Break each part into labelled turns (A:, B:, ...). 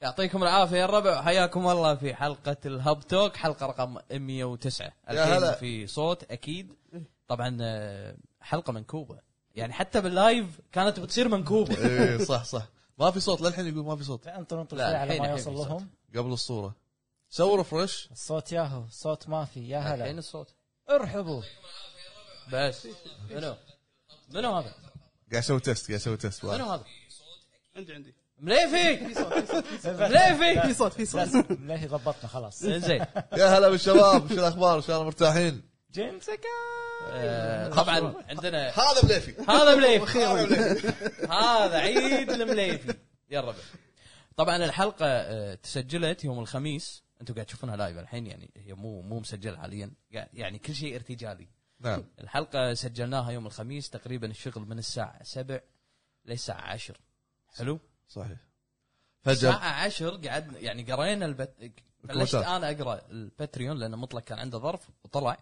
A: يعطيكم العافيه يا الربع حياكم الله في حلقه الهب توك حلقه رقم 109
B: يا
A: الحين
B: هلا.
A: في صوت اكيد طبعا آه، حلقه منكوبه يعني حتى باللايف كانت بتصير منكوبه
B: اي إيه، صح صح ما في صوت للحين يقول ما في صوت
C: انطر انطر
A: لا،
C: شوي على
A: الحين-
C: ما
A: الحين
C: يوصل
A: في صوت.
C: لهم
B: قبل الصوره سووا ريفرش
C: الصوت ياهو صوت ما في يا
A: الحين
C: هلا
A: الصوت
C: ارحبوا
A: بس منو منو هذا
B: قاعد اسوي تيست قاعد اسوي تيست
A: منو هذا
D: عندي عندي
A: مليفي مليفي
E: في صوت في صوت
C: ليه ضبطنا خلاص
A: زين
B: يا هلا بالشباب شو الاخبار ان شاء الله مرتاحين
C: جيمس
A: آه، طبعا عندنا
B: هذا مليفي
A: هذا مليفي هذا عيد المليفي يا الربع طبعا الحلقه آه، تسجلت يوم الخميس انتم قاعد تشوفونها لايف الحين يعني هي مو مو مسجله حاليا قاعد- يعني كل شيء ارتجالي
B: نعم
A: الحلقه سجلناها يوم الخميس تقريبا الشغل من الساعه 7 للساعه 10 حلو
B: صحيح فجاه
A: الساعه 10 قعدنا يعني قرينا البت... بلشت
B: الكوتات.
A: انا اقرا الباتريون لان مطلق كان عنده ظرف وطلع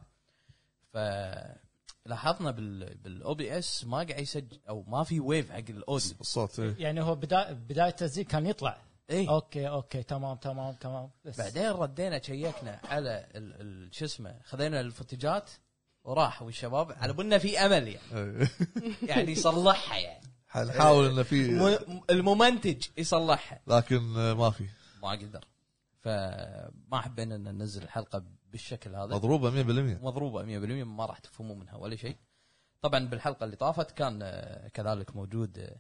A: فلاحظنا بال... بالاو بي اس ما قاعد يسجل او ما في ويف حق الاوديو
B: الصوت إيه.
C: يعني هو بدا بدايه التسجيل كان يطلع
A: اي
C: اوكي اوكي تمام تمام تمام بس
A: إيه. بعدين ردينا شيكنا على ال... ال... شو اسمه خذينا الفوتجات وراح والشباب على بالنا في امل يعني
B: إيه.
A: يعني يصلحها يعني
B: حنحاول انه في
A: م... الممنتج يصلحها
B: لكن آه، ما في
A: ما قدر فما حبينا ان ننزل الحلقه بالشكل هذا
B: مضروبه 100%
A: مضروبه 100% ما راح تفهموا منها ولا شيء طبعا بالحلقه اللي طافت كان آه، كذلك موجود آه،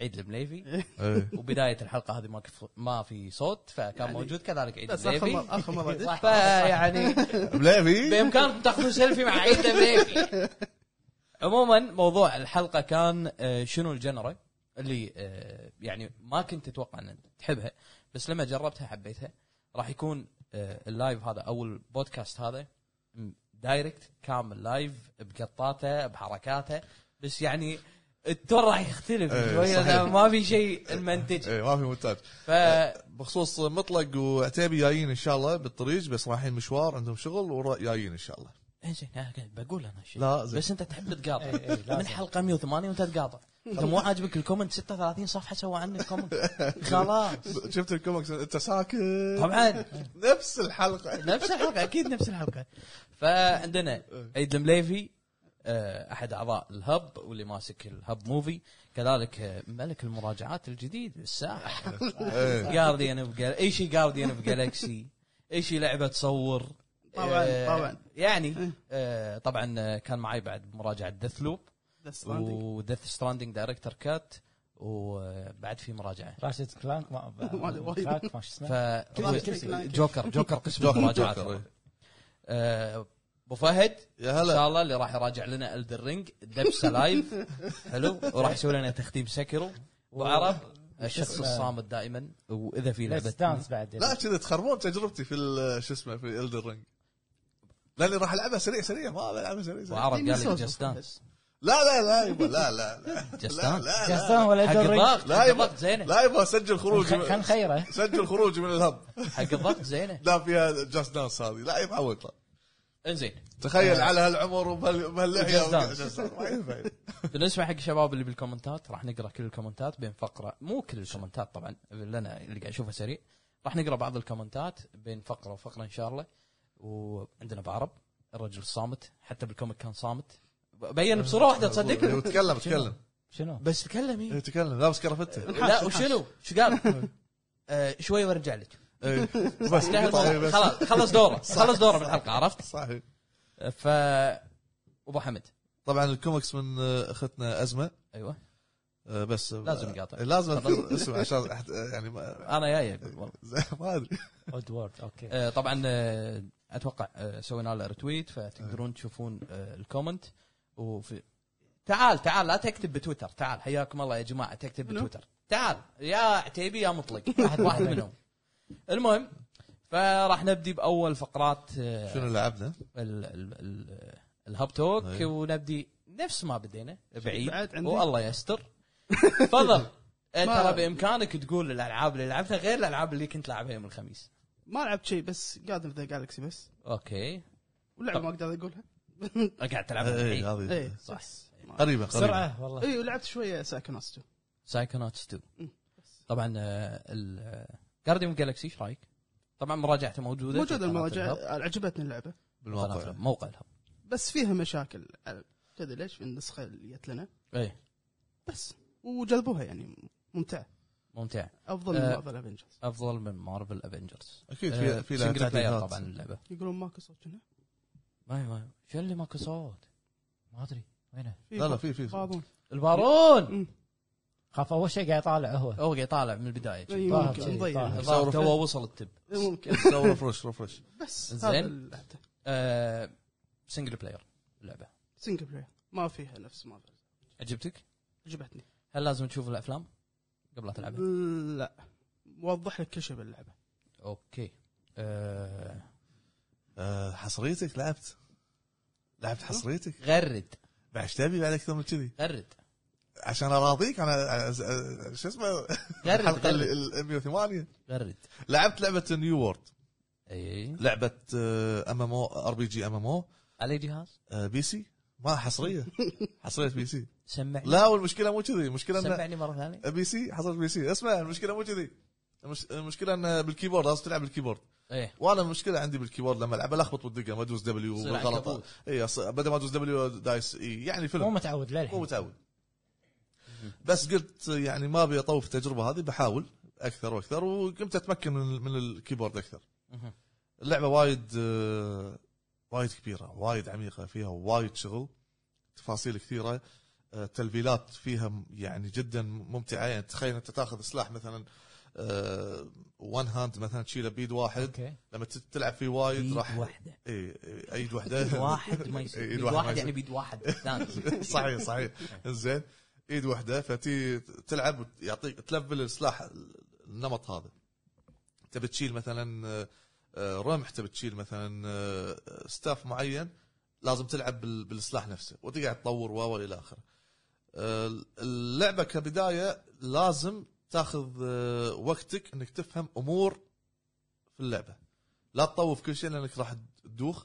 A: عيد المليفي
B: إيه.
A: وبدايه الحلقه هذه ما كف... ما في صوت فكان موجود كذلك عيد
E: بس اخر
A: المليفي
E: مره اخر مره
A: فيعني
B: مليفي
A: بامكانكم تاخذون سيلفي مع عيد المليفي عموما موضوع الحلقه كان آه، شنو الجنرا اللي آه، يعني ما كنت اتوقع ان تحبها بس لما جربتها حبيتها راح يكون آه، اللايف هذا او البودكاست هذا م- دايركت كامل لايف بقطاته بحركاته بس يعني التون راح يختلف
B: إيه،
A: شويه
B: صحيح.
A: لأن ما في شيء المنتج
B: إيه، ما في مونتاج
A: ف
B: بخصوص مطلق وعتيبي جايين ان شاء الله بالطريق بس رايحين مشوار عندهم شغل وجايين ان شاء الله
A: زين أنا قاعد بقول انا شيء
B: لا زين
A: بس انت تحب تقاطع
E: إيه،
C: إي، إي، لازم.
A: من حلقه 108 وانت تقاطع انت مو عاجبك الكومنت 36 صفحه سوى عنك كومنت خلاص
B: شفت الكومكس انت ساكت
A: طبعا
B: نفس الحلقه
A: نفس الحلقه اكيد نفس الحلقه فعندنا عيد المليفي آه، احد اعضاء الهب واللي ماسك الهب موفي كذلك آه، ملك المراجعات الجديد الساحه
B: إيه.
A: جارديان اوف ايش جارديان اوف جالكسي ايش لعبه تصور
E: طبعاً،
A: آه،
E: طبعاً. إيه.
A: يعني آه، طبعا آه، كان معي بعد مراجعه ديث لوب
E: ذا
A: وديث ستراندنج دايركتر كات وبعد في مراجعه
C: راشد كلانك ما
E: ما- ما-
C: كلانك ما شو اسمه
A: ف
E: شيء.
A: جوكر جوكر قسم
B: جوكر،
A: المراجعات
B: جوكر، إيه.
A: آه، ابو فهد
B: يا
A: ان
B: هلا
A: شاء الله اللي راح يراجع لنا الدر رينج دبسه لايف حلو وراح يسوي لنا تختيم سكرو وعرب الشخص
C: اسمه؟
A: الصامت دائما واذا في
C: ليتس
A: لعبه
C: دانس بعد
B: لا كذا تخربون تجربتي في ال- شو اسمه في الدر رينج لاني راح العبها سريع سريع ما العبها سريع سريع
A: وعرب قال لي
E: ديناصور.
A: جاست دانس
B: لا لا لا يبا لا لا لا
A: Just
B: لا
A: Dance.
B: لا لا
C: جاستان ولا
A: حق
C: Elden Ring؟
A: الضغط
B: لا
A: حق
B: يبا
A: الضغط زينه
B: لا يبا سجل خروج
C: خل- خلنا نخيره
B: سجل خروج من الهب
A: حق الضغط زينه
B: لا فيها جاست دانس هذه لا يبا عوضها
A: انزين
B: تخيل على هالعمر وبهال- وبهاللحيه
A: آه. Just Dance.
B: Just Dance. ما ينفع.
A: بالنسبه حق الشباب اللي بالكومنتات راح نقرا كل الكومنتات بين فقره مو كل الكومنتات طبعا اللي انا اللي قاعد اشوفها سريع راح نقرا بعض الكومنتات بين فقره وفقره ان شاء الله وعندنا بعرب الرجل الصامت حتى بالكوميك كان صامت بين بصوره واحده تصدق
B: تكلم تكلم
C: شنو؟
A: بس تكلم
B: إيه،
A: إيه.
B: تكلم لابس كرافته
A: لا وشنو؟ شو قال؟ آه شوي وارجع لك
B: إيه، بس
A: انتهى
B: إيه،
A: الموضوع.
B: بس.
A: خلاص خلص دوره خلص دوره بالحلقه عرفت؟
B: صحيح
A: ف ابو حمد
B: طبعا الكوميكس من آه، اختنا ازمه
A: ايوه
B: آه، بس
A: لازم يقاطع.
B: آه، لازم اذكر اسمه عشان أحد- آه، يعني ما
A: انا جاي والله
B: ما ادري
C: اود وورد اوكي
A: آه، طبعا آه، اتوقع آه، سوينا له ريتويت فتقدرون تشوفون آه، الكومنت وفي تعال تعال لا تكتب بتويتر تعال حياكم الله يا جماعه تكتب
E: منو؟
A: بتويتر تعال يا عتيبي يا مطلق واحد واحد منهم المهم فراح نبدي باول فقرات آه،
B: شنو لعبنا؟
A: ال- ال- ال- الهاب توك
B: أي.
A: ونبدي نفس ما بدينا بعيد
E: بعد عندي؟
A: والله يستر تفضل آه،
E: ما-
A: ترى بامكانك تقول الالعاب اللي لعبتها غير الالعاب اللي كنت لعبها يوم الخميس
E: ما لعبت شيء بس قادم ذا جالكسي بس
A: اوكي
E: ولعبه ما إيه، اقدر اقولها
A: قاعد تلعب
B: اي
A: الحين.
B: آه، إيه،
A: إيه.
B: هذه
E: اي
A: صح.
E: صح
A: طيب.
B: قريبه قريبه
C: بسرعه أه، والله
E: إيه، اي ولعبت شويه سايكوناس 2
A: سايكونوتس 2
E: مم.
A: طبعا آه، ال- آه، جارديوم جالكسي ايش رايك؟ طبعا مراجعته موجوده
E: موجود
A: في قناة
E: المراجع
A: الهب.
E: آه، عجبتني اللعبه
A: قناة
B: بالواقع
A: الهب، موقع الهب
E: بس فيها مشاكل آه، تدري ليش في النسخه اللي جت لنا
A: اي
B: إيه.
E: بس وجذبوها يعني ممتعه
A: ممتع
E: افضل من
A: آه.
E: بعض الافنجرز
A: افضل من آه، مارفل افنجرز
B: اكيد في في لها
A: بلاير
B: تعديلات
A: طبعا اللعبه
E: يقولون ماكو صوت هنا
A: ما هي- ما هي. شو اللي ماكو صوت؟
C: ما ادري وينه
E: في
B: لا لا في في
E: بعضهم
A: البارون
E: أمم.
C: خاف اول شيء قاعد يطالع هو
A: هو قاعد يطالع من البدايه
E: إي،
C: طاهر
E: ممكن
C: شيء،
E: نضيع
C: طاهر.
A: الظاهر تو وصل التب
E: إي، إيه، ممكن
B: سوي رفرش رفرش
E: بس
A: زين.
E: هذا اللعبة.
A: آه، سنجل بلاير اللعبه
E: سنجل بلاير ما فيها نفس ما فيها.
A: عجبتك؟
E: عجبتني
A: هل لازم تشوف الافلام قبل لا تلعبها؟
E: لا موضح لك كل شيء باللعبه
A: اوكي آه،
B: آه، حصريتك لعبت لعبت حصريتك
A: غرد
B: بعد ايش تبي بعد اكثر من كذي
A: غرد
B: عشان اراضيك انا أنا- شو اسمه
A: غرد
B: الحلقه اللي-
A: غرد,
B: ال 108
A: غرد.
B: لعبت لعبه نيو وورد
A: اي
B: لعبه ام ام او ار بي جي ام ام او
A: على جهاز
B: آه، بي سي ما حصريه حصريه بي سي
A: سمعني
B: لا والمشكله مو كذي المشكله انه
A: سمعني مره ثانيه
B: بي سي حصريه بي سي اسمع المشكله مو كذي المش- المشكله انه بالكيبورد لازم تلعب بالكيبورد
A: ايه
B: وانا المشكله عندي بالكيبورد لما العب الخبط والدقه ما ادوس دبليو
A: يصير
B: بالغلط
A: عنكبوت.
B: اي أص- إيه، بدل ما ادوس دبليو دايس اي يعني فيلم
C: مو متعود للحين
B: مو متعود بس قلت يعني ما ابي اطوف التجربه هذه بحاول اكثر واكثر وقمت اتمكن من من الكيبورد اكثر
A: مهم.
B: اللعبه وايد آه، وايد كبيره وايد عميقه فيها وايد شغل تفاصيل كثيره آه، التلفيلات فيها م- يعني جدا ممتعه يعني تخيل انت تاخذ سلاح آه، مثلا وان هاند مثلا تشيله بيد واحد
C: اوكي
B: لما ت- تلعب فيه وايد
A: بيد
B: راح إيه،
A: واحده
B: اي
A: بيد
B: ايد واحده
A: واحد ما يصير
B: إي،
A: بيد
B: الواحد ما
A: واحد
B: يصير.
A: يعني بيد واحد ثاني
B: صحيح صحيح زين ايد واحده فتي تلعب يعطيك تلفل السلاح النمط هذا تبي تشيل مثلا آه، رمح تبي تشيل مثلا آه، ستاف معين لازم تلعب بال- بالسلاح نفسه وتقعد تطور واو الى اخره آه، اللعبه كبدايه لازم تاخذ آه، وقتك انك تفهم امور في اللعبه لا تطوف كل شيء لانك راح تدوخ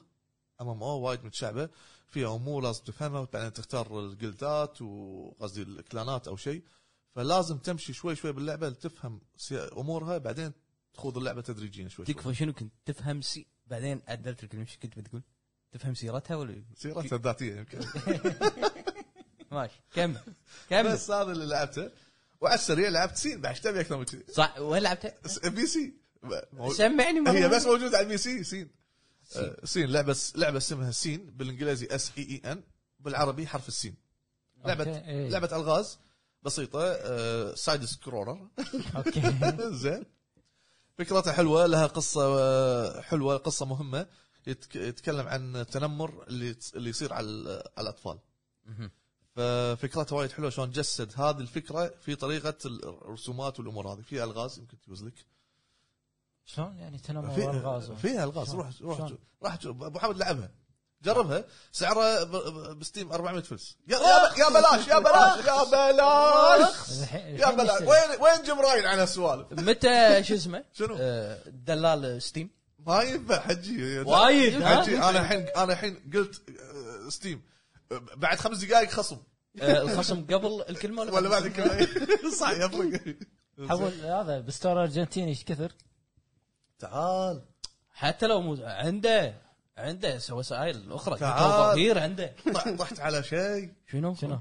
B: امام او وايد متشعبه فيها امور لازم تفهمها وبعدين تختار الجلدات وقصدي الكلانات او شيء فلازم تمشي شوي شوي باللعبه لتفهم سي- امورها بعدين تخوض اللعبه تدريجيا شوي شوي
A: تكفى طيب، شنو كنت تفهم سي بعدين عدلت الكلمه ايش كنت بتقول؟ تفهم سيرتها ولا
B: سيرتها الذاتيه يمكن
A: ماشي كمل كمل
B: بس هذا اللي لعبته وعلى السريع لعبت سين بعد ايش تبي اكثر من كذي
A: صح وين لعبتها؟
B: بي سي مو-
A: سمعني مرة
B: هي بس
A: ثانية.
B: موجوده على البي سي سين آه، سين لعبه لعبه اسمها سين بالانجليزي اس اي اي ان E بالعربي حرف السين لعبه
C: أوكي، إيه.
B: لعبه الغاز بسيطه سايد سكرولر
C: اوكي
B: زين فكرتها حلوه لها قصه آه، حلوه قصه مهمه يتك- يتكلم عن التنمر اللي اللي يصير على ال- على الاطفال
A: مهم.
B: ففكرتها وايد حلوه شلون جسد هذه الفكره في طريقه الرسومات والامور هذه في الغاز يمكن تجوز لك
C: شلون يعني تنمر
B: في-
C: الغاز
B: فيها الغاز
C: شلون؟
B: روح روح
C: شلون؟
B: راح تشوف. ابو حمد لعبها جربها سعرها ب- ب- بستيم 400 فلس يا يا, ب- يا بلاش يا بلاش يا بلاش يا بلاش وين وين جيم راين عن هالسوالف
A: متى شو اسمه؟
B: شنو؟
A: آه، دلال ستيم
B: ما ينفع حجي
A: وايد، ها؟
B: حجي انا الحين انا الحين قلت آه، ستيم آه، بعد خمس دقائق خصم
A: آه، الخصم قبل الكلمه ولا
B: ولا بعد كذا صح يفرق
C: حول هذا بستور ارجنتيني ايش كثر؟
B: تعال
A: حتى لو مو عنده عنده وسائل اخرى
B: تعال.
A: تطوير عنده
B: طح- طحت على شيء
A: شنو؟
C: شنو؟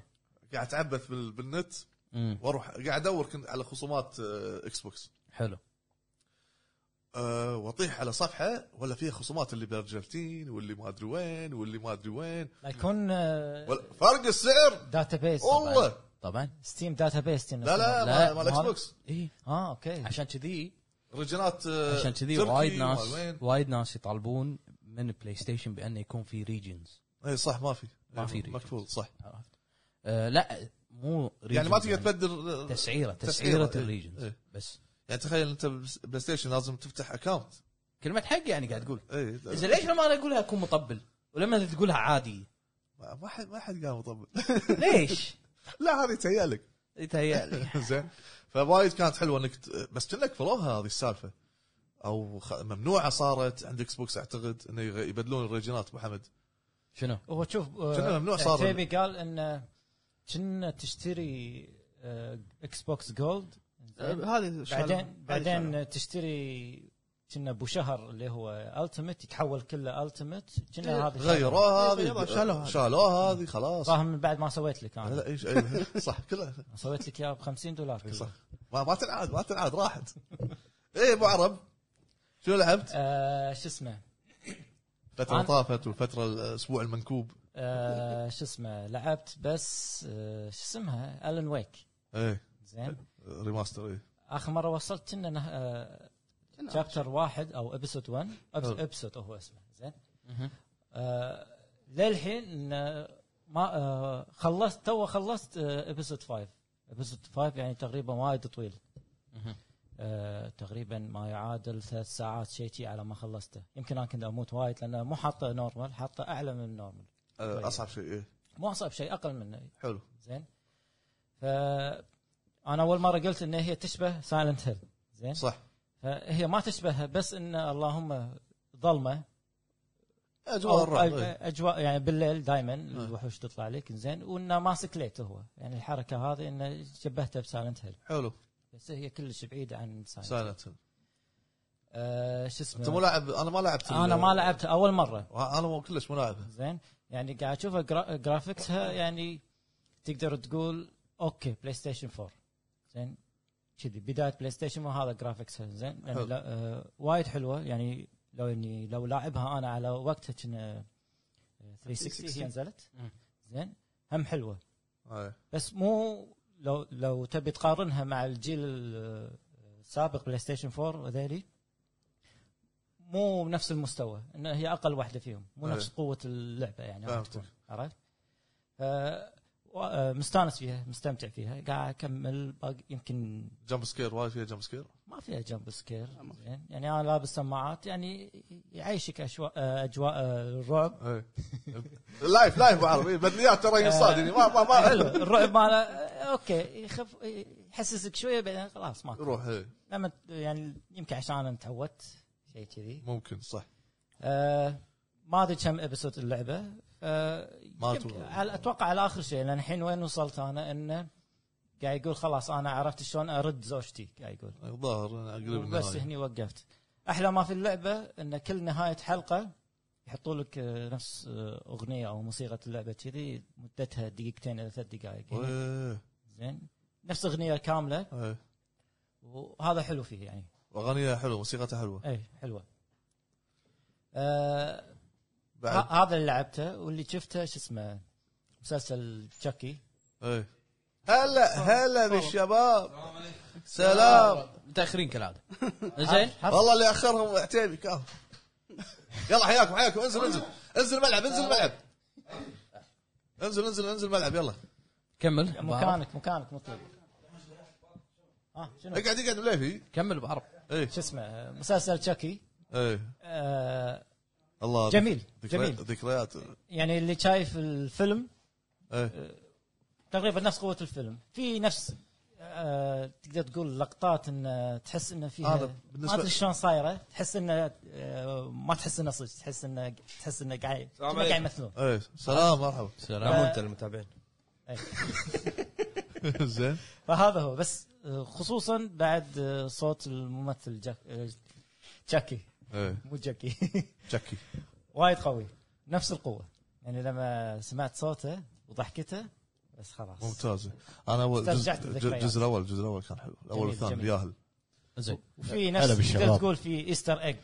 B: قاعد اتعبث بال- بالنت
A: مم.
B: واروح قاعد ادور كنت على خصومات آه، اكس بوكس
A: حلو
B: أه واطيح على صفحه ولا فيها خصومات اللي بارجنتين واللي ما ادري وين واللي ما ادري وين
C: لا يكون
A: آه،
B: ولا- فرق السعر
C: داتا بيس
B: والله
A: طبعا
C: ستيم داتا بيس
B: لا لا,
A: لا، آه،
B: لا مال اكس
C: مال-
B: بوكس
A: اي
C: اه اوكي
A: إيه. عشان كذي
B: رجالات آه،
A: عشان كذي
B: تركي
A: وايد
B: وما
A: ناس
B: وين.
A: وايد ناس يطالبون من بلاي ستيشن بانه يكون في ريجنز
B: اي إيه، صح ما في
A: ما في ريجن.
B: مكفول صح
A: عرفت؟ آه لا مو regions
B: يعني ما تقدر تبدل
A: تسعيره
B: تسعيرة،
A: تسعيره
B: إيه،
A: الريجنز
B: إيه.
A: بس
B: يعني تخيل انت بلاي ستيشن لازم تفتح إيه، اكونت
A: كلمه حق يعني قاعد تقول
B: اي
A: زين ليش لما انا اقولها اكون مطبل ولما أنت تقولها عادي
B: ما ما حد ما حد قام يطبل
A: ليش؟
B: لا هذه تهيألك
A: يتهيألي
B: زين فوايد كانت حلوه انك ت- بس كأنك فروها هذه السالفه او خ- ممنوعه صارت عند اكس بوكس اعتقد انه يغ- يبدلون الريجنات ابو حمد
A: شنو؟
C: هو شوف آه،
B: كنا ممنوع صار.
C: عتيبي
B: آه،
C: قال انه كنا تشتري آه، اكس بوكس جولد زين.
F: إيه.
E: هذه الشغلة- هذه
C: بعدين
E: الشغلة.
C: بعدين تشتري كنا ابو شهر اللي هو التمت يتحول كله التمت كنا هذا
B: غيروها هذه
A: إيه،
E: يلا، شالوها.
B: شالوها هذه خلاص
C: صاهم من بعد ما سويت لك
B: لا
C: انا
B: ايش أي- صح كلها
C: سويت لك اياها ب 50 دولار
B: اي
C: كله.
B: صح ما, ما تنعاد ما تنعاد راحت ايه ابو عرب شو لعبت؟
C: آه، شو اسمه
B: فترة
C: أنا-
B: طافت والفترة الاسبوع المنكوب
C: آه، شو اسمه لعبت بس آه، شو اسمها الن ويك
B: ايه
C: زين
B: ريماستر ايه
C: اخر مره وصلت كنا نه- آه،
E: كنا-
C: شابتر واحد او ابسود 1
B: حلو.
C: ابسود هو اسمه زين آه، للحين آه، ما آه، خلصت تو خلصت آه، ابسود 5 ابسود 5 يعني تقريبا وايد طويل آه، تقريبا ما يعادل ثلاث ساعات شيء شي على ما خلصته يمكن انا كنت اموت وايد لانه مو حاطه نورمال حاطه اعلى من نورمال
B: آه،
C: طيب.
B: اصعب شيء ايه
C: مو اصعب شيء اقل منه
B: حلو
C: زين ف انا اول مره قلت ان هي تشبه سايلنت هيل زين
B: صح
C: فهي ما تشبهها بس ان اللهم ظلمه
B: اجواء
C: أو
B: الرعب
C: أج-
B: إيه.
C: اجواء يعني بالليل دائما
B: آه.
C: الوحوش تطلع لك زين وانه ماسك ليت هو يعني الحركه هذه انه شبهتها بسايلنت هيل
B: حلو
C: بس هي كلش بعيده عن سايلنت هيل
B: سايلنت
C: آه شو
B: انت مو
C: اسمه
B: لاعب انا ما لعبت
C: انا
B: ال-
C: ما لعبتها اول مره
B: انا مو كلش مو لاعبها
C: زين يعني قاعد اشوفها جرا... جرافيكسها يعني تقدر تقول اوكي بلاي ستيشن 4 زين كذي بدايه بلاي ستيشن وهذا جرافيكسها زين يعني
B: حلو.
C: لا... آه... وايد حلوه يعني لو اني لو لاعبها انا على وقتها كنا 360 هي نزلت
A: مم.
C: زين هم حلوه
B: إيه.
C: بس مو لو لو تبي تقارنها مع الجيل ال- السابق بلاي ستيشن 4 وذيلي مو بنفس المستوى ان هي اقل واحده فيهم مو
B: أي.
C: نفس قوه اللعبه يعني
B: فهمتك.
C: عرفت عرفت؟ آه، و- آه، مستانس فيها مستمتع فيها قاعد اكمل باقي يمكن
B: جمب سكير وايد فيها جمب سكير
C: ما فيها جمب سكير
E: ما في.
C: زين يعني انا لابس سماعات يعني يعيشك أشواء آه، اجواء آه، الرعب
B: إيه. لايف لايف ابو عرب إيه، بدنيات ترى ينصاد يعني ما ما
C: حلو
B: ما
C: الرعب ماله آه، اوكي يخف يحسسك شويه بعدين خلاص ماكو
B: روح إيه.
C: لما ت- يعني يمكن عشان انا تعودت شيء كذي
B: ممكن صح
C: آه ما ادري كم ابسود اللعبه آه
B: ما
C: يمكن-
B: أتوقع.
C: على اتوقع على اخر شيء لان الحين وين وصلت انا انه قاعد يقول خلاص انا عرفت شلون ارد زوجتي قاعد يقول
B: الظاهر قريب
C: بس
B: النهايه
C: هني وقفت احلى ما في اللعبه ان كل نهايه حلقه يحطوا لك آه، نفس آه، اغنيه او موسيقى اللعبه كذي مدتها دقيقتين الى ثلاث دقائق يعني
B: إيه.
C: زين نفس اغنيه كامله
B: إيه.
C: وهذا حلو فيه يعني
B: اغانيها حلوه موسيقتها حلوه
C: اي حلوه إيه، آه
B: بعد
C: ه- هذا اللي لعبته واللي شفته شو اسمه مسلسل تشكي
B: ايه هلا هلا بالشباب
A: السلام عليكم
B: سلام
A: متاخرين كالعاده زين
B: والله اللي اخرهم عتيبي كان يلا حياكم حياكم انزل انزل انزل الملعب انزل الملعب انزل انزل انزل الملعب يلا
A: كمل بعرب.
C: مكانك مكانك مطلوب ها شنو
B: اقعد اقعد مليفي
A: كمل بعرب
B: ايه
C: شو اسمه مسلسل تشكي
B: ايه
C: آه
B: الله
C: جميل،
B: ذكريات-
C: جميل.
B: ذكريات
C: يعني اللي شايف الفيلم
B: ايه
C: تقريبا نفس قوه الفيلم في نفس آه تقدر تقول لقطات ان تحس انه
B: هذا
C: فيها
B: بالنسبة-
C: ما ادري شلون صايره تحس انه آه ما تحس انه صدق تحس انه تحس انه قاعد
D: السلام
C: قاعد
D: عليكم.
C: يمثلون
B: ايه سلام مرحبا
A: سلام
D: لا انت المتابعين
C: إيه.
B: زين
C: فهذا هو بس آه، خصوصا بعد آه، صوت الممثل جاك آه، جاكي
B: ايه
C: مو جاكي
B: جاكي
C: وايد قوي نفس القوه يعني لما سمعت صوته وضحكته بس خلاص
B: ممتازه انا اول جزء
C: استرجعت الذكريات.
B: الجزء الاول الجزء الاول كان حلو الاول
C: جميل،
B: والثاني
C: جميل.
B: الياهل
A: زين
C: وفي
F: هلا
C: نفس
F: بالشباب.
C: تقدر تقول في ايستر ايج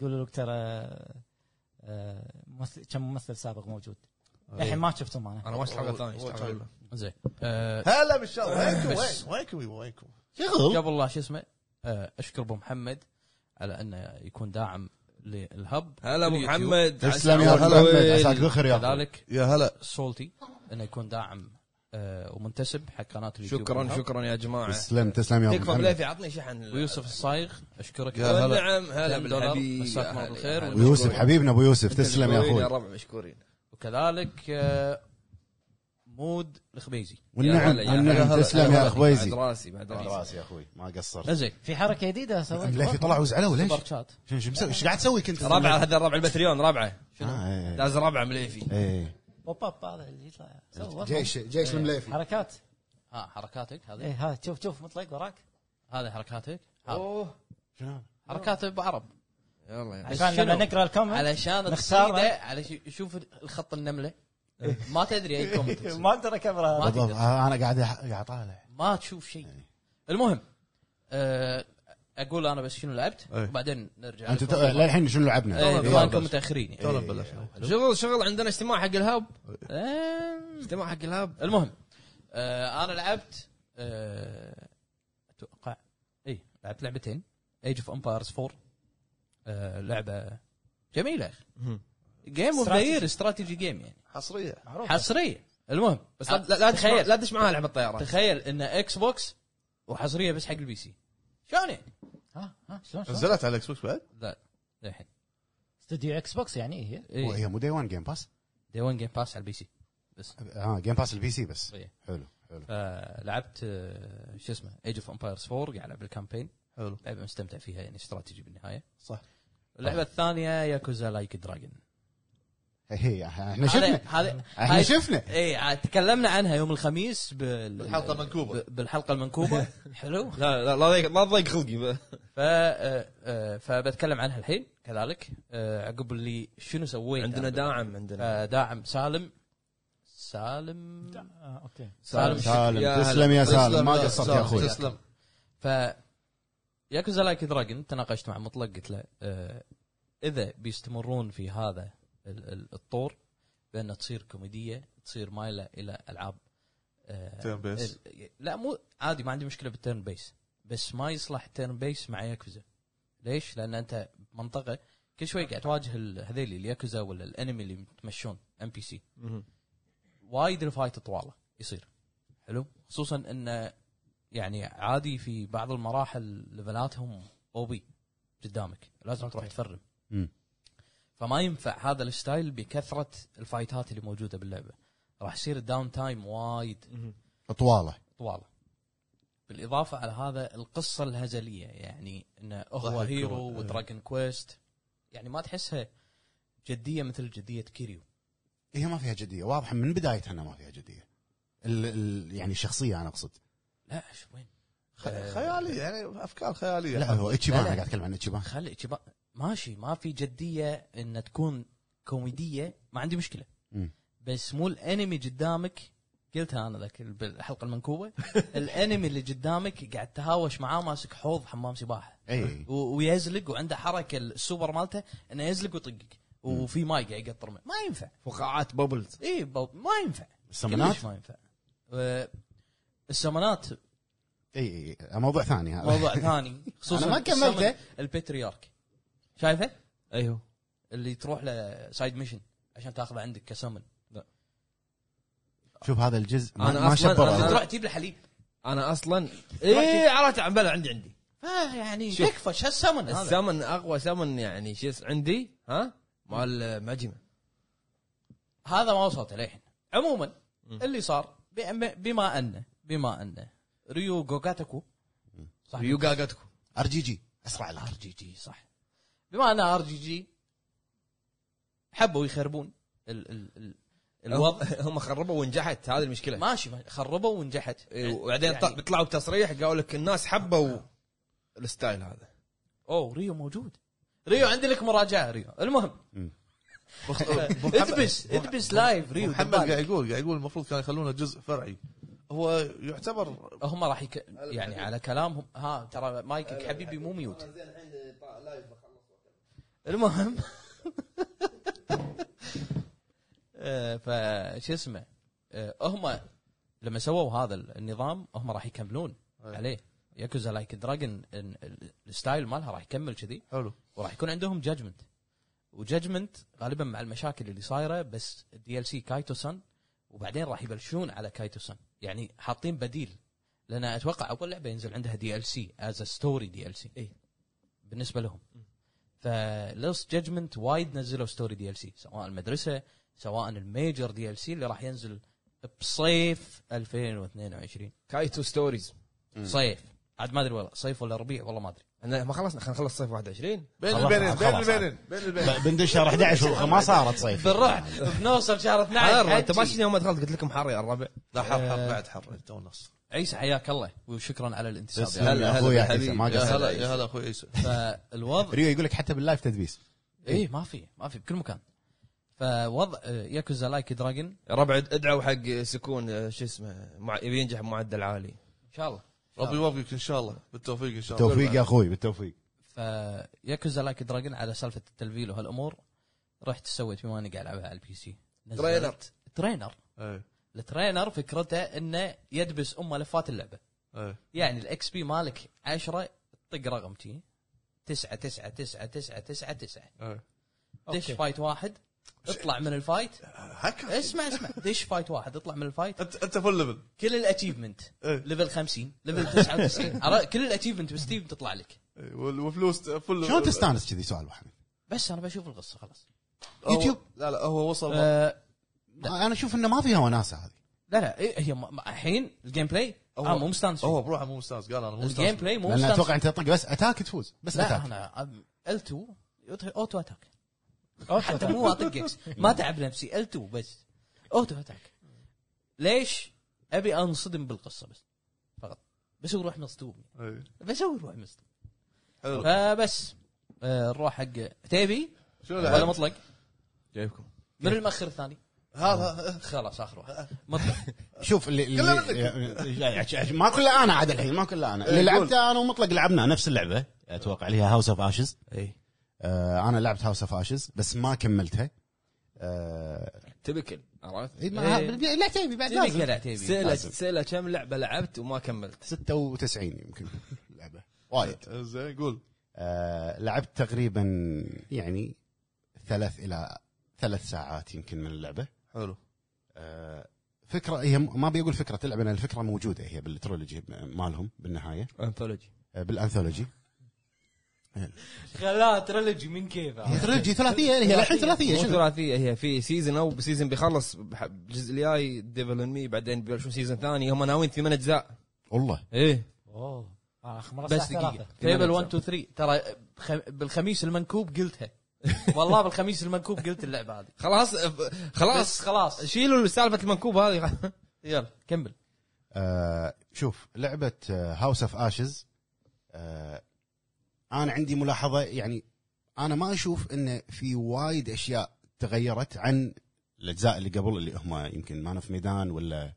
C: يقولوا لك ترى آه، ممثل كم ممثل سابق موجود الحين ما شفتهم انا
D: انا ما شفت حلقه ثانيه
B: أول-
D: شفت
B: أول
D: حلقة
B: شغلة.
A: زين آه،
B: هلا بالشباب وينكم
A: بس.
B: وين- وينكم يبا، وينكم
F: شغل
A: قبل لا شو اسمه آه، اشكر ابو محمد على انه يكون داعم للهب
D: هلا ابو
A: اليوتيوب.
D: محمد
F: تسلم يا هلا محمد، عساك بخير يا أخوي.
A: كذلك
B: يا هلا
A: سولتي انه يكون داعم آه، ومنتسب حق قناه اليوتيوب
D: شكرا
A: الهب.
D: شكرا يا جماعه
F: تسلم تسلم يا
D: تكفى
F: ابو محمد
D: بليفي عطني شحن
A: ويوسف الصايغ اشكرك
B: يا هلا.
D: نعم هلا
A: 10 دولار.
D: بالحبيب
A: مساك الله
D: يا هلا،
A: بالخير.
D: يا هلا.
F: ويوسف
D: مشكورين.
F: حبيبنا ابو يوسف
D: أنتم
F: تسلم يا
D: مشكورين
F: اخوي
D: يا ربع مشكورين
A: وكذلك آه، مود الخبيزي
F: والنعم
D: يا هلا، يا هلا،
F: والنعم
D: هلا،
F: تسلم يا
D: هلا.
F: اخويزي
D: بعد راسي بعد راسي
F: راسي يا اخوي ما قصرت
A: زين
C: في حركه جديده سويت
F: مليفي طلع وزعلوا ليش؟
A: سوبر شات
F: شو شو مسوي؟ ايش قاعد تسوي كنت؟
D: ربعه هذا الربع البتريون ربعه
F: آه، إيه،
D: لازم ربعه مليفي
F: إيه.
C: بوب اب هذا اللي يطلع سوى
A: إيه.
F: جيش جيش المليفي
C: حركات إيه،
A: ها حركاتك هذه
C: اي ها شوف شوف مطلق وراك
A: هذا حركاتك حاضر.
D: اوه
F: شنو هذا؟
A: حركات ابو عرب
D: يلا يا
A: بس
C: عشان لما
A: شنو؟
C: نقرا الكومنت
A: علشان
C: نختار.
A: تصيده علشان شوف الخط النمله ما تدري اي كومنت تصيد.
C: ما اقدر اكبرها
A: ما
F: بالضبط
A: تقدر.
F: آه، انا قاعد أح- قاعد اطالع
A: ما تشوف شيء المهم أه، اقول انا بس شنو لعبت
B: أي.
A: وبعدين نرجع
F: انت
A: لكم. إيه،
F: تو- للحين شنو لعبنا؟ إيه،
A: أي،
B: تو-
A: بما انكم متاخرين يعني
B: تونا نبلش
D: شغل شغل عندنا اجتماع حق الهاب
A: آه،
D: اجتماع حق الهاب
A: المهم آه انا لعبت آه، اتوقع اي لعبت لعبتين ايج اوف امبايرز 4 آه لعبه جميله يا اخي جيم اوف ذا يير استراتيجي جيم يعني
B: حصريه
A: حصريه المهم
D: بس لا لا- لا تدش معاه-
A: تخيل
D: لا تدش معاها لعب الطياره
A: تخيل ان اكس بوكس وحصريه بس حق البي سي شلون يعني؟
C: ها ها شلون شلون؟
B: نزلت على الاكس بوكس بعد
A: لا للحين
C: استوديو اكس بوكس يعني هي
A: إيه.
F: هي مو دي 1 جيم باس؟
A: دي 1 جيم باس على البي سي بس
F: اه جيم باس البي سي بس
A: إيه.
F: حلو حلو
A: فلعبت آه، شو اسمه ايج اوف امبايرز 4 قاعد العب الكامبين
B: حلو
A: لعبه مستمتع فيها يعني استراتيجي بالنهايه
B: صح. آه.
A: اللعبه الثانيه ياكوزا لايك دراجون
F: هي احنا إيه، شفنا
A: هذا
F: احنا
A: هاي-
F: شفنا
A: اي عاد تكلمنا عنها يوم الخميس بال...
B: بالحلقة المنكوبة.
A: ب- بالحلقه المنكوبه حلو
D: لا لا لا تضيق- لا تضيق خلقي
A: ف آه، آه، فبتكلم عنها الحين كذلك آه، عقب اللي شنو سويت
D: عندنا
A: أنا.
D: داعم عندنا
A: فداعم سالم سالم
C: آه، اوكي
A: سالم
D: يا
F: سالم
D: هلا.
F: تسلم يا سالم
B: تسلم
F: ما
B: يا
F: قصرت
B: سالم،
F: يا اخوي
B: تسلم
A: ف ياكوزا لايك دراجون تناقشت مع مطلق قلت له آه، اذا بيستمرون في هذا ال- ال- الطور بان تصير كوميديه تصير مايله الى العاب آه،
B: تيرن بيس.
A: ال- لا مو عادي ما عندي مشكله بالتيرن بيس بس ما يصلح تيرن بيس مع ياكوزا ليش؟ لان انت منطقه كل شوي قاعد تواجه ال- هذيلي الياكوزا ولا الانمي اللي متمشون ام بي سي وايد الفايت طواله يصير حلو خصوصا انه يعني عادي في بعض المراحل ليفلاتهم او بي قدامك لازم تروح تفرم
F: مم.
A: فما ينفع هذا الستايل بكثره الفايتات اللي موجوده باللعبه راح يصير الداون تايم وايد
F: طواله
A: طواله بالاضافه على هذا القصه الهزليه يعني انه هو
B: ضحك
A: هيرو
B: و-
A: ودراجون كويست يعني ما تحسها جديه مثل جديه كيريو
F: هي إيه، ما فيها جديه واضح من بدايتها انها ما فيها جديه ال ال يعني الشخصيه انا اقصد
A: لا شو وين
B: خ- خيالي يعني افكار خياليه
F: لا هو اتشيبان
A: لا،
F: انا
A: لا.
F: قاعد اتكلم عن اتشيبان
A: خلي شبا- ماشي ما في جديه ان تكون كوميديه ما عندي مشكله
F: مم.
A: بس مو الانمي قدامك قلتها انا ذاك ال- بالحلقه المنكوبه الانمي اللي قدامك قاعد تهاوش معاه ماسك حوض حمام سباحه
F: اي
A: و- ويزلق وعنده حركه السوبر مالته انه يزلق ويطقك وفي ماي قاعد يقطر منه. ما ينفع
D: فقاعات بابلز
A: اي بو- ما ينفع
F: السمنات
A: كلش ما ينفع آه، السمنات
F: اي اي موضوع ثاني هذا
A: موضوع ثاني خصوصا
F: أنا ما كملته. أيوه.
A: السمن- البتريارك شايفه؟
D: ايوه
A: اللي تروح له سايد ميشن عشان تاخذه عندك كسمن
F: شوف هذا الجزء ما,
D: أنا
F: ما
D: أصلاً- أنا-
F: شبر
A: تروح تجيب له حليب
D: انا اصلا اي عرفت عن بلا عندي عندي
A: آه يعني
D: شوف.
A: تكفى شو السمن هذا
D: السمن اقوى سمن يعني شو اس- عندي ها مال ماجمة
A: هذا ما وصلت للحين عموما اللي صار بأم- بما انه بما انه ريو جوجاتكو صح
D: يو قاقتكم
F: ار جي جي اسرع لك
A: ار جي جي صح بما انها ار جي جي حبوا يخربون ال ال ال الوضع
D: هم خربوا ونجحت هذه المشكله
B: إيه.
A: ماشي ما- خربوا ونجحت
D: إيه، وبعدين
A: يعني-
D: يعني طلعوا بتصريح قالوا لك الناس حبوا الستايل هذا
A: اوه ريو موجود ريو عندي لك مراجعه ريو المهم
B: محمد-
A: ادبس ادبس لايف ريو
B: محمد
A: دبالة.
B: قاعد يقول قاعد يقول المفروض كان يخلونه جزء فرعي هو يعتبر
A: هم راح يك... يعني على كلامهم ها ترى مايكك حبيبي مو ميوت المهم آه، فش اسمه آه، هم لما سووا هذا النظام هم راح يكملون عليه ياكوزا لايك دراجون الستايل مالها راح يكمل كذي
B: حلو
A: وراح يكون عندهم جادجمنت وجادجمنت غالبا مع المشاكل اللي صايره بس الدي ال سي كايتو سن وبعدين راح يبلشون على كايتو سن يعني حاطين بديل لان اتوقع اول لعبه ينزل عندها دي ال سي از ستوري دي ال سي اي بالنسبه لهم فلوست جادجمنت وايد نزلوا ستوري دي ال سي سواء المدرسه سواء الميجر دي ال سي اللي راح ينزل بصيف 2022
D: كايتو ستوريز
A: صيف عاد ما ادري والله صيف ولا ربيع والله ما ادري
G: احنا ما خلصنا خلينا نخلص صيف 21
B: بين
F: خلاص،
B: البنين بين
F: خلاص.
B: البنين بين البنين
F: ب- بندش شهر 11 ما صارت صيف
A: بنروح بنوصل شهر 12
G: حر انت ما
A: حجي.
G: شفت يوم ما دخلت قلت لكم حر يا الربع
B: لا حر
D: إيه.
B: حر بعد حر تو النص
A: عيسى حياك الله وشكرا على الانتساب
F: تسلم.
A: يعني.
F: هلا، أخوي عيسى،
G: بالحبيب.
F: ما
B: يا
F: قصر.
B: هلا يا هلا اخوي عيسى
A: فالوضع
F: ريو يقول لك حتى باللايف تدبيس
A: اي ما في ما في بكل مكان فوضع آه، ياكوزا لايك دراجون ان
G: يا ربع ادعوا حق سكون آه، شو اسمه مع... يبي ينجح بمعدل عالي
A: شاء الله
B: ربي يوفقك ان شاء الله بالتوفيق ان شاء الله
F: بالتوفيق يا اخوي بالتوفيق
A: فياكوزا لايك دراجون على سالفه التلفيل وهالامور رحت سويت بما اني قاعد العبها على البي سي نزلت
G: ترينر.
A: ترينر
B: اي
A: الترينر فكرته انه يدبس ام لفات اللعبه
B: اي
A: يعني الاكس بي مالك 10 طق رقمتي 9 9 9 9 9 9
B: اي
A: دش
C: أوكي.
A: فايت واحد اطلع من الفايت
B: هكا
A: اسمع اسمع دش فايت واحد اطلع من الفايت
B: انت انت فل ليفل
A: كل الاتشيفمنت
B: إيه.
A: ليفل 50 ليفل 99 عرفت؟ كل الاتشيفمنت بستيف تطلع لك
B: إي، إيه، وال- وفلوس فل
F: شلون تستانس كذي سؤال واحد
A: بس انا بشوف القصه خلاص
B: هو-
F: يوتيوب؟
B: لا لا هو وصل
A: آه
F: انا اشوف انه ما فيها وناسه هذه
A: لا لا إيه، هي ما- ما- الحين الجيم بلاي انا مو مستانس فيه.
B: هو بروحه مو مستانس قال انا مو
A: الجيم
B: مستانس
A: بلاي مو
F: لان
A: مستانس
F: اتوقع انت تطق بس اتاك تفوز بس
A: لا
F: اتاك
A: انا ال2 اوتو اتاك حتى مو اطق اكس ما تعب نفسي ال2 بس اوتو اتاك ليش؟ ابي انصدم بالقصه بس فقط بسوي روح مصدوم
B: إي،
A: بسوي روح مصدوم
B: إيه. حلو
A: فبس آه، نروح حق تبي
B: شنو
A: ولا
B: لعبت؟
A: مطلق
G: جايبكم
A: من المخر الثاني
B: هذا
A: خلاص اخر واحد مطلق
F: شوف اللي,
B: كلنا
F: اللي ما كله انا عاد الحين ما كله انا اللي
B: إيه، قول.
F: لعبته انا ومطلق لعبنا نفس اللعبه اتوقع اللي هي هاوس اوف اشز
G: اي
F: انا آه، لعبت هاوس اوف اشز بس ما كملتها آه،
G: تبكل عرفت؟
F: إيه، ما- لا تبي بعد
A: تبي
F: لازم
A: كلا تبي
G: سئله سئله كم لعبه لعبت وما كملت
F: 96 يمكن لعبه وايد
B: زين قول
F: آه، لعبت تقريبا يعني ثلاث الى ثلاث ساعات يمكن من اللعبه
B: حلو
F: آه، فكره هي ما بيقول فكره اللعبه لان الفكره موجوده هي بالترولوجي مالهم بالنهايه
G: انثولوجي
F: آه، بالانثولوجي
A: خلاها تريلوجي من كيفه
C: آه.
F: هي ترولوجي ثلاثيه هي الحين ثلاثيه
G: مو
F: شنو؟
G: ثلاثيه هي في سيزون او سيزون بيخلص بح- الجزء الجاي ديفل ان مي بعدين بيبلشون سيزون ثاني هم ناويين ثمان اجزاء
F: والله
G: ايه
C: اوه انا خمرة
A: بس دقيقه تيبل 1 2 3 ترى بخ- بالخميس المنكوب قلتها والله بالخميس المنكوب قلت اللعبه هذه
G: خلاص
A: بس
G: خلاص
A: خلاص
G: شيلوا سالفه المنكوب هذه
A: يلا كمل
F: آه، شوف آه، لعبه هاوس اوف اشز انا آه، عندي ملاحظه يعني انا ما اشوف انه في وايد اشياء تغيرت عن الاجزاء اللي قبل اللي هم يمكن مان اوف ميدان ولا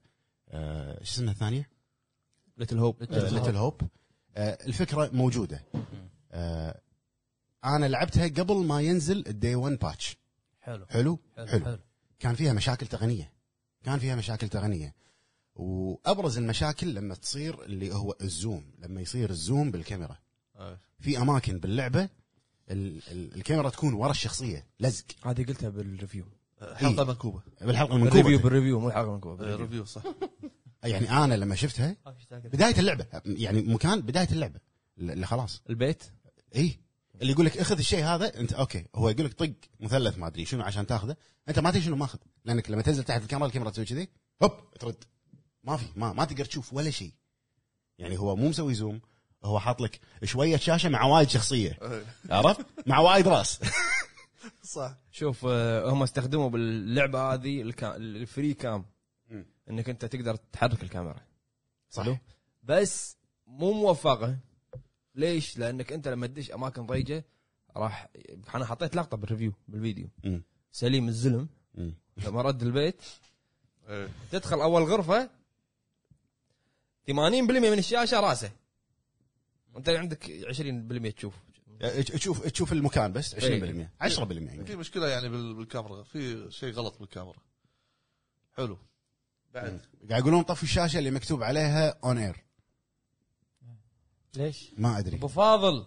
F: آه، شو اسمها الثانيه؟
G: ليتل هوب
F: ليتل هوب الفكره موجوده آه، انا لعبتها قبل ما ينزل الدي 1 باتش
A: حلو
F: حلو
A: حلو
F: حلو.
A: حلو
F: كان فيها مشاكل تقنيه كان فيها مشاكل تقنيه وابرز المشاكل لما تصير اللي هو الزوم لما يصير الزوم بالكاميرا
B: إي.
F: في اماكن باللعبه ال- ال- الكاميرا تكون ورا الشيخصيه لزق
G: هذه قلتها بالريفيو
F: آه،
B: حلقه منكوبه
F: بالحلقه
G: بالريفيو
F: المنكوبه
G: بالريفيو مو الحلقه المنكوبه
B: إي، آه، ريفيو صح
F: يعني انا لما شفتها بدايه اللعبه يعني مكان بدايه اللعبه اللي خلاص
G: البيت
F: اي إيه؟ اللي يقول لك اخذ الشيء هذا انت اوكي هو يقول لك طق مثلث ما ادري شنو عشان تاخذه انت ما تدري شنو ماخذ لانك لما تنزل تحت الكاميرا الكاميرا تسوي كذي هوب ترد ما في ما ما تقدر تشوف ولا شيء يعني هو مو مسوي زوم هو حاط لك شويه شاشه مع وايد شخصيه
B: إي،
F: عرفت مع وايد راس
B: صح
G: شوف آه، هم استخدموا باللعبه هذه الكا- الفري كام
F: مم.
G: انك انت تقدر تحرك الكاميرا
F: صح
G: حلو. بس مو موفقه ليش؟ لانك انت لما تدش اماكن ضيقه راح انا حطيت لقطه بالريفيو بالفيديو
F: مم.
G: سليم الزلم
F: مم.
G: لما رد البيت
B: إي.
G: تدخل اول غرفه 80% من الشاشه راسه انت عندك 20% تشوف
F: أه، تشوف تشوف المكان بس 20% 10%
G: إيه.
B: في
F: يمكن
B: مشكله يعني بال- بالكاميرا في شيء غلط بالكاميرا حلو إيه. بعد
F: قاعد يقولون طفي الشاشه اللي مكتوب عليها اون اير
C: ليش؟
F: ما ادري
A: ابو فاضل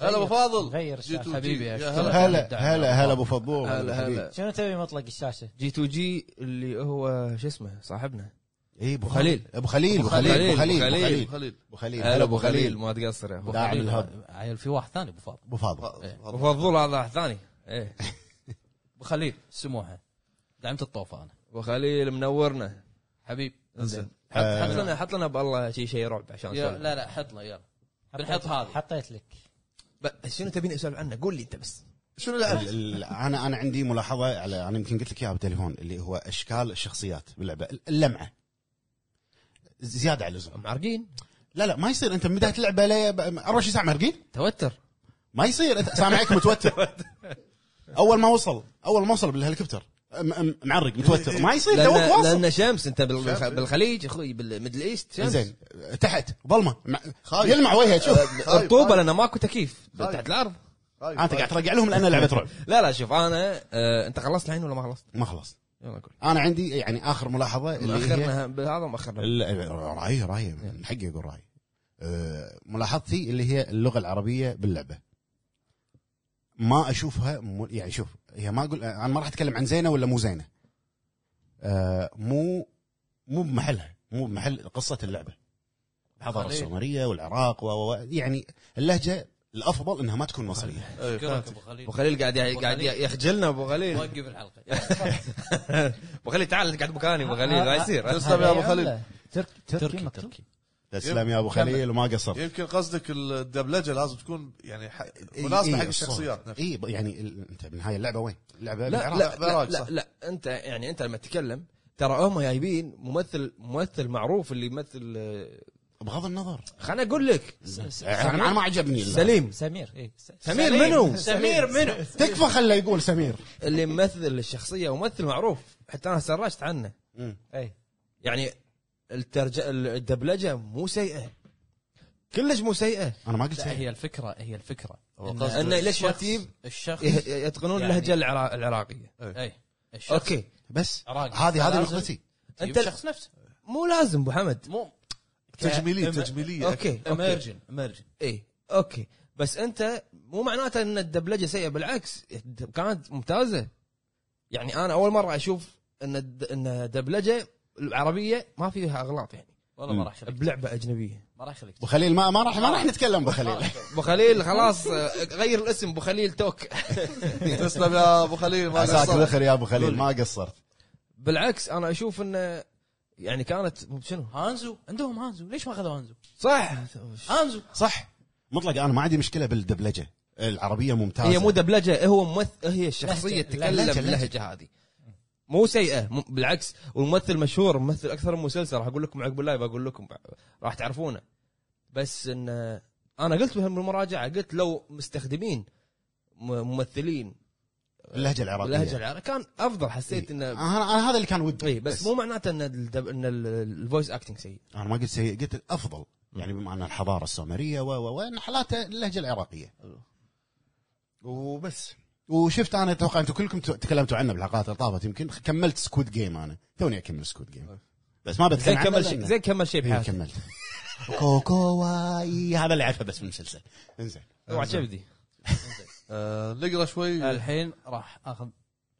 B: هلا ابو فاضل
C: غير
B: جي
C: الشاشة.
B: تو جي.
A: حبيبي يا
B: يا
A: شكرا.
B: هلا
F: هلا هلا هلا ابو فضول
G: هلا هلا
C: شنو تبي مطلق الشاشه؟
G: جي تو جي اللي هو شو اسمه صاحبنا
F: اي ابو
G: خليل.
F: ابو خليل ابو خليل ابو خليل ابو خليل
B: ابو خليل
F: ابو خليل
G: هلا ابو خليل ما تقصر يا اخوي
F: داعم
A: خليل.
F: الهب.
A: إيه، عيل في واحد ثاني ابو فاضل
F: ابو فاضل أه.
G: ابو فضول هذا واحد ثاني ايه
A: ابو خليل سموحه دعمت الطوفه انا
G: ابو خليل منورنا آه،
A: حبيب
B: انزين
G: حط حط لنا حط لنا بالله شيء شيء رعب عشان
A: يا-
G: نسولف.
A: لا لا حط له يلا
C: حطيت-
A: بنحط هذه.
C: حطيت لك
A: ب-
G: شنو تبيني اسولف عنه قول لي انت بس
B: شنو
G: أه.
B: لعبت؟
F: ال- ال- انا انا عندي ملاحظه على انا يمكن قلت لك اياها بالتليفون اللي هو اشكال الشخصيات باللعبه اللمعه زياده على اللزوم
G: معرقين
F: لا لا ما يصير انت من بدايه اللعبه لي- ب- 24 ساعه مرقين
D: توتر
G: إيه،
F: ما يصير انت سامعك متوتر اول ما وصل اول ما وصل بالهليكوبتر م- م- معرق متوتر ما يصير توك
G: لان,
F: واصل
G: لأن شمس إيه. انت بال-
B: شمس.
G: بالخليج اخوي بالميدل ايست شمس
F: زين تحت ظلمه مع- يلمع وجهه شوف
G: رطوبه لان ماكو تكييف
B: طيب.
G: تحت الارض
B: هاي.
F: انت قاعد ترجع لهم لان لعبه رعب
G: لا لا شوف انا آه، انت خلصت الحين ولا ما خلصت؟
F: ما خلص
G: يلا قول
F: انا عندي يعني اخر ملاحظه اللي هي
G: اخرنا بهذا مؤخرنا
F: ال- راي راي
B: إيه.
F: من حقي اقول راي أه، ملاحظتي اللي هي اللغه العربيه باللعبه ما اشوفها م- يعني شوف هي ما اقول انا ما راح اتكلم عن زينه ولا مو زينه أه، مو مو بمحلها مو بمحل قصه اللعبه الحضاره
A: صحيح.
F: السومريه والعراق و- و و- يعني اللهجه الافضل انها ما تكون مصريه
B: إيه،
A: شكرك
B: فهمت.
A: ابو خليل
G: ابو خليل قاعد
A: أبو
G: قاعد
A: خليل.
G: يخجلنا ابو خليل
A: وقف الحلقه
G: ابو خليل تعال انت قاعد مكاني ابو
C: آه،
G: خليل أيوة، ما يصير
B: تسلم يا أبو
C: هذه
B: خليل.
C: ولا؟ تركي تركي مكتوب؟
F: تسلم يا ابو خليل وما قصرت
B: يمكن قصدك الدبلجه لازم تكون يعني ح-
F: إيه،
B: مناسبه حق الشخصيات نفسها
F: اي يعني ال- انت بالنهايه اللعبه وين؟ اللعبه
G: لا
F: بالعراق.
G: لا, لا,
B: بالعراق،
G: لا,
B: صح.
G: لا انت يعني انت لما تتكلم ترى هم جايبين ممثل ممثل معروف اللي يمثل آه،
F: بغض النظر
G: خلنا اقول لك
F: انا أنا ما عجبني
G: سليم
C: سمير اي س-
G: سمير منو؟
A: سمير منو؟
F: تكفى خله يقول سمير
G: اللي يمثل الشخصيه وممثل معروف حتى انا سرشت عنه
C: اي
G: يعني الترج... الدبلجه مو سيئه كلش مو سيئه
F: انا ما قلت
A: لا
F: سمير.
A: هي الفكره هي الفكره
B: هو
A: إن
B: قصده
G: إن إيه. ليش
A: الشخص-
G: رتيب؟
A: الشخص
G: يه- يتقنون
A: يعني-
G: اللهجه العرا- العراقيه
A: اي الشخص
G: اوكي
F: بس
A: راقي.
F: هذه هذه
A: لازم
F: نقطتي
A: تجيب
G: أنت-
A: الشخص طيب، نفسه
G: مو لازم ابو حمد
A: مو إيه،
B: تجميليه تجميليه
G: اوكي اوكي
A: اميرجن اميرجن
G: اي اوكي إيه، بس انت مو معناته ان الدبلجه سيئه بالعكس كانت ممتازه يعني انا اول مره اشوف ان الد- ان الدبلجه العربيه ما فيها اغلاط يعني
A: والله ما راح يخليك
G: بلعبه اجنبيه
A: ما راح يخليك
F: ابو خليل ما ما راح ما راح نتكلم ابو خليل
G: ابو خليل خلاص آه، غير الاسم ابو خليل توك
B: تسلم يا ابو خليل ما
F: عساك
B: قصرت
F: ذخر يا ابو خليل ما قصرت
G: بالعكس انا اشوف انه يعني كانت مو- شنو
A: هانزو عندهم هانزو ليش ما اخذوا هانزو؟
G: صح
A: هانزو
F: صح مطلق انا ما عندي مشكله بالدبلجه العربيه ممتازه
G: هي مو دبلجه هو ممثل هي الشخصيه
C: لهجة.
G: تتكلم
F: لهجة، لهجة.
G: اللهجه هذه مو سيئه مو- بالعكس والممثل مشهور ممثل اكثر من مسلسل راح اقول لكم عقب اللايف اقول لكم راح تعرفونه بس ان انا قلت بهم بالمراجعه قلت لو مستخدمين م- ممثلين
F: اللهجه العراقيه
G: باللهجه العربيه كان افضل حسيت
F: انا,
G: انه
F: إيه. أنا هذا اللي كان ودي
G: اي إيه. طيب، بس مو معناته ان الدب... ان الفويس اكتنج سيء
F: انا ما قلت سيء قلت الافضل يعني بما ان الحضاره السومريه و و وان حالاته اللهجه العراقيه وبس وشفت انا اتوقع انتم كلكم ت- تكلمتوا عنه بالحلقات اللي طافت يمكن كملت سكواد جيم انا توني اكمل سكواد جيم بس ما
G: زين
F: بتكلم عنه
G: كمل
F: لأنه-
G: شيء زين كمل شيء
F: إيه،
G: بحياتي
F: كملت كوكو واي هذا اللي عارفه بس من المسلسل انزين
G: اوعى تبدي
B: آه، نقرا شوي
A: الحين راح اخذ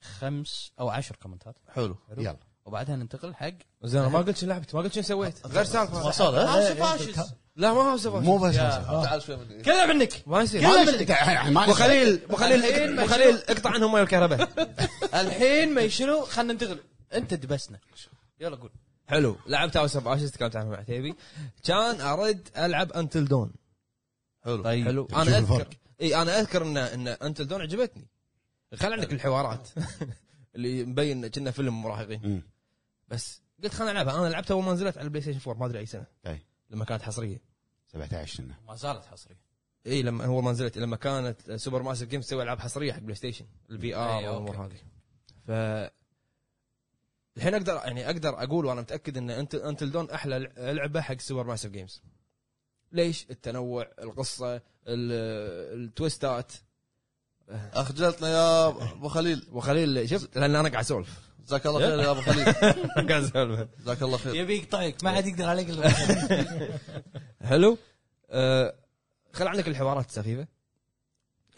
A: خمس او عشر كومنتات
B: حلو
F: يلا
A: وبعدها ننتقل حق
G: زين أنا ما قلت شو لعبت ما قلت شو سويت غير سالفه
A: هاوس فاشز
G: لا ما هو سويت
F: مو بس مسلسل.
B: تعال شوي من
A: كذب عنك
G: ما يصير
F: كلش يعني ما
G: ابو
F: لي شيء.
G: خليل ابو خليل
A: الحين
G: ابو خليل اقطع عنهم ماي الكهرباء
A: الحين ما شنو خلينا ننتقل انت دبسنا يلا قول
G: حلو لعبت هاوس اوف اشز تكلمت عنها مع عتيبي كان ارد العب انتل دون
B: حلو
G: حلو
F: شوف
G: انا اذكر
F: الفرق.
G: اي انا اذكر ان ان انتل دون عجبتني خل عندك الحوارات اللي مبين كنا فيلم مراهقين
F: أمم.
G: بس قلت خلنا العبها انا لعبتها اول ما نزلت على البلاي ستيشن 4 ما ادري اي سنه
F: أي.
G: لما كانت حصريه
F: 17 سنه
A: ما زالت حصريه
G: اي إيه، لما هو ما نزلت لما كانت سوبر ماسيف جيمز تسوي العاب حصريه حق بلاي ستيشن الفي ار
A: أي،
G: والامور
A: أوكي.
G: هذه ف الحين اقدر يعني اقدر اقول وانا متاكد ان انت انتل دون احلى لع- لعبه حق سوبر ماسيف جيمز ليش التنوع القصه ال- التويستات آه،
B: اخجلتنا يا ابو خليل
G: وخليل شفت لان انا قاعد اسولف
B: جزاك الله خير يا ابو خليل
G: قاعد اسولف
B: جزاك الله
F: إيه.
B: خير
C: يبي يقطعك ما حد يقدر عليك
G: حلو أه خل عندك الحوارات السخيفه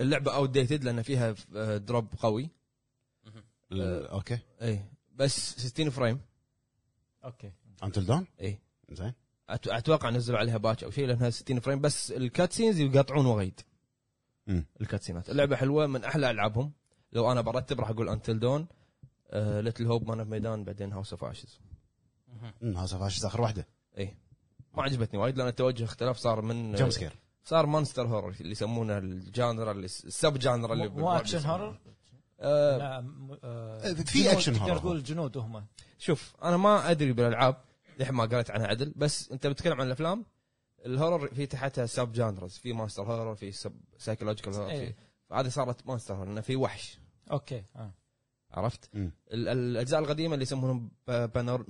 G: اللعبه اوت ديتد لان فيها آه، دروب قوي
F: ال- اوكي
G: اي بس 60 فريم
C: اوكي
F: انتل دون
G: اي
F: زين
G: أت- اتوقع نزلوا عليها باتش او شيء لانها 60 فريم بس الكاتسينز يقاطعون وايد
F: مم.
G: الكاتسينات اللعبه حلوه من احلى العابهم لو انا برتب راح اقول انتل دون ليتل هوب مان اوف ميدان بعدين هاوس اوف اشز
F: أمم، هذا فاشز اخر واحده
G: ما عجبتني وايد لان التوجه اختلاف صار من آه،
F: جمب سكير
G: صار مونستر هورر اللي يسمونه الجانرا اللي السب جانرا اللي
C: مو
G: بالرعب
C: اكشن
G: يسمونه.
C: هورر
G: آه،
C: لا، م- آه،
F: في
C: جنود،
F: أكشن هورر.
C: تقدر تقول جنود هم
G: شوف انا ما ادري بالالعاب للحين ما قريت عنها عدل بس انت بتتكلم عن الافلام الهورر في تحتها سب جانرز في ماستر هورر في سب سايكولوجيكال هورر في-
C: إيه.
G: فهذه صارت ماستر هورر لانه في وحش
C: اوكي آه.
G: عرفت
F: مم.
G: ال- الاجزاء القديمه اللي يسمونهم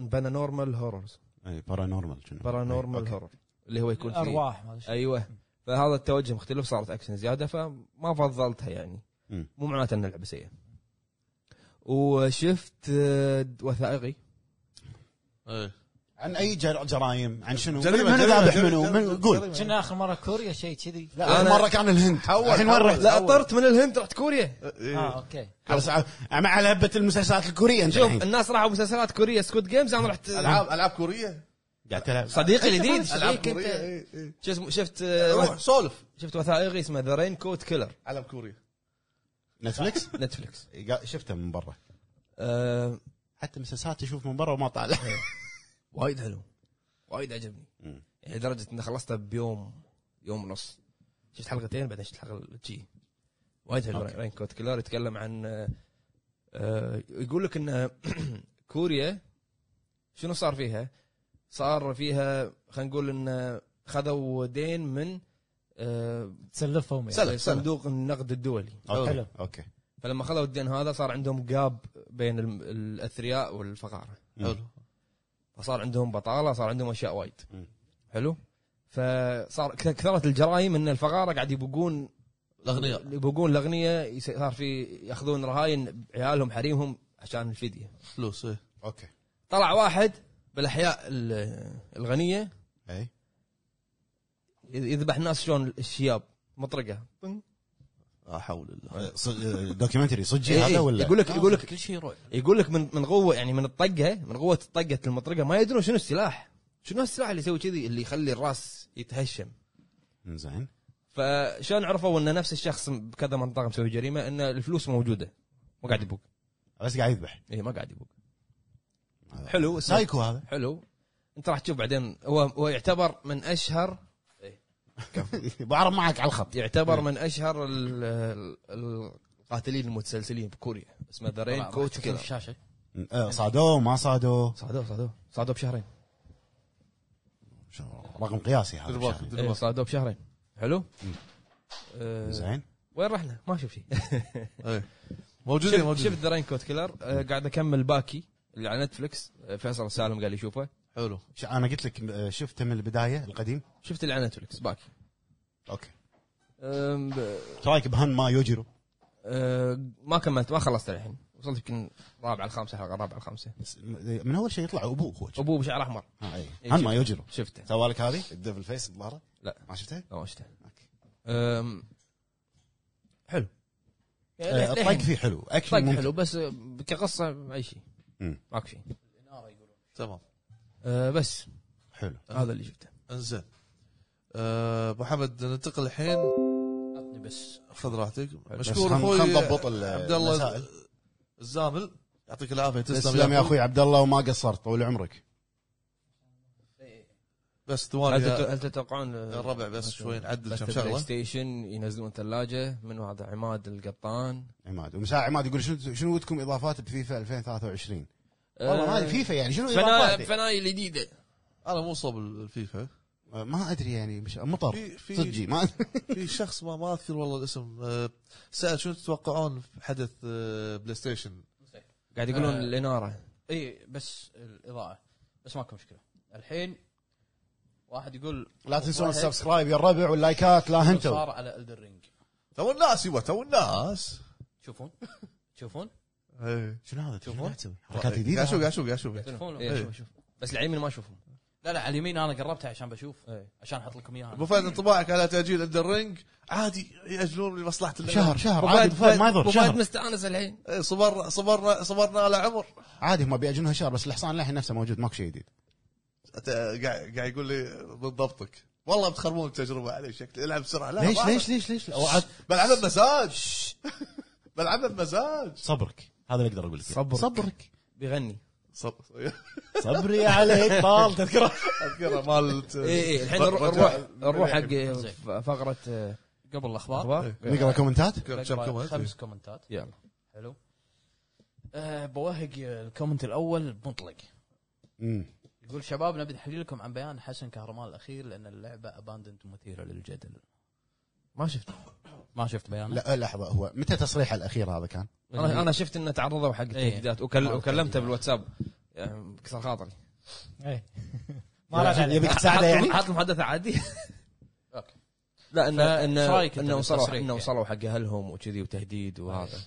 G: بانانورمال هوررز
F: اي بارانورمال إيه، شنو
G: بارانورمال
F: أوكي.
G: هورر اللي هو يكون فيه
C: ارواح ما أدري شو.
G: ايوه فهذا التوجه مختلف صارت اكشن زياده فما فضلتها يعني
F: مم.
G: مو معناته ان اللعبه سيئه وشفت آه، وثائقي
B: إيه.
F: عن اي جر- جرايم عن شنو؟
B: جريمة،
F: من
B: جريمة،
F: ذابح
B: جريمة،
F: منو؟
B: جريمة،
F: من قول
B: جريمة.
C: كنا اخر مره كوريا شيء كذي
F: لا أنا مره كان الهند الحين وين رحت؟
G: لا طرت من الهند رحت كوريا
B: إيه.
C: اه اوكي
F: على ساعة- مع على هبه المسلسلات الكوريه انت
G: شوف
F: الحين
G: الناس راحوا مسلسلات كوريا سكوت جيمز انا رحت آه،
B: العاب العاب كوريه
F: قاعد تلعب
G: أيوة، صديقي الجديد
B: العاب
G: صديقي
B: كوريه
G: انت
B: إيه، إيه.
G: شو اسمه شفت آه،
B: روح سولف
G: شفت وثائقي اسمه ذا رين كوت كيلر
B: العاب كوريه
F: نتفلكس
G: نتفلكس
F: قا- شفته من برا
G: آه،
F: حتى مسلسلات تشوف من برا وما طالع
G: وايد حلو وايد عجبني
F: مم.
G: يعني لدرجه اني خلصته بيوم يوم ونص شفت حلقتين بعدين شفت حلقه جي وايد حلو
F: أوكي.
G: رين كوت كيلر يتكلم عن آه، آه، يقول لك ان كوريا شنو صار فيها؟ صار فيها خلينا نقول ان خذوا دين من آه،
C: تسلفهم يعني
B: سلف سلف
G: صندوق النقد الدولي
F: اوكي
C: حلو.
F: اوكي
G: فلما خذوا الدين هذا صار عندهم جاب بين الم- الاثرياء والفقاره
F: حلو
G: فصار عندهم بطاله صار عندهم اشياء وايد
F: مم.
G: حلو فصار كث- كثرت الجرائم ان الفقاره قاعد يبقون
B: الاغنياء
G: يبقون الاغنياء يس- صار في ياخذون رهاين عيالهم حريمهم عشان الفديه
B: فلوس إيه.
F: اوكي
G: طلع واحد بالاحياء ال- الغنيه
F: اي
G: يذبح ناس شلون الشياب مطرقه
B: لا حول الله
F: ص- دوكيومنتري صجي
G: إيه،
F: هذا
G: إيه.
F: ولا
G: يقول لك يقول لك
A: كل شيء رعب
G: يقول لك من من قوه يعني من الطقه من قوه طقه المطرقه ما يدرون شنو السلاح شنو السلاح اللي يسوي كذي اللي يخلي الراس يتهشم
F: زين
G: فشلون عرفوا ان نفس الشخص بكذا منطقه مسوي جريمه ان الفلوس موجوده ما قاعد يبوق
F: بس قاعد يذبح
G: اي ما قاعد يبوق حلو اسمه.
F: سايكو هذا
G: حلو انت راح تشوف بعدين هو هو يعتبر من اشهر
F: بعرض معك على الخط
G: يعتبر من اشهر ال- ال- القاتلين المتسلسلين بكوريا اسمه ذا رين كوت كيلر
A: الشاشه
F: آه، صادوه ما صادوه
G: صادوه صادوه صادوه بشهرين
F: شو- رقم قياسي هذا
B: دنمارك،
F: بشكل.
G: إيه،
B: دنمارك.
G: صادوه بشهرين حلو آه،
F: زين
G: وين رحنا؟ ما اشوف شيء
B: إيه. موجودين
G: شفت
B: موجودين
G: شفت ذا رين كوت كيلر آه، قاعد اكمل باكي اللي على نتفلكس آه، فيصل السالم قال يشوفه
B: حلو
F: ش- انا قلت لك آه، شفته من البدايه القديم
G: شفت اللي على نتفلكس باكي
F: اوكي
G: أم، ب-
F: ايش رايك بهان ما يوجيرو
G: أه، ما كملت ما خلصت الحين وصلت يمكن رابع الخامسه حلقه رابع الخامسه
F: بس آه، من اول شيء يطلع ابوه هو
G: ابوه بشعر احمر
F: ها، أي.
G: إيه،
F: هان
G: شفت.
F: ما يوجيرو
G: شفته
F: سوالك هذه الديفل فيس بظهره
G: لا.
F: ما شفتها
G: ما شفته
F: أوكي.
G: أم، حلو
B: إيه،
F: آه،
B: طيب.
F: الطق فيه حلو اكشن
G: إيه، طق
F: ممتع.
G: حلو بس أه، كقصه اي شيء
F: مم.
G: ماكو شيء
B: تمام
G: أه، بس
F: حلو
G: هذا اللي شفته
B: انزين أه، ابو حمد ننتقل الحين
A: عطني بس
B: خذ راحتك
F: بس
B: مشكور
F: خل-
B: اخوي
F: خل نضبط ال-
B: عبد الله
F: المسائل.
B: الزامل يعطيك العافيه
F: تسلم يا اخوي عبد الله وما قصرت طول عمرك
B: بس
G: هل
B: ثواني
G: تت-
B: يا
G: هل تتوقعون أه،
B: الربع بس شوي نعدل
G: بث
B: كم
G: بلاي
B: شغله
G: ستيشن ينزلون ثلاجه من هذا عماد القطان
F: عماد ومساء عماد يقول شنو شنو ودكم اضافات بفيفا 2023
A: آه،
F: والله ما ادري فيفا يعني شنو
G: فناي
F: اضافات
G: فناي الجديده
B: انا مو صوب الفيفا
F: آه، ما ادري يعني مش مطر
B: في في
F: صدقي ما أدري.
B: في شخص ما ما اذكر والله الاسم أه، سال شنو تتوقعون في حدث أه، بلاي ستيشن
G: قاعد يقولون
A: أه.
G: الاناره
A: اي بس الاضاءه بس ماكو مشكله الحين واحد يقول
F: لا تنسون
A: واحد
F: السبسكرايب يا الربع واللايكات لا هنتوا
A: صار على الدرينج
B: تو الناس يبا تو الناس
A: تشوفون تشوفون
B: إيه.
F: شنو هذا شنو
A: شوفون؟
F: قاعد تسوي حركات
B: قاعد
F: جديده
B: اشوف قاعد اشوف قاعد اشوف
A: تشوفون
G: إيه، شوف شوف بس العيمين ما اشوفهم
A: لا لا على اليمين انا قربتها عشان بشوف
G: إيه.
A: عشان احط لكم اياها
B: ابو فهد انطباعك على تاجيل اند الرينج عادي ياجلون لمصلحه اللعبة.
F: شهر شهر عادي أبو فهد ما يضر
G: أبو
F: شهر
G: فهد مستانس الحين
B: إيه، صبرنا صبرنا صبرنا على عمر
F: عادي هم بيأجلونها شهر بس الحصان للحين نفسه موجود ماكو شيء جديد
B: أت- قاعد قاعد يقول لي بالضبطك والله بتخربون التجربه علي شكلي العب بسرعه لا
F: ليش
B: ما-
F: ليش ليش ليش اوعد
B: بلعبها بمزاج بلعبها بمزاج
F: صبرك هذا اللي اقدر اقول لك
G: صبرك.
F: صبرك
G: بيغني
B: صب
H: صبري عليك طال تذكره
B: اذكره مالت
G: اي
F: إيه،
G: اي الحين نروح- نروح نروح حق فقره آه،
A: قبل الاخبار
G: اخبار
F: نقرا كومنتات
B: كم
A: نقرأ
B: كم
A: خمس كومنتات
G: يلا
A: حلو أه بوهق الكومنت الاول مطلق
F: مم.
A: يقول شباب نبي تحليلكم عن بيان حسن كهرمان الاخير لان اللعبه اباندنت ومثيره للجدل
G: ما شفت
A: ما شفت بيانه
F: لا لحظه هو متى تصريحه الاخير هذا كان؟
G: انا انا شفت انه تعرضوا
A: إيه.
G: حق التهديدات وكل- وكلمته بالواتساب يعني كسر خاطري
C: إيه. ما رد عليه
H: يبيك تساعده يعني
G: حاط محادثه عادي
A: اوكي.
G: لا انه
A: إيش
G: انه
A: رأيك أنت
G: انه وصلوا
A: بالتصريح
G: انه
A: يعني؟ إيه.
G: وصلوا حق اهلهم وكذي وتهديد وهذا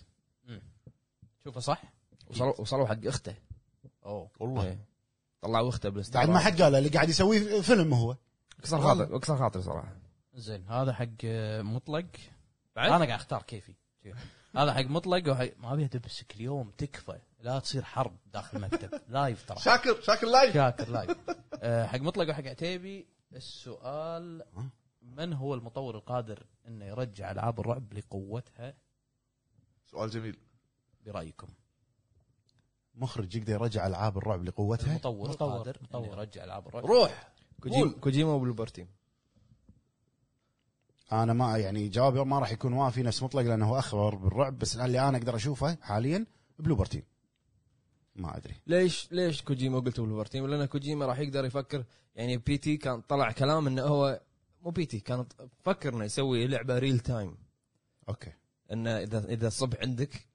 A: شوفه صح؟
G: وصلوا وصلوا حق اخته
A: اوه
B: والله
G: إيه. طلعوا اخته
F: بعد ما
G: بالاستعراض
F: حد قال اللي قاعد يسويه فيلم هو
G: كسر خاطري كسر خاطري صراحه
A: زين هذا حق آه، مطلق
G: بعد؟
A: انا قاعد اختار كيفي هذا حق مطلق وحق ما ابي ادبسك اليوم تكفى لا تصير حرب داخل المكتب لايف ترى
B: شاكر شاكر لايف
A: شاكر لايف آه، حق مطلق وحق عتيبي السؤال من هو المطور القادر انه يرجع العاب الرعب لقوتها
B: سؤال جميل
A: برايكم؟
F: مخرج يقدر يرجع العاب الرعب لقوتها
A: المطور
C: مطور،
A: القادر
C: مطور.
A: انه يرجع العاب الرعب
B: روح
G: كوجي- كوجيما وبلوبرتيم
F: انا ما يعني جوابي ما راح يكون وافي نفس مطلق لانه هو اخبر بالرعب بس الان اللي انا اقدر اشوفه حاليا بلوبر تيم ما ادري
G: ليش ليش كوجيما قلت بالبرتيم لان كوجيما راح يقدر يفكر يعني بي تي كان طلع كلام انه هو مو بي تي كان فكر انه يسوي لعبه ريل تايم
F: اوكي
G: انه اذا اذا الصبح عندك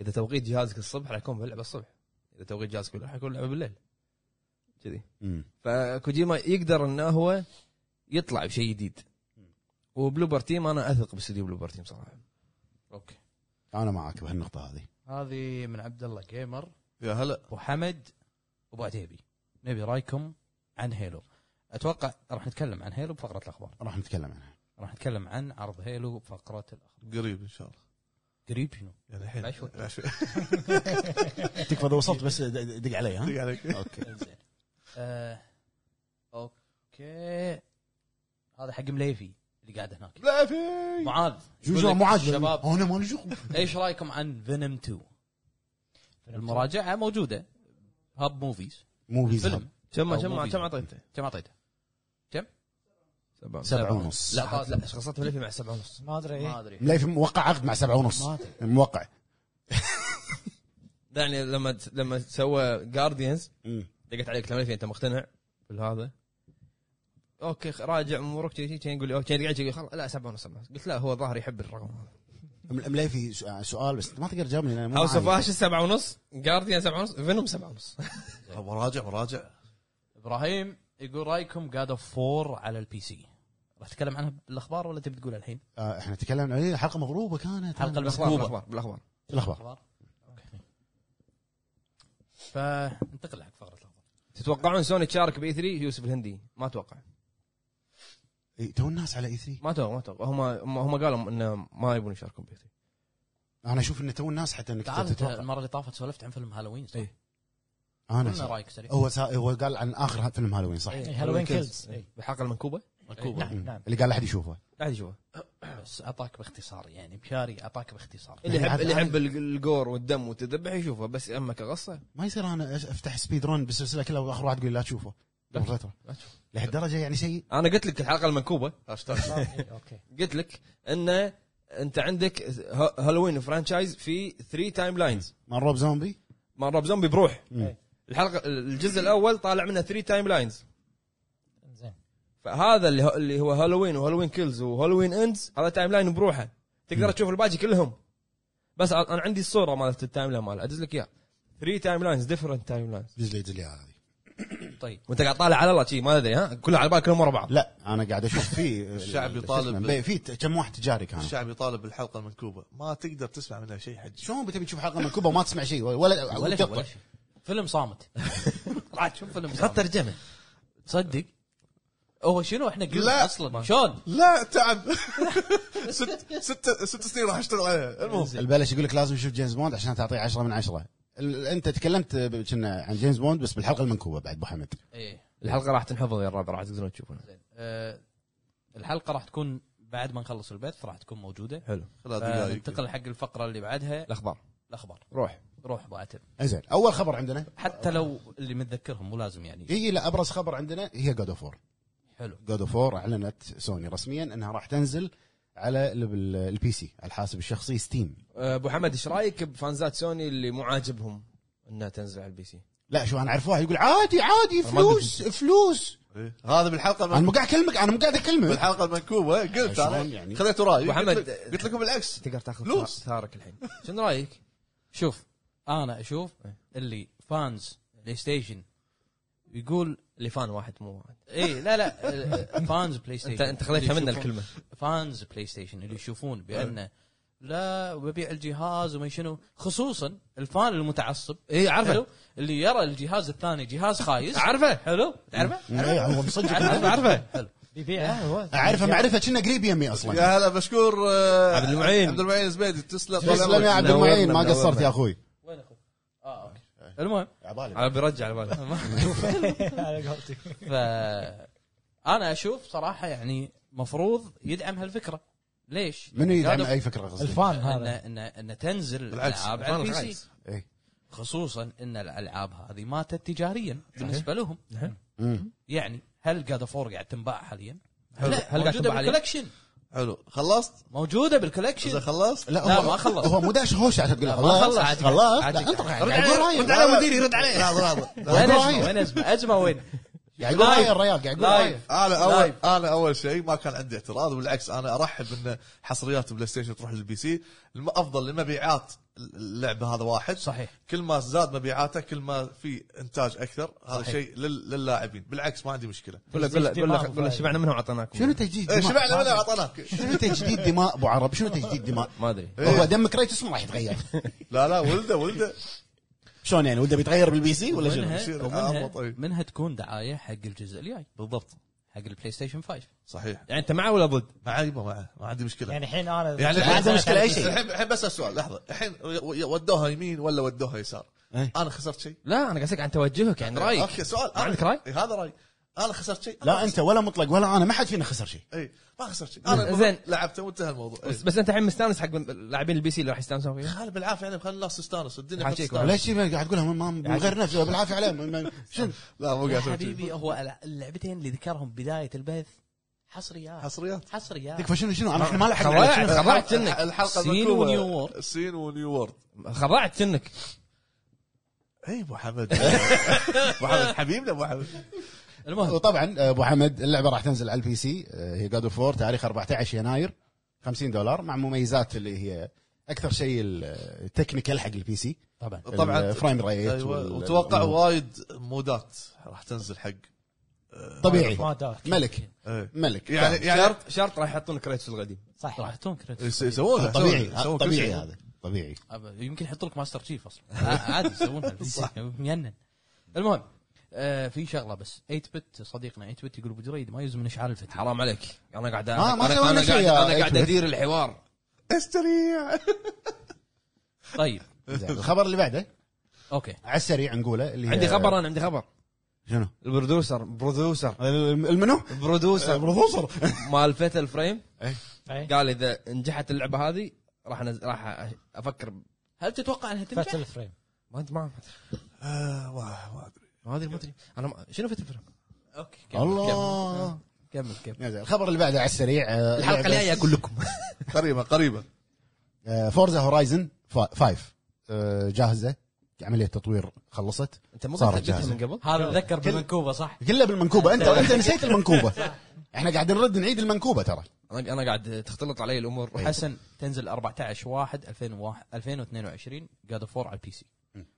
G: اذا توقيت جهازك الصبح راح يكون بلعبه الصبح اذا توقيت جهازك بالليل راح يكون لعبه بالليل كذي
F: امم
G: فكوجيما يقدر انه هو يطلع بشيء جديد وبلوبر تيم انا اثق باستديو بلوبر تيم صراحه
A: اوكي
F: انا معك بهالنقطه هذه
A: هذه من عبد الله جيمر
B: يا هلا
A: ابو حمد وابو عتيبي نبي رايكم عن هيلو اتوقع راح نتكلم عن هيلو بفقره الاخبار
F: راح نتكلم عنها
A: راح نتكلم عن عرض هيلو بفقره الاخبار
B: قريب ان شاء الله
A: قريب شنو
B: يعني الحين
A: بعد شوي.
B: بعد شوي.
F: تكفى اذا وصلت بس د- دق علي ها
B: دق عليك
F: اوكي
A: زين آه، اوكي هذا حق مليفي اللي قاعد هناك
B: لا في
A: معاذ
F: شو
A: يقول
F: شو
A: لك
F: مو عاجبني
A: شباب
F: انا مالي شغل
A: ايش رايكم عن فينوم 2 المراجعه موجوده هاب موفيز
F: مو فيزا
A: فيلم
G: كم
A: أو
G: كم
A: موفي.
G: كم اعطيته؟
A: كم اعطيته؟
F: سبعة ونص.
A: لا هذا-
G: لا شخصيته ملفي مع سبعة ونص
C: ما ادري
A: ما
C: إيه.
A: ادري
F: مليف موقع عقد مع سبعة ونص
C: ما أدري.
F: موقع
G: لا، يعني لما لما سوى جارديانز
F: مم.
G: دقت عليك كلام ليفي انت مقتنع بالهذا اوكي خ- راجع امورك شي- شي كان يقول لي اوكي كان قاعد يقول خلاص لا سبعة ونص سبعة ونص قلت لا هو ظاهر يحب الرقم هذا
F: م- مليفي سؤ- سؤال بس ما تقدر تجاوبني لأن مو
G: هاوس اوف
F: معاي.
G: اشز سبعة ونص جارديان سبعة ونص فينوم سبعة ونص
B: مراجع مراجع
A: ابراهيم يقول رايكم جاد اوف 4 على البي سي راح تتكلم عنها بالاخبار ولا تبي تقولها الحين؟
F: آه، احنا تكلمنا ايه حلقه مضروبه كانت
A: حلقه
G: بالاخبار
A: المسكوبه
G: بالاخبار بالاخبار
F: الاخبار
A: اخبار اوكي فانتقل حق فقره الاخبار
G: تتوقعون سوني تشارك باي 3 يوسف الهندي ما اتوقع
F: إيه، تو الناس على اي 3
G: ما اتوقع ما اتوقع هم هم هم قالوا انه ما يبون يشاركون باي 3
F: انا اشوف ان تو الناس حتى انك
A: تعال انت
F: تتوقع
A: المره اللي طافت سولفت عن فيلم هالوين صح؟
G: إيه.
F: انا
A: قلنا
F: صح.
A: رايك سريع
F: هو سا... هو قال عن اخر فيلم هالوين صح
C: إيه، هالوين كيلز إيه.
G: بالحلقه المنكوبه
A: مكوبة.
C: نعم نعم
F: اللي قال لا احد يشوفه
G: لا أحد يشوفه
A: بس اعطاك باختصار يعني بشاري اعطاك باختصار
G: اللي
F: يعني
G: يحب
F: هذا-
G: اللي يحب الج- الجور والدم والتذبح يشوفه بس اما كقصه
F: ما يصير انا أش- افتح سبيد رون بالسلسله كلها واخر واحد يقول لا تشوفه قبل فتره
G: لا تشوف.
F: لهالدرجه يعني سيء
G: انا قلت لك الحلقه المنكوبه
B: هاشتاج
C: إيه، اوكي
G: قلت لك انه انت عندك ه- هالوين فرانشايز في 3 تايم لاينز
F: مال روب زومبي
G: مال روب زومبي بروح
F: مم.
G: الحلقه الجزء الاول طالع منه 3 تايم لاينز
C: زين
G: فهذا اللي هو اللي هو هالوين وهالوين كيلز وهالوين اندز هذا تايم لاين بروحه تقدر تشوف الباقي كلهم بس أ- انا عندي الصوره مالت التايم لاين ماله ادز لك اياها 3 تايم لاينز ديفرنت تايم لاينز
F: دز لي دز لي هذه
A: طيب
G: وانت قاعد طالع على الله شي ما ادري ها كلها على بالك كلهم ورا بعض
F: لا انا قاعد اشوف في
B: الشعب
F: شو
B: يطالب-
F: اسمه، في ت- كم واحد تجاري كان
B: الشعب يطالب بالحلقه المنكوبه ما تقدر تسمع منها شيء حج
F: شلون بتبي تشوف حلقه من كوبا وما تسمع شيء ولا ولا,
A: ولا شيء
F: تقطع؟
A: ولا شيء فيلم صامت راح تشوف فيلم
G: حط
A: صامت
G: ترجمه
A: تصدق هو شنو احنا قلنا
B: لا.
A: اصلا شلون؟
B: لا تعب ست ست ست سنين راح اشتغل عليها المهم
F: البلش يقول لك لازم تشوف جيمس بوند عشان تعطيه 10 من 10 ال- انت تكلمت ب- كنا عن جيمس بوند بس بالحلقه المنكوبه بعد ابو حمد
A: ايه
G: الحلقه راح تنحفظ يا الرابع راح تقدرون تشوفونها
A: آه، الحلقه راح تكون بعد ما نخلص البث راح تكون موجوده
G: حلو
A: آه،
B: ثلاث دقائق
A: ننتقل حق الفقره اللي بعدها
G: الاخبار
A: الاخبار
D: روح
A: روح ابو عتب
F: زين اول خبر عندنا
A: حتى لو اللي متذكرهم مو لازم يعني
F: اي لا ابرز خبر عندنا هي جود اوف
A: حلو
F: جود اوف 4 اعلنت سوني رسميا انها راح تنزل على ال- ال- البي سي على الحاسب الشخصي ستيم
G: ابو آه، حمد ايش رايك بفانزات سوني اللي مو عاجبهم انها تنزل على البي سي؟
F: لا شو انا اعرف واحد يقول عادي عادي فلوس فلوس
B: إيه. هذا بالحلقه
F: انا
B: المن-
F: مو قاعد اكلمك انا مو قاعد اكلمك
B: بالحلقه المنكوبه قلت انا
F: شلون يعني؟
B: خذيت رايي
G: أبو حمد.
B: قلت لك- قلت لكم العكس
G: تقدر تاخذ
B: فلوس.
G: ثارك الحين شنو رايك؟
A: شوف انا اشوف اللي فانز بلاي ستيشن يقول
G: اللي فان واحد مو واحد
A: اي لا لا آه، فانز بلاي ستيشن
G: انت انت خذيتها
A: اللي
G: منا
A: يشوفون-
G: الكلمه
A: فانز بلاي ستيشن اللي يشوفون بانه لا ببيع الجهاز وما شنو خصوصا الفان المتعصب
G: اي
A: حلو اللي يرى الجهاز الثاني جهاز خايس
G: عارفه
A: حلو تعرفه
F: إيه، هو مصدق
A: عارفه عارفه حلو
C: بيبيعها هو
F: اعرفه معرفه كنا قريب يمي اصلا
B: يا هلا مشكور آه،
G: عبد المعين.
B: عبد المعين الزبيدي تسلم
F: تسلم يا عبد المعين ما
G: نورنا،
F: قصرت يا اخوي
A: وين اخوك؟ اه اوكي المهم
F: عبالي
G: على بيرجع على بالي
C: على قولتك
A: ف انا اشوف صراحه يعني مفروض يدعم هالفكره ليش؟
F: منو
A: يعني
F: يدعم
A: قالوا
F: اي فكره قصدي
C: الفان
A: ان
C: هذا
A: ان ان تنزل
B: بالعكس،
A: الالعاب على
B: الفان
A: البي
B: الخايس.
A: سي
F: إيه.
A: خصوصا ان الالعاب هذه ماتت تجاريا بالنسبه لهم
F: مم.
A: يعني هل جاد اوف قاعد تنباع حاليا؟
G: حلو. هل
A: لا
G: قاعد
A: موجوده
G: تنباع حالياً؟
A: بالكولكشن
B: حلو خلصت
A: موجوده
B: اذا
A: بالكولكشن
B: خلصت
F: لا
A: لا،
F: هو
A: ما خلص.
F: هو مو داش هوش عشان تقول
A: لا، ما
F: خلاص
A: خلص، عاد-
F: خلاص
A: عاد-
F: لا، انت قاعد
A: رد
F: قاعد يقول رايه
B: رد على مديري رد عليه لحظه لحظه
A: وين
F: رايك؟
A: ازمه وين ازمه ازمه وين؟
F: قاعد يقول رايه
A: لايف.
F: الريال قاعد يقول
A: لايف.
F: رايه
B: انا اول انا اول شيء ما كان عندي اعتراض بالعكس انا ارحب ان حصريات بلاي ستيشن تروح للبي سي الم- افضل لمبيعات اللعبه هذا واحد
A: صحيح.
B: كل ما زاد مبيعاته كل ما في انتاج اكثر هذا
A: صحيح.
B: شيء لل- للاعبين بالعكس ما عندي مشكله
G: قول له قول له قول له- قول له شبعنا منهم اعطيناكم
F: شنو تجديد
B: إيه،
F: دماء؟
B: شبعنا ولا اعطيناك
F: شنو تجديد دماء ابو عرب شنو تجديد دماء
G: ما ادري
F: هو دم كريتوس اسمه راح يتغير
B: لا لا ولده ولده
F: شلون يعني ولده بيتغير بالبي سي ولا شنو؟
A: منها
B: يصير؟
A: ومنها-
B: أربط،
F: طيب.
B: إيه.
A: منها تكون دعايه حق الجزء الجاي
B: بالضبط
A: حق البلاي ستيشن 5
B: صحيح
G: يعني انت معه ولا ضد؟
B: معي ما معي ما عندي مشكله
C: يعني الحين انا
B: يعني
C: ما عندي مشكله اي شيء
B: الحين الحين بس السؤال لحظه الحين و- ودوها يمين ولا ودوها يسار؟ انا خسرت شيء
G: لا انا قصدك عن توجهك يعني رايك
B: اوكي سؤال
G: ما عندك راي؟
B: إيه، هذا راي انا خسرت شيء
F: لا انت ولا مطلق ولا انا ما حد فينا خسر شيء
B: اي ما خسرت شيء انا
G: زين.
B: زين لعبته وانتهى الموضوع إيه.
G: بس, بس انت الحين مستانس حق لاعبين البي سي اللي راح يستانسون فيها
B: خلي بالعافيه يعني خلي الناس تستانس الدنيا
G: حاشيك
B: تستانس.
F: ليش شي قاعد تقولها ما- ما- من غير نفس بالعافيه عليه من- من- شنو
B: لا مو قاعد
A: يا
B: أسوي شيء.
A: حبيبي هو الع- اللعبتين اللي ذكرهم بدايه البث حصريات
B: حصريات
A: حصريات
F: تكفى شنو شنو انا احنا ما لحقنا على شنو.
G: خرعت خرعت
B: الح-
G: سنك
B: الحلقه
A: سين
B: المكتوبة.
A: ونيو وورد.
B: سين ونيو وورد
G: خرعت سنك
B: اي ابو حمد ابو حمد حبيبنا ابو حمد
A: المهم
F: وطبعا ابو حمد اللعبه راح تنزل على البي سي آه، هي جاد اوف 4 تاريخ 14 يناير 50 دولار مع مميزات اللي هي اكثر شيء التكنيكال حق البي سي
A: طبعا
B: طبعا
F: الفريم ريت
B: ايوه
F: وال-
B: وتوقع
F: وال-
B: وايد مودات راح تنزل حق
F: طبيعي
C: ما دار
F: ملك
B: إيه.
F: ملك
B: يعني يعني
G: شرط شرط راح يحطون كريتوس القديم
C: صح
A: راح تكون كريتوس
B: يس- يسوونها
F: طبيعي
B: يسوون- يسوون كل
F: طبيعي
B: شيء.
F: هذا طبيعي
A: يمكن يحط لك ماستر تشيف اصلا ع- عادي يسوونها مجنن المهم آه في شغله بس 8 بت صديقنا 8 بت يقول ابو جريد ما يزمن اشعال الفتح
G: حرام عليك انا قاعد
F: ما- ما
G: أنا-
F: سوينا
G: انا
F: شيء
G: قاعد
F: يا
G: انا قاعد
F: إيتمت.
G: ادير الحوار
B: استريع
A: طيب
F: زين، الخبر اللي بعده
A: اوكي
F: على السريع نقوله اللي هي-
G: عندي خبر انا عندي خبر
F: شنو
G: البرودوسر برودوسر
F: المنو آه،
G: برودوسر
F: برودوسر
G: مال فتل فريم
C: إيه.
G: قال اذا نجحت اللعبه هذه راح أنز- راح افكر ب-
A: هل تتوقع انها تنجح؟
C: فتل فريم
G: ما انت ما
B: ما ادري
G: آه، ما ادري ما ادري انا ما- شنو فتل فريم؟
A: اوكي كمل،
F: الله
A: كمل كمل, كمل.
F: يا زين، الخبر اللي بعده على السريع آه،
G: الحلقه
F: لعبة-
G: الجايه اقول لكم
B: قريبه قريبه
F: آه، فورزا هورايزن 5 جاهزه عمليه آه، تطوير خلصت
G: انت مو
F: صارت
G: قاعد تجيبها
F: جاهزة.
G: من قبل؟
A: هذا اتذكر بالمنكوبه صح؟
F: كله بالمنكوبه انت انت نسيت المنكوبه احنا قاعدين نرد نعيد المنكوبه ترى
G: انا انا قاعد تختلط علي الامور
A: حسن تنزل 14 1 2001 2022 جاد اوف 4 على البي سي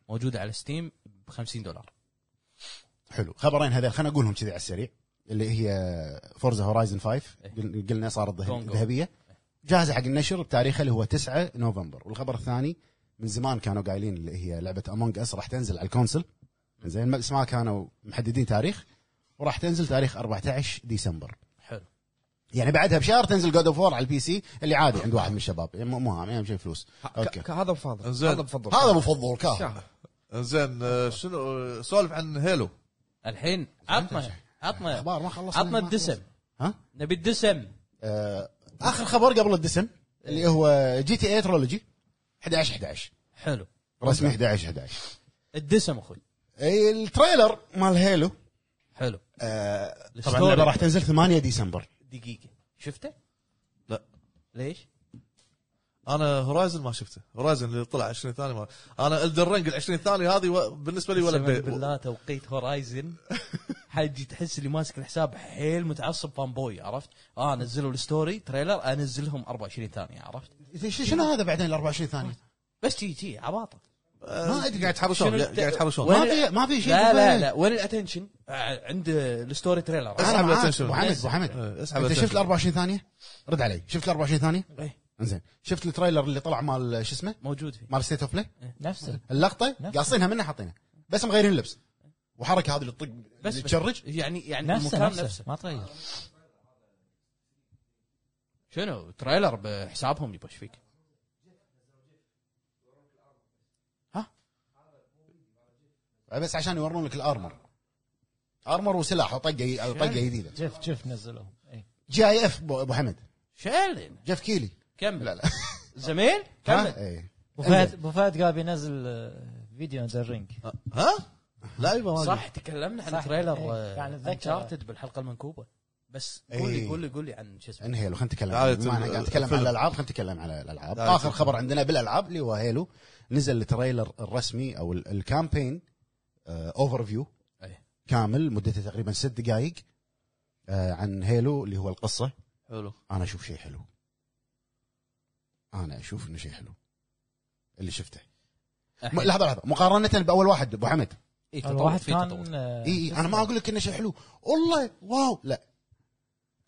A: موجوده على ستيم ب 50 دولار
F: حلو خبرين هذول خلينا نقولهم كذي على السريع اللي هي فورزا هورايزن 5 قل- قلنا صارت ذهب-
A: Gone, gone.
F: ذهبيه جاهزه حق النشر بتاريخها اللي هو 9 نوفمبر والخبر الثاني من زمان كانوا قايلين اللي هي لعبه امونج اس راح تنزل على الكونسل زين بس ما كانوا محددين تاريخ وراح تنزل تاريخ 14 ديسمبر
A: حلو
F: يعني بعدها بشهر تنزل جود اوف وور على البي سي اللي عادي عند واحد من الشباب يعني مو مو هام اهم شيء فلوس اوكي
G: ك- هذا بفضل
B: زين.
G: هذا بفضل
F: هذا مفضل كاه
G: شاف.
B: زين آه، شنو آه، سولف عن هيلو
A: الحين عطنا عطنا
F: اخبار ما خلصنا
A: عطنا
F: ما خلصنا.
A: الدسم
F: ها
A: نبي الدسم
F: إيه آه، اخر خبر قبل الدسم اللي هو جي تي اي ترولوجي 11 11
A: حلو
F: رسمي 11 11
A: الدسم اخوي
F: اي التريلر مال هيلو
A: حلو
F: آه طبعا
A: الستوري.
F: اللعبه راح تنزل 8 ديسمبر
A: دقيقه شفته؟
B: لا.
A: ليش؟
B: انا هورايزن ما شفته هورايزن اللي طلع 20 ثانيه ما انا الدرنج ال 20 ثانيه هذه و- بالنسبه لي ولا
A: قسماً
B: بي...
A: بالله توقيت هورايزن حجي تحس اللي ماسك الحساب حيل متعصب فان بوي عرفت؟ اه نزلوا الستوري تريلر انزلهم 24 ثانيه عرفت؟
F: إذا ش- شنو هذا بعدين ال 24 ثانيه؟
A: بس جي جي عباطه
B: ما ادري قاعد يتحرشون
A: آه، شنو الت-
B: يعني قاعد يتحرشون
A: وين-
F: ما في ما في شيء
A: لا لا
F: بالفعل.
A: لا وين الاتنشن؟ آه، عند الستوري تريلر
F: اسحب
B: أسحب
F: معاك.
B: الاتنشن.
F: ابو حمد ابو حمد
A: آه،
B: إيه، اسحب
F: انت
B: الاتنشن.
F: شفت ال 24 ثانيه؟ رد علي شفت ال 24 ثانيه؟
A: إيه.
F: انزين شفت التريلر اللي طلع مال شو اسمه؟
A: موجود فيه
F: مال ستيت اوف بلاي
A: إيه.
C: نفسه
F: اللقطه
C: نفس-
F: قاصينها منه حاطينها بس مغيرين اللبس وحركه هذه اللي تطق
A: بس
F: اللي تشرج
A: يعني يعني
C: نفسه
A: المكان
C: نفسه ما تغير
A: شنو تريلر بحسابهم يبغى إيش فيك
F: بس عشان يورون لك الارمر ارمر وسلاح وطقه طقه جديده
C: جيف جيف نزلوه إيه.
F: جاي اف ابو حمد
A: شيلين
F: جيف كيلي
A: كمل
F: لا لا
A: زميل كمل
F: ها؟ إيه.
C: ابو فهد ابو فهد قال بينزل آه، فيديو عن ذا رينج
B: ها؟ لا يبا ما
A: صح تكلمنا عن
C: صح.
A: تريلر آه،
C: إيه، يعني أتذكر.
A: انشارتد بالحلقه المنكوبه بس قول لي
F: إيه.
A: قول لي قول لي عن شو اسمه
F: عن هيلو خلينا نتكلم
B: تعال
F: بما إحنا
B: تم-
F: قاعد نتكلم عن
B: فيلم.
F: الالعاب خلينا نتكلم على الالعاب
B: تعال
F: اخر
B: تم-
F: خبر عندنا بالالعاب اللي هو هيلو نزل التريلر الرسمي او ال- الكامبين اوفر فيو
A: أي.
F: كامل مدته تقريبا ست دقائق عن هيلو اللي هو القصه
B: حلو
F: انا اشوف شيء حلو انا اشوف انه شيء حلو اللي شفته م-
A: أحد.
F: لحظه لحظه مقارنه باول واحد ابو حمد
A: إيه، تطور،
C: الواحد
A: في تطور.
C: كان آه،
F: اي إيه انا ما اقول لك انه شيء حلو والله واو لا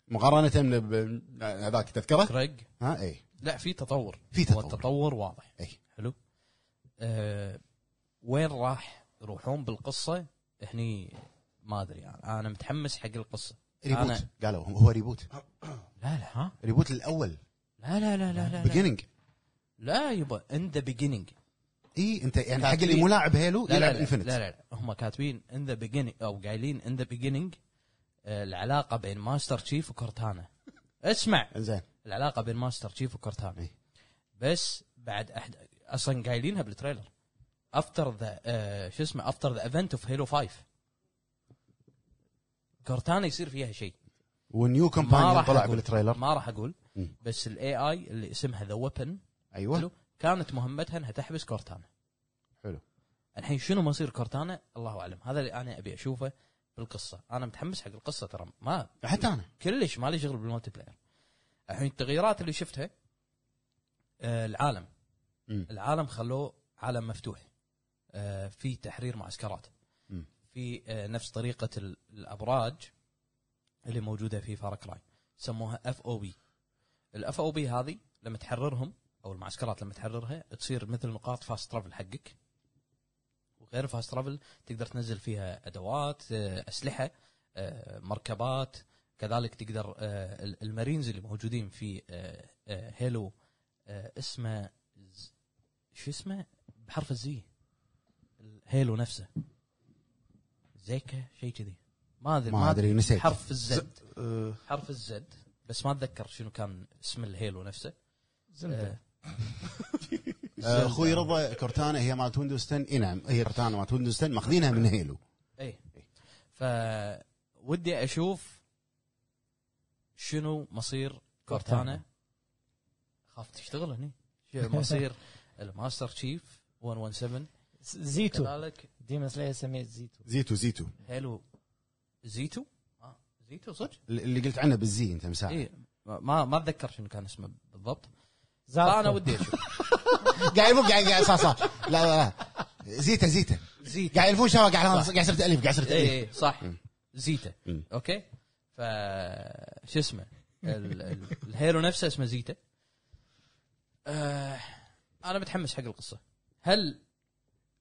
F: مقارنه من- ب- هذاك تذكره
A: كريج
F: ها اي
A: لا في تطور
F: في
A: هو
F: تطور.
A: التطور واضح
F: أي.
A: حلو أه وين راح يروحون بالقصه هني ما ادري يعني. انا متحمس حق القصه
F: ريبوت
A: أنا-
F: قالوا هو ريبوت
A: لا لا ها
F: ريبوت الاول
A: لا لا لا لا لا لا,
F: بيجيننج
A: لا يبا ان ذا بيجيننج
F: اي انت يعني حق
A: كاتبين.
F: اللي مو لاعب
A: لا
F: هيلو
A: لا
F: يلعب
A: لا, لا,
F: انفنت
A: لا, لا. هم كاتبين ان ذا بيجيننج او قايلين ان ذا بيجيننج العلاقه آه، بين ماستر تشيف وكورتانا اسمع
F: زين
A: العلاقه بين ماستر تشيف وكورتانا
F: إي.
A: بس بعد أحد... اصلا قايلينها بالتريلر افتر ذا شو اسمه افتر ذا ايفنت اوف هيلو 5 كورتانا يصير فيها شيء
F: ونيو
A: ما
F: كومبانيون
A: راح
F: طلع
A: أقول.
F: بالتريلر
A: ما راح اقول
F: مم.
A: بس الاي اي اللي اسمها ذا ويبن
F: ايوه
A: حلو. كانت مهمتها انها تحبس كورتانا
F: حلو.
A: الحين شنو مصير كورتانا الله اعلم هذا اللي انا ابي اشوفه بالقصه انا متحمس حق القصه ترى ما
F: حتى انا
A: كلش مالي شغل بالمالتي بلاير الحين التغييرات اللي شفتها آه العالم
F: مم.
A: العالم خلوه عالم مفتوح آه في تحرير معسكرات
F: مم.
A: في آه نفس طريقه ال- الابراج اللي موجوده في فاركراي سموها اف او بي الاف او بي هذه لما تحررهم او المعسكرات لما تحررها تصير مثل نقاط فاست ترافل حقك وغير فاست ترافل تقدر تنزل فيها ادوات آه، اسلحه آه، مركبات كذلك تقدر آه، ال- المارينز اللي موجودين في آه، آه، هيلو آه، اسمه ز- شو اسمه بحرف الزي هيلو نفسه زيكا شيء كذي ما ادري
F: ما ادري نسيت
A: حرف الزد
B: آه،
A: حرف الزد بس ما اتذكر شنو كان اسم الهيلو نفسه آه،
F: آه، اخوي رضا كورتانا هي مالت ويندوز 10 اي نعم هي كورتانا مالت ويندوز 10 ماخذينها من هيلو
A: اي إيه. ف ودي اشوف شنو مصير كورتانا
C: كورتانا.
A: خاف تشتغل هني شنو مصير الماستر تشيف 117
C: زيتو
A: كذلك
C: ديمون سلاير سميت زيتو
F: زيتو زيتو
A: هيلو زيتو آه، زيتو صدق؟
F: اللي قلت عنه بالزي انت مساعد
A: اي ما ما اتذكر شنو كان اسمه بالضبط
C: زارتو.
A: فانا ودي اشوف
F: قاعد يلفون قاعد قاعد صح صح لا لا لا زيته زيته
A: زيتو
F: قاعد يلفون شباب قاعد قاعد يصير تاليف قاعد يصير تاليف
A: اي إيه، صح زيتا
F: مم.
A: اوكي ف شو اسمه ال- ال- الهيرو نفسه اسمه زيتا آه، انا متحمس حق القصه هل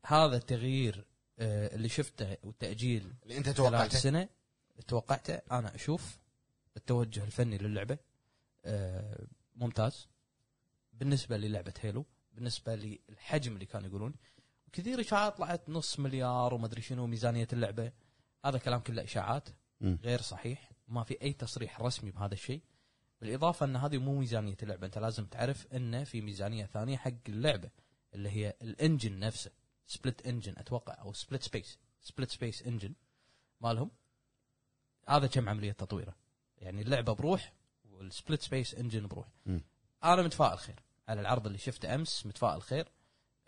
A: هذا التغيير آه، اللي شفته والتاجيل
F: اللي انت
A: خلال
F: توقعته
A: سنه توقعته انا اشوف التوجه الفني للعبه آه، ممتاز بالنسبه للعبه هيلو بالنسبه للحجم اللي كانوا يقولون كثير اشاعات طلعت نص مليار وما ادري شنو ميزانيه اللعبه هذا كلام كله اشاعات
F: مم.
A: غير صحيح ما في اي تصريح رسمي بهذا الشيء بالاضافه ان هذه مو ميزانيه اللعبه انت لازم تعرف انه في ميزانيه ثانيه حق اللعبه اللي هي الانجن نفسه سبلت انجن اتوقع او سبلت سبيس سبلت سبيس انجن مالهم هذا كم عمليه تطويره يعني اللعبه بروح والسبلت سبيس انجن بروح
F: مم.
A: انا متفائل خير على العرض اللي شفته امس متفائل خير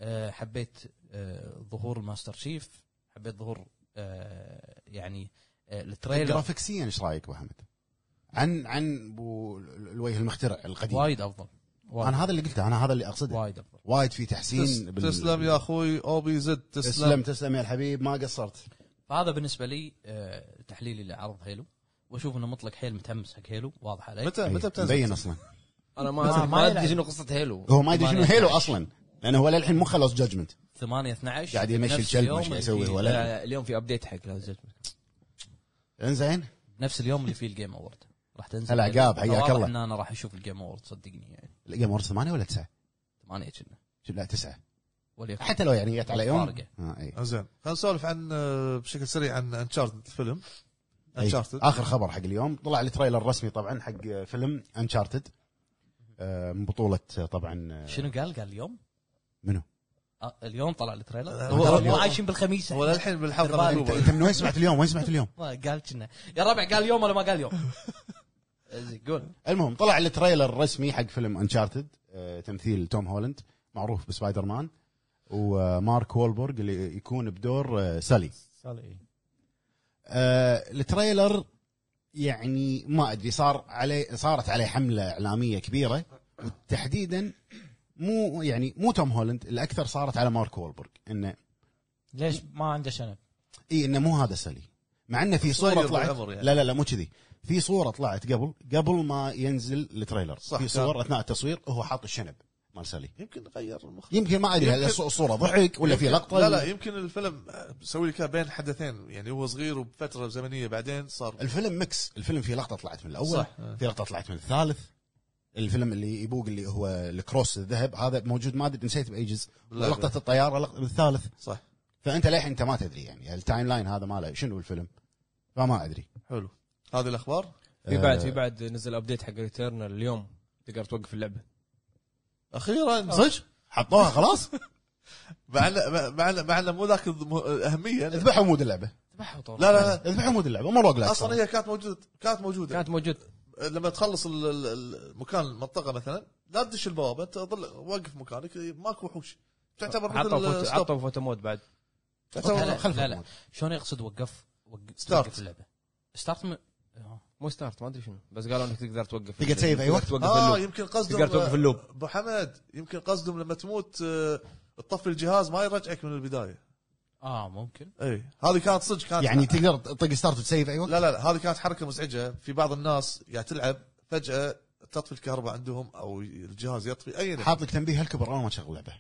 A: أه حبيت أه ظهور الماستر شيف حبيت ظهور أه يعني أه التريلر
F: جرافيكسيا ايش رايك ابو حمد؟ عن عن بو- الوجه المخترع القديم
A: وايد افضل وايد,
F: انا هذا اللي قلته انا هذا اللي اقصده
A: وايد افضل
F: وايد في تحسين
B: تس- تسلم يا اخوي اوبي زد
F: تسلم
B: تسلم
F: تسلم يا الحبيب ما قصرت
A: فهذا بالنسبه لي أه تحليلي لعرض هيلو واشوف انه مطلق حيل متحمس حق هيلو واضح علي
B: متى متى بتنزل؟
F: إيه، مبين اصلا
G: انا
C: ما-
G: ما
C: ما
G: ما ادري
C: يلعب.
G: شنو قصه هيلو
F: هو ما يدري شنو
A: ثمانية
F: هيلو
A: عشر.
F: اصلا لانه هو للحين مو خلص جادجمنت
A: 8 12
F: قاعد يمشي
A: نفس
F: الكلب ما
A: اليوم
F: شي
A: اللي
F: يسوي
A: فيه-
F: ولا-
G: لا، لا، اليوم في ابديت حق لازم
F: انزين
A: نفس اليوم اللي فيه الجيم اوورد راح تنزل
F: هلا عقاب، حياك
A: واضح
F: الله.
A: ان انا راح اشوف الجيم اوورد صدقني يعني
F: الجيم وورد ثمانية ولا تسعة؟
A: 8 كنا
F: لا تسعة
A: وليكن
F: حتى لو يعني جت على يوم
A: فارقة.
F: آه اي
B: زين خلينا نسولف عن آه، بشكل سريع عن انشارتد فيلم
F: أي.
B: انشارتد
F: اخر إيه. خبر حق اليوم طلع التريلر الرسمي طبعا حق فيلم انشارتد من بطولة آه، طبعا آه،
A: شنو قال؟ قال اليوم؟
F: منو؟
A: آه اليوم طلع التريلر
B: آه،
A: هو- هو- مو
B: هو-
A: عايشين بالخميس
B: ولا الحين بالحلقه
G: طيب.
F: انت
B: المكتوبة.
F: انت من وين سمعت اليوم؟ وين سمعت اليوم؟
A: ما قال كنا يا ربع قال يوم ولا ما قال يوم؟ زين، قول
F: المهم طلع التريلر الرسمي حق فيلم انشارتد تمثيل توم هولند معروف بسبايدر مان ومارك وولبرغ اللي يكون بدور آه، سالي
C: سالي
F: آه، التريلر يعني ما ادري صار عليه صارت عليه حمله اعلاميه كبيره تحديدا مو يعني مو توم هولند الاكثر صارت على مارك وولبرغ انه
C: ليش ما عنده شنب؟
F: اي انه مو هذا سالي مع انه في صوره
B: صغير
F: طلعت
B: بالعمر يعني.
F: لا لا لا مو كذي في صوره طلعت قبل قبل ما ينزل التريلر
B: صح،
F: في
B: كان.
F: صور اثناء التصوير هو حاط الشنب مال سالي
B: يمكن غير المخ
F: يمكن ما ادري هل
B: يمكن-
F: الصوره ضحك ولا في
B: يمكن-
F: لقطه
B: لا لا يمكن الفيلم أه، سوي لك إياه بين حدثين يعني هو صغير وبفتره زمنيه بعدين صار
F: الفيلم ميكس الفيلم في لقطه طلعت من الاول
B: صح.
F: في لقطه طلعت من الثالث الفيلم اللي يبوق اللي هو الكروس الذهب هذا موجود ما ادري نسيت باي جزء
B: بالله.
F: لقطه الطياره لقطه بالثالث
B: صح
F: فانت للحين انت ما تدري يعني التايم لاين هذا ماله شنو الفيلم فما ادري
B: حلو هذه الاخبار
G: في بعد
F: آه،
G: في بعد نزل ابديت حق ريتيرنال اليوم تقدر توقف اللعبه
A: آه.
B: اخيرا صدق
F: حطوها خلاص
B: مع إن- مع- مع إن- مع إن مو ذاك الم- اهميه لا
F: اذبح عمود اللعبه
B: لا لا
F: اذبح عمود اللعبه مو روج لايك
B: اصلا هي كانت موجوده كانت موجوده
G: كانت موجود
B: لما تخلص ال- ال- ال- المكان المنطقه مثلا لا تدش البوابه انت ظل وقف مكانك ماكو وحوش تعتبر
G: عطوا
B: مثل
G: فوتو-
B: ستوب
G: عطوا فوتو مود بعد
B: تعتبر
A: لا،
F: خلف
A: لا،
F: العمود.
A: شلون يقصد وقف وقف
B: ستارت.
A: وقف اللعبه؟ ستارت م... آه.
G: مو ستارت ما ادري شنو بس قالوا انك تقدر توقف
F: تقدر تسيف أيوة. آه، أي وقت.
G: توقف
B: اه
G: اللوب
B: يمكن قصدهم
G: تقدر توقف اللوب.
B: ابو حمد يمكن قصدهم لما تموت آه، تطفي الجهاز ما يرجعك من البدايه
A: اه ممكن
B: اي هذه كانت صدق كانت
F: يعني تقدر تطق ستارت وتسيف اي وقت
B: لا لا لا هذه كانت حركه مزعجه في بعض الناس قاعد تلعب فجاه تطفي الكهرباء عندهم او الجهاز يطفي اي نوع.
F: حاط لك تنبيه هالكبر اول ما تشغل اللعبه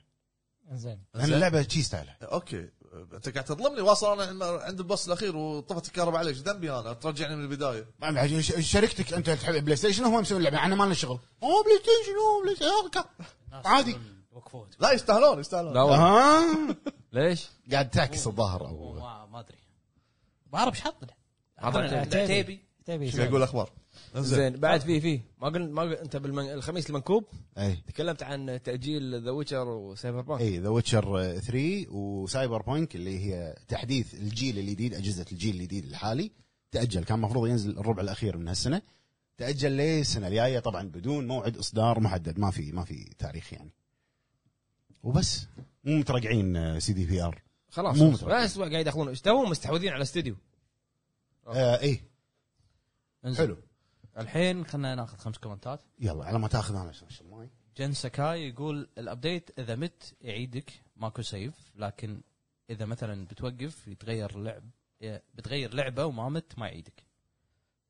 C: زين
F: لان اللعبه شي ستايلها
B: اوكي انت قاعد تظلمني واصل انا عند البص الاخير وطفت الكهرباء علي ايش ذنبي انا ترجعني من البدايه
F: ما أدري، ش- شركتك انت تحب بلاي ستيشن هم مسوين اللعبه احنا ما لنا شغل اوه بلاي ستيشن اوه بلاي ستيشن عادي
A: وقفوه
B: لا يستاهلون يستاهلون
G: لا والله
F: آه.
G: ليش؟
F: قاعد تعكس الظاهر
A: أوه،
F: او
A: ما ما ادري بعرف ايش حط له
G: عطنا-
A: عتيبي
C: تبي
B: شو قاعد يقول اخبار
G: زين
F: آه.
G: بعد في في ما قلنا ما قلنا انت بالمن... الخميس المنكوب
F: اي
G: تكلمت عن تاجيل ذا ويتشر وسايبر بانك
F: اي ذا ويتشر 3 وسايبر بانك اللي هي تحديث الجيل الجديد اجهزه الجيل الجديد الحالي تاجل كان المفروض ينزل الربع الاخير من هالسنه تاجل للسنه الجايه طبعا بدون موعد اصدار محدد ما في ما في تاريخ يعني وبس مو مترقعين آه، سي دي بي ار
G: خلاص
F: مو
G: بس
F: مترقب.
G: بس قاعد يدخلون ايش توهم مستحوذين على استديو
F: اي
A: انزين
F: آه، إيه. حلو
A: الحين خلينا ناخذ خمس كومنتات
F: يلا على ما تاخذ انا عشان أشرب ماي
A: جن سكاي يقول الابديت اذا مت يعيدك ماكو سيف لكن اذا مثلا بتوقف يتغير لعب ي- بتغير لعبه وما مت ما يعيدك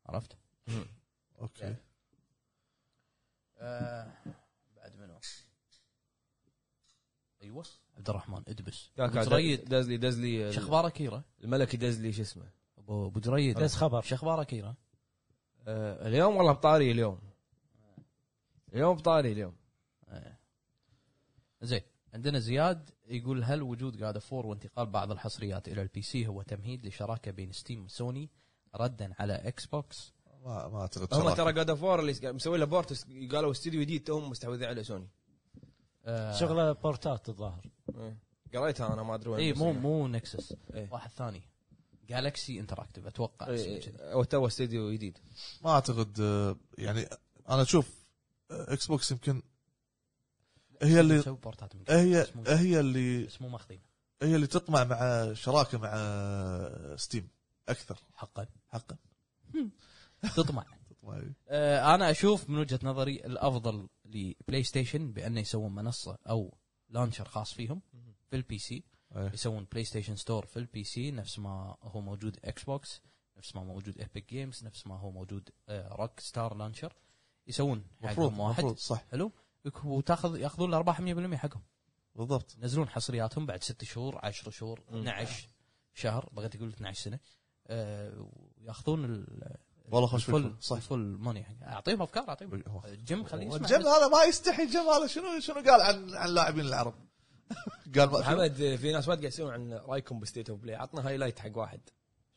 A: عرفت؟
B: اوكي
A: آه بعد منو؟ ايوه عبد الرحمن ادبس
G: يا
A: ابو
G: كا-
A: جريد
G: دز لي دز لي
A: شو اخبار اكيرا؟
G: الملكي دز لي شو اسمه
A: ابو أبو جريد
C: بس خبر
A: شو اخبار اكيرا؟
G: آه اليوم والله بطاري اليوم اليوم بطاري اليوم
A: زين عندنا زياد يقول هل وجود جاد فور وانتقال بعض الحصريات الى البي سي هو تمهيد لشراكه بين ستيم وسوني ردا على اكس بوكس؟
B: ما ما اعتقد
G: هم
B: شراكة.
G: ترى جاد اوف اللي مسوي له بورت قالوا استديو جديد توهم مستحوذين على سوني
A: آه،
C: شغله بورتات الظاهر
G: إيه. قريتها انا ما ادري وين
A: اي
G: بس
A: إيه، مو
G: يعني.
A: مو نكسس
G: إيه.
A: واحد ثاني جالكسي انتراكتيف اتوقع
G: إي،
A: اسمه
G: إي،
A: كذي.
G: او إيه، تو استديو جديد
B: ما اعتقد آه، يعني انا اشوف آه، اكس بوكس يمكن هي اللي
A: يسوي بورتات من قبل.
B: هي
A: بس مو-
B: هي اللي
A: بس مو ماخذين
B: هي اللي تطمع مع شراكه مع آه، ستيم اكثر
A: حقا
B: حقا
A: تطمع
B: تطمع
A: آه، انا اشوف من وجهه نظري الافضل لبلاي ستيشن بانه يسوون منصه او لانشر خاص فيهم في البي سي
B: أيه.
A: يسوون بلاي ستيشن ستور في البي سي نفس ما هو موجود اكس بوكس نفس ما موجود ايبك جيمز نفس ما هو موجود روك ستار لانشر يسوون
B: مفروض
A: حقهم واحد
B: مفروض صح
A: حلو ويك- وتاخذ ياخذون الارباح 100% حقهم
B: بالضبط
A: ينزلون حصرياتهم بعد ست شهور 10 شهور 12 شهر بغيت اقول 12 سنه آه، وياخذون ال-
B: والله خوش
A: الفل
B: فيكم. صح
A: الفل موني اعطيهم افكار اعطيهم جيم خليه يسمع
B: الجم
A: بس.
B: هذا ما يستحي الجم هذا شنو شنو قال عن عن لاعبين العرب قال ما شنو؟
G: محمد في ناس ما قاعد يسوون عن رايكم بستيت اوف بلاي عطنا هايلايت حق واحد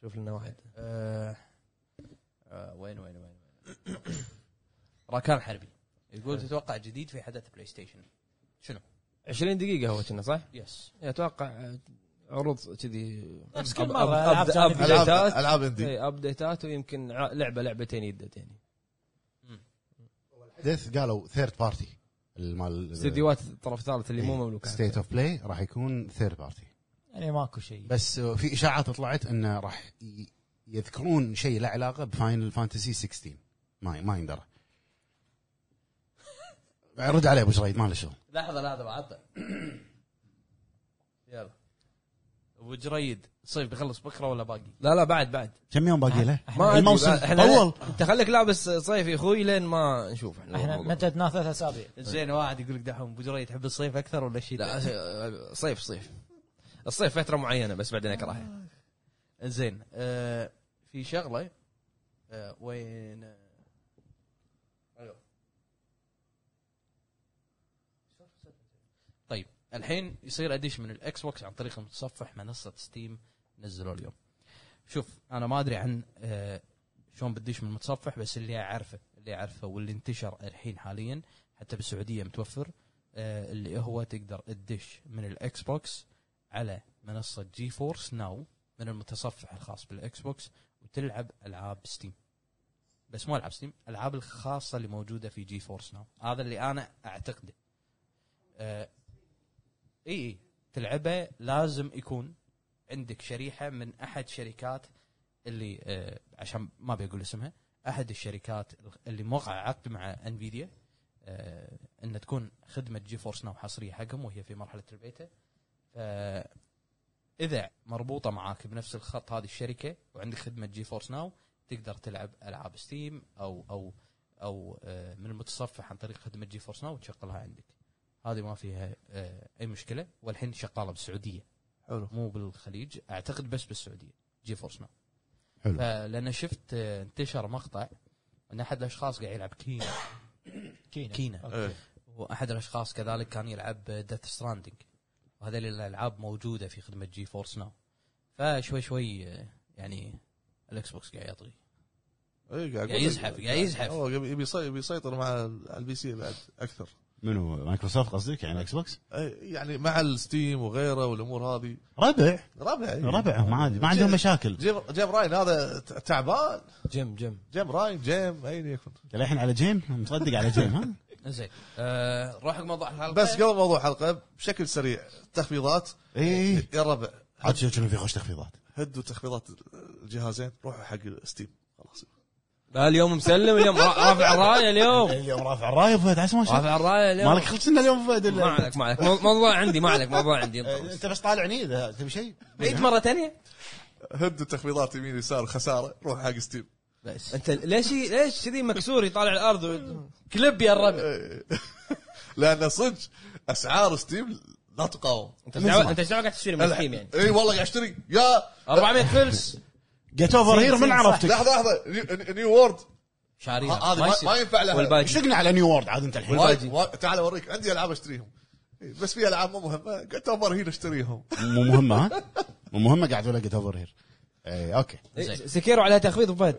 G: شوف لنا واحد
A: آه، آه، وين وين وين وين. راكان حربي يقول تتوقع جديد في حدث بلاي ستيشن
G: 20 دقيقه هو كنا صح؟
A: يس
G: اتوقع عروض كذي
C: نفس
G: أب-
C: كل
G: أب-
C: مرة،
G: أب-
C: ألعاب
G: أب-
C: جانبية.
B: العاب
G: أبديتات.
B: العاب اندي
G: اي ابديتات ويمكن ع- لعبه لعبتين يدت يعني
F: حدث قالوا ثيرد بارتي المال
G: استديوهات الطرف الثالث اللي مو مملوكه
F: ستيت اوف بلاي راح يكون ثيرد بارتي
C: يعني ماكو شيء
F: بس آه، في اشاعات طلعت انه راح ي- يذكرون شيء له علاقه بفاينل فانتسي 16 ما ما يندرى رد عليه ابو شريد ما له شغل
A: لحظه لحظه بعطى يلا ابو جريد صيف بيخلص بكره ولا باقي؟
G: لا لا بعد بعد
F: كم يوم باقي له؟
C: يعني
G: ما
F: الموسم
G: اول انت خليك لابس صيف يا اخوي لين ما نشوف احنا
C: احنا
G: الموضوع.
C: مددناه ثلاث اسابيع
A: زين واحد يقول لك دحوم ابو جريد تحب الصيف اكثر ولا الشتاء؟
G: لا أس- صيف صيف الصيف فتره معينه بس بعدين اكرهها
A: آه. زين آه في شغله آه وين آه، الو طيب الحين يصير اديش من الاكس بوكس عن طريق المتصفح منصه ستيم نزلوا اليوم شوف انا ما ادري عن آه شلون بديش من المتصفح بس اللي اعرفه اللي اعرفه واللي انتشر الحين حاليا حتى بالسعوديه متوفر آه اللي هو تقدر تدش من الاكس بوكس على منصه جي فورس ناو من المتصفح الخاص بالاكس بوكس وتلعب العاب ستيم بس مو العاب ستيم العاب الخاصه اللي موجوده في جي فورس ناو هذا اللي انا اعتقده آه اي اي تلعبه لازم يكون عندك شريحه من احد شركات اللي آه عشان ما بقول اسمها احد الشركات اللي موقع عقد مع انفيديا آه ان تكون خدمه جي فورس ناو حصريه حقهم وهي في مرحله البيتا ف- اذا مربوطه معاك بنفس الخط هذه الشركه وعندك خدمه جي فورس ناو تقدر تلعب العاب ستيم او او او آه، من المتصفح عن طريق خدمه جي فورس ناو وتشغلها عندك هذه ما فيها آه، اي مشكله والحين شغاله بالسعوديه
B: حلو
A: مو بالخليج اعتقد بس بالسعوديه جي فورس ناو
F: حلو.
A: فلان شفت آه، انتشر مقطع ان احد الاشخاص قاعد يلعب كينا
C: كينا
A: كينا
C: أوكي.
B: إيه.
A: واحد الاشخاص كذلك كان يلعب ديث ستراندنج وهذه الالعاب موجوده في خدمه جي فورس ناو فشوي شوي آه، يعني الاكس بوكس قاعد يطغي
B: اي إيه، قاعد
A: قاعد يزحف، قاعد يزحف.
B: هو يبي يسي- يبي يسيطر مع ال- البي سي بعد اكثر
F: منو مايكروسوفت قصدك يعني اكس بوكس؟
B: أي، يعني مع الستيم وغيره والامور هذه
F: ربع إيه.
B: ربع أي.
F: ربع ما عاد- ما عندهم مشاكل
B: جيم جيم راين هذا ت- تعبان
G: جم جم
B: جيم راين جيم اين يكون
F: الحين على جيم مصدق على جيم ها؟
A: زين آه، نروح حق موضوع الحلقه
B: بس قبل موضوع الحلقه بشكل سريع تخفيضات
F: اي اي
B: يا ربع
F: إيه. عاد شوف شنو في خوش تخفيضات
B: هدوا تخفيضات الجهازين روحوا حق ستيم خلاص
G: لا اليوم مسلم اليوم را- رافع الرايه اليوم
F: اليوم رافع الرايه فهد عسى ما شاء
G: رافع الرايه اليوم
F: مالك خلصنا اليوم فهد
G: ما
F: إلا-
G: عليك ما عليك مو- موضوع عندي ما عليك موضوع عندي
F: آه، انت بس طالعني اذا تبي شيء
G: عيد مره ثانيه
B: هدوا تخفيضات يمين يسار خساره روحوا حق ستيم
A: بس
G: انت ليش ليش كذي مكسور يطالع الارض و-
A: كلب يا الربع
B: إيه. لان صدق اسعار ستيم لا تقاوم
G: انت إيش دعوة- انت ايش دعوه قاعد تشتري من ستيم يعني
B: اي والله قاعد اشتري يا
A: 400 فلس
F: جيت اوفر هير من
C: صح.
F: عرفتك
B: لحظه لحظه نيو- نيو وورد
A: شاريها
B: ه- هذه
A: ما
B: ما, ما
A: يصير.
B: ينفع لها
G: والباجي
F: شقنا على نيو وورد عاد انت الحين
B: وايد- وايد- تعال اوريك عندي العاب اشتريهم إيه، بس في العاب مو مهمه قلت اوفر هيل اشتريهم
F: مو مهمه ها؟ مو مهمه قاعد ولا جيت اوفر هير اي اوكي
A: زين.
G: سكيرو عليها تخفيض أبو فهد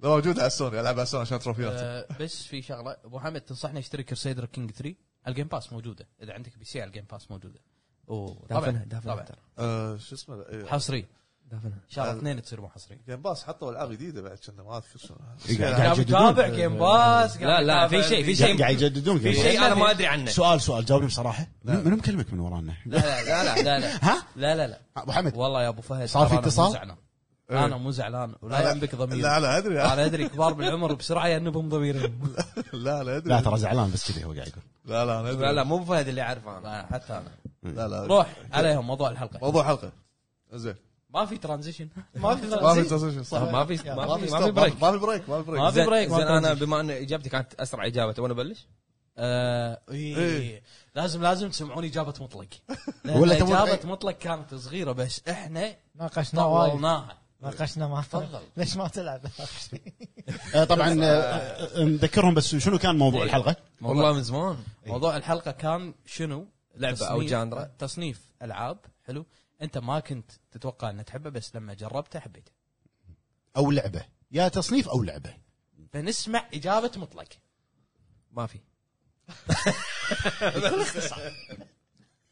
B: لو موجود على السوني العب على السوني عشان تروفيات
A: آه، بس في شغله ابو حمد تنصحني اشتري كرسيدر كينج 3 على الجيم باس موجوده اذا عندك بي سي على الجيم باس موجوده
G: دافنها
A: وطبعا
G: دافنها
A: طبعاً.
G: ترى.
B: آه، شو اسمه إيه،
A: حصري ان
G: دافنها
A: شاء الله
B: أه.
A: اثنين تصير مو حصري
B: جيم باس حطوا العاب جديده بعد كنا ما اذكر شنو
F: قاعد
A: قاعد
F: يجددون.
A: يتابع جيم باس
G: لا لا في شيء في شيء
F: قاعد يجددون
G: في شيء انا ما ادري عنه
H: سؤال سؤال جاوبني بصراحه
F: منو منو مكلمك من ورانا؟
A: لا لا لا لا لا
F: ها؟
A: لا لا لا
F: ابو حمد
A: والله يا ابو فهد
F: صار
A: ترى
F: في
A: أنا مو
F: اتصال؟
A: زعلان. انا مو زعلان ولا
B: لا.
A: ينبك ضمير
B: لا لا ادري
A: انا ادري كبار بالعمر بسرعه ينبهم ضميرهم
B: لا لا ادري
F: لا ترى زعلان بس كذي هو قاعد يقول
B: لا لا أنا ادري
G: لا لا مو فهد اللي اعرفه انا
A: أنا حتى انا
B: لا لا
A: روح عليهم موضوع الحلقه
B: موضوع حلقه زين
A: ما في ترانزيشن
C: ما في
B: ما في
C: ترانزيت.
B: تصوير صح
G: ما في ما في ما في
B: stop،
G: بريك
B: ما في بريك ما في بريك
A: ما في
G: زين-
A: بريك، ما
G: زين
A: في
G: انا
A: بريك.
G: بما ان اجابتي كانت اسرع اجابه تبغى نبلش؟
A: آه إيه.
B: إيه.
A: لازم لازم تسمعون اجابه مطلق
F: ولا
A: ولا
F: تبون-
A: اجابه مطلق كانت صغيره بس احنا
C: ناقشنا وايد
A: طولناها
C: ناقشنا ما
A: تفضل.
C: ليش ما تلعب
F: آه، طبعا آه، آه، نذكرهم بس شنو كان موضوع الحلقه؟
G: والله من زمان
A: موضوع الحلقه كان شنو
G: لعبة أو
A: تصنيف-
G: جانرا.
A: تصنيف العاب حلو انت ما كنت تتوقع ان تحبه بس لما جربته حبيته
F: او لعبه يا تصنيف او لعبه
A: فنسمع اجابه مطلق
G: ما في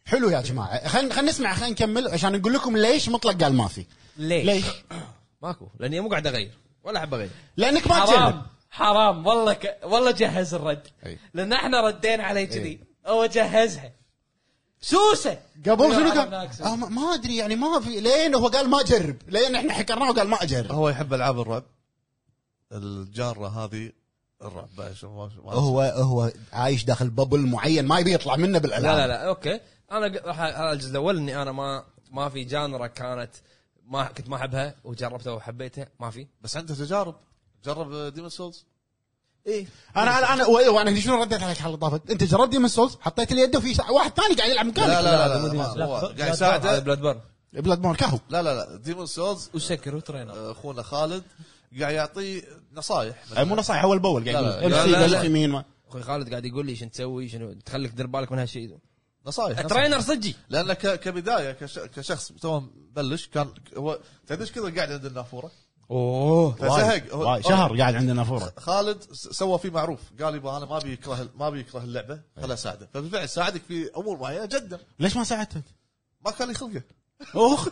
F: حلو يا جماعه خلينا خلينا نسمع خلينا نكمل عشان نقول لكم ليش مطلق قال ما في
A: ليش؟
F: ليش؟
G: ماكو لاني مو قاعد اغير ولا احب اغير
F: لانك ما تجرب
A: حرام حرام والله ك... والله جهز الرد
F: أي.
A: لان احنا ردينا عليه
F: إيه.
A: كذي هو جهزها سوسه
F: قبل شنو
A: حرام
F: قال؟
A: ناقص.
F: آه، ما- ما ادري يعني ما في لين هو قال ما اجرب لين احنا حكرناه وقال ما اجرب
B: هو يحب العاب الرعب الجاره هذه الرعب بعد شو ما- شو ما-
F: هو هو عايش داخل ببل معين ما يبي يطلع منه بالالعاب
G: لا لا لا اوكي انا ق- راح الجزء الاول اني انا ما ما في جانرا كانت ما كنت ما احبها وجربتها وحبيتها ما في
B: بس عنده تجارب جرب ديمون سولز
G: ايه
F: انا انا انا و- وانا أيوة، هني شنو رديت عليك حل طافت انت جربت ديمون سولز حطيت اليد وفي واحد ثاني قاعد يلعب مكانك
B: لا لا لا
G: لا،
B: لا
G: مو
B: ما-
G: Demon's
B: ما-
C: Souls.
B: قاعد
C: لا،
G: هذا
B: يساعده
G: بلاد بورن
F: بلاد بورن كهو
B: لا لا لا ديمون سولز
A: وسكر وترينر
B: اخونا خالد قاعد يعطيه نصايح
F: آه، مو نصايح هو البول قاعد
B: لا، لا،
F: يقول
G: لا،
F: امشي
G: لا،
F: قلت
G: لا.
F: يمين ما-
G: اخوي خالد قاعد يقول لي شنو تسوي شنو تخليك تدير بالك من هالشيء
B: نصايح نصايح.
G: ترينر صجي
B: لان ك- كبدايه كش- كشخص تو بلش كان هو تدري كذا قاعد عند النافوره
G: اوه
B: فزهق هو-
F: وايد. شهر قاعد عندنا فوره
B: خالد س- سوى فيه معروف قال يبا انا ما ابي يكره ما ابي يكره اللعبه خل اساعده فبالفعل ساعدك في امور معينه جدا
F: ليش ما ساعدتك؟
B: ما كان لي خلقه
F: اخ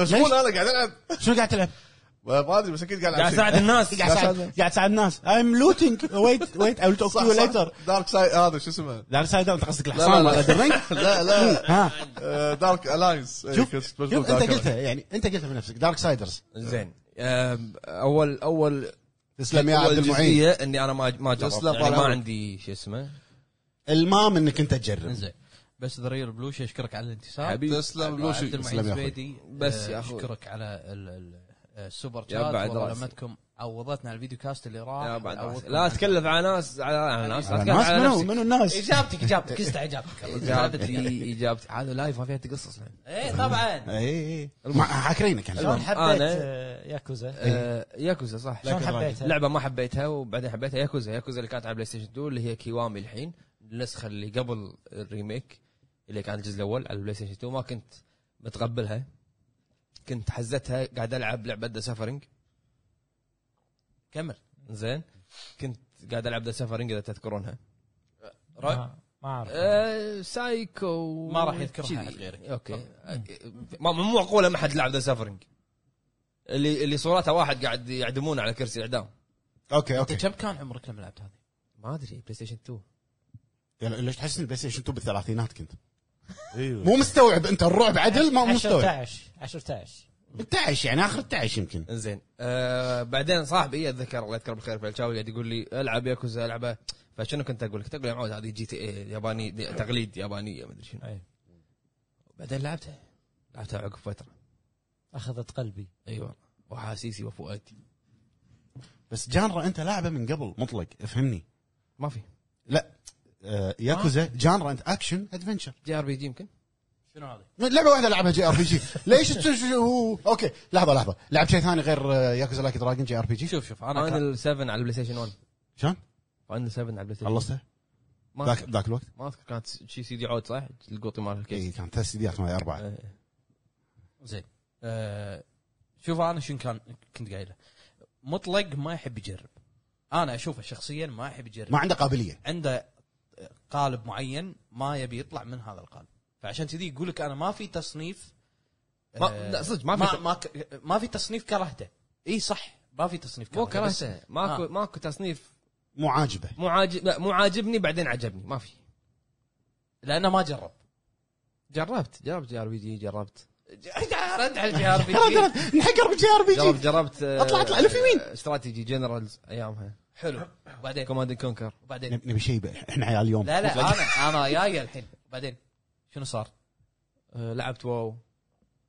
B: مشغول انا قاعد العب
F: شنو قاعد تلعب؟
B: ما ما ادري بس اكيد قاعد العب
G: قاعد اساعد
B: شيء.
G: الناس
F: قاعد تساعد قاعد تساعد الناس I'm looting wait wait I will talk to you later
B: دارك سايد آه، هذا شو اسمه
F: دارك سايد انت قصدك
B: لا،
F: الحصان
B: لا.
F: ولا درينج؟
B: لا لا
F: ها
B: آه، دارك الاينس إيه،
F: شوف
B: كنت مشغول
F: شوف
B: دارك
F: انت
B: ألاينس.
F: قلتها يعني انت قلتها بنفسك دارك سايدرز
G: زين أم، اول اول
F: تسلم يا
G: أول
F: عبد المعين
G: جزئية اني انا ما ما جربت
B: تسلم
G: يعني
B: طال
G: ما
B: عمرك.
G: عندي شو اسمه
F: المام انك انت تجرب
A: زين بس ذا ريل بلوش يشكرك على الانتصار
G: حبيبي أه،
B: تسلم
A: عبد
B: بلوشي
A: المعين
F: أه، تسلم يا أخوي.
A: الزبيدي
G: بس
A: آه،
G: يا أخوي.
A: اشكرك على ال- ال- آه، السوبر
G: يا
A: شات
G: بعد
A: والله
G: راسي.
A: لمتكم عوضتنا على الفيديو كاست اللي راح
G: يا بعد
A: عوضتكم
G: لا
A: عن-
G: تكلف على ناس على- على ناس لا
F: على
G: تكلف
F: الناس
G: على
F: منو
G: نفسك
F: منو الناس
A: اجابتك اجابتك استع اجابتك
G: اجابتي اجابتي هذا لايف ما فيها تقصص الحين
A: ايه طبعا
F: اي اي إيه، مع- حاكرينك يعني
G: أيوة.
C: شلون حبيت
G: أنا-
C: آه، ياكوزا
G: آه، ياكوزا صح
C: شلون حبيتها؟
G: لعبه ما حبيتها وبعدين حبيتها ياكوزا ياكوزا اللي كانت على بلاي ستيشن 2 اللي هي كيوامي الحين النسخه اللي قبل الريميك اللي كان الجزء الاول على البلاي ستيشن 2 ما كنت متقبلها كنت حزتها قاعد العب لعبه ذا سفرنج
A: كمل
G: زين كنت قاعد العب ذا سفرنج اذا تذكرونها
A: رعب
C: ما- ما اعرف
G: آه، سايكو
A: ما راح يذكرها
G: كذي.
A: أحد غيرك.
G: اوكي آه، ما مو معقول ما حد لعب ذا سفرنج اللي اللي صورته واحد قاعد يعدمونه على كرسي اعدام
F: اوكي
A: انت
F: اوكي
A: كم كان عمرك لما لعبت هذه؟
G: ما ادري بلاي ستيشن 2
F: يلا، يعني ليش تحس ان البلاي ستيشن 2 بالثلاثينات كنت
B: ايوه
F: مو مستوعب انت الرعب عدل ما مو مستوعب
C: 10 11
F: 11 يعني اخر 11 يمكن
G: انزين آه بعدين صاحبي اتذكر الله يذكره بالخير فالشاوي قاعد يقول لي العب ياكوزا العبها فشنو كنت اقول لك؟ كنت اقول يا معود هذه جي تي اي ياباني دي- تقليد يابانيه ما ادري شنو
C: أي.
G: أيوه. بعدين لعبتها لعبتها عقب فتره
C: اخذت قلبي
G: اي والله واحاسيسي وفؤادي
F: بس جانرا انت لاعبه من قبل مطلق افهمني
G: ما في
F: لا آه، ياكوزا جانرا انت اكشن ادفنشر
G: جي ار بي جي يمكن
A: شنو هذه؟
F: لعبه واحده لعبها جي ار بي جي ليش تش- شو- هو- اوكي لحظه لحظه لعب شيء ثاني غير آه، ياكوزا لايك دراجون جي ار بي جي
A: شوف شوف انا كان-
G: فاينل 7 على البلاي ستيشن 1
F: شلون
G: فاينل 7 على البلاي ستيشن
F: خلصته
G: ما
F: ذاك
G: أذكر-
F: ذاك الوقت
G: ما اذكر كانت شي سي دي عود صح؟ القوطي مال
F: اي
G: الكيس
F: كان ثلاث سيديات ما اربعه
A: أه.
G: آه.
A: زين آه، شوف انا شنو كان كنت قايله مطلق ما يحب يجرب انا اشوفه شخصيا ما يحب يجرب
F: ما عنده قابليه
A: عنده قالب معين ما يبي يطلع من هذا القالب فعشان كذي يقول لك انا ما في تصنيف
G: ما-
A: آه،
G: لا، صدق، ما
A: ما
G: في
A: ما,
G: ت-
A: ما, ك- ما في تصنيف كرهته اي صح ما في تصنيف
G: مو
A: كرهته بس
G: كرهته ماكو
A: آه.
G: ماكو تصنيف
F: مو عاجبه
G: مو عاجب لا، مو عاجبني بعدين عجبني ما في
A: لانه ما جرب
G: جربت جربت جي ار بي جي جربت
A: رد على الجي ار بي جي
F: نحق ار بي جي ار بي
G: جربت
F: جي
G: جربت آه،
F: اطلع اطلع الف يمين
G: استراتيجي جنرالز ايامها
A: حلو وبعدين
G: كوماند كونكر
A: وبعدين
F: نبي شيء بقى. احنا عيال اليوم
A: لا لا انا انا جاي الحين وبعدين شنو صار؟
G: آه، لعبت واو آه،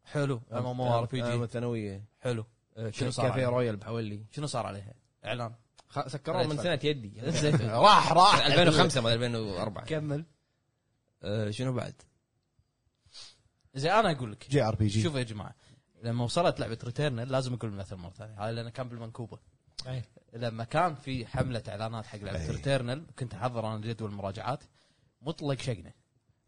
A: حلو ام ام ار بي
G: ايام
A: جي
G: الثانويه
A: حلو
G: آه،
A: شنو صار
G: كافيه
A: عليه؟
G: رويال بحولي
A: شنو صار عليها؟ اعلان
G: خ- سكروه من
A: أتفرج.
G: سنه يدي
F: راح راح
G: 2005 ما 2004
A: كمل
G: آه، شنو بعد؟
A: زين انا اقول لك
F: جي ار بي جي
A: شوف يا جماعه لما وصلت لعبه ريتيرنال لازم اقول مثل مره ثانيه هذا لانه كان بالمنكوبه
C: أي.
A: لما كان في حمله اعلانات حق لعبه
F: أي.
A: ريتيرنال كنت احضر انا جدول المراجعات مطلق شقنه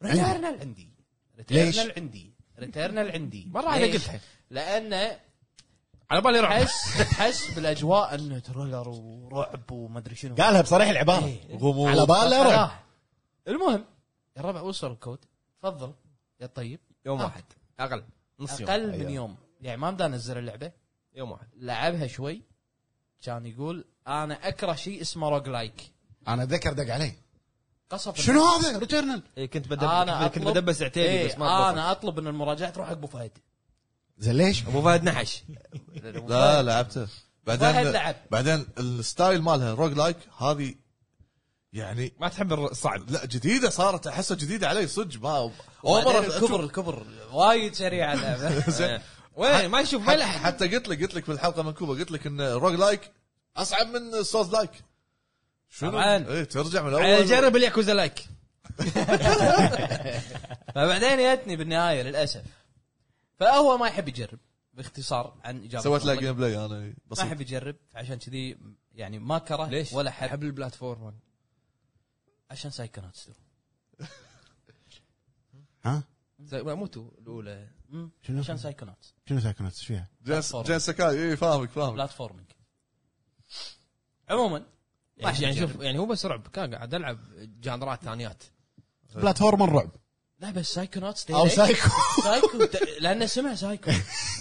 F: عندي.
A: ريتيرنال عندي
F: ليش؟
A: ريتيرنال عندي ريتيرنال عندي
G: مرة واحدة
A: ليش؟
G: قلتها.
A: لانه
G: على بالي رعب
A: تحس تحس بالاجواء انه تريلر ورعب وما ادري شنو
F: قالها بصريح العباره
A: إيه.
B: غموض
F: على باله رعب.
A: آه. المهم الربع وصل الكود تفضل يا طيب
G: يوم
A: آه.
G: واحد اقل نص يوم
A: اقل من
F: أيوة.
A: يوم يعني ما مدى انزل اللعبه
G: يوم واحد
A: لعبها شوي كان يقول انا اكره شيء اسمه روج لايك
F: انا اتذكر دق علي
A: قصف
F: شنو هذا ريتيرنال
G: إيه، كنت بدب
A: انا
G: كنت
A: اطلب
G: بدبس عتيبي بس ما
A: إيه
G: أتذكر.
A: انا اطلب ان المراجعه تروح حق ابو فهد
F: زين ليش؟
G: ابو فهد نحش
B: لا لعبته
A: واحد
B: بعدين
A: لعب.
B: بعدين الستايل مالها روج لايك هذه يعني
G: ما تحب الصعب
B: لا جديده صارت احسها جديده علي صدق ما اول
A: وبعدين
B: مره
A: الكبر
B: أشوف-
A: الكبر وايد سريع اللعبه
B: زين.
G: وين ما يشوف ما
B: حتى,
G: يلحق
B: حتى قلت لك قلت لك في الحلقه منكوبه قلت لك ان روج لايك اصعب من سولز لايك شنو؟
A: طبعاً.
B: ايه ترجع من الاول
G: آه، جرب الياكوزا لايك
A: فبعدين جتني بالنهايه للاسف فهو ما يحب يجرب باختصار عن اجابه
B: سويت له
A: مطلق.
B: جيم بلاي انا
A: ما
B: بسيط
A: يحب يجرب عشان كذي يعني ما كره
G: ليش؟
A: ولا حب
G: حب البلاتفورم
A: عشان سايكوناتس 2
F: ها؟
G: زي ما موتو الاولى
A: مم.
F: شنو؟
A: عشان سايكوناتس
F: شنو ساكنات ايش فيها؟
B: جنس جنس سكاي اي فاهمك فاهمك
A: بلاتفورمينج عموما ما
G: يعني
A: يحب
G: يعني
A: يجرب.
G: شوف يعني هو بس رعب كان قاعد العب جانرات ثانيات
F: بلاتفورم الرعب
A: لا بس سايكوناتس
F: او
A: ليش؟
F: سايكو
A: سايكو ت- لانه سمع سايكو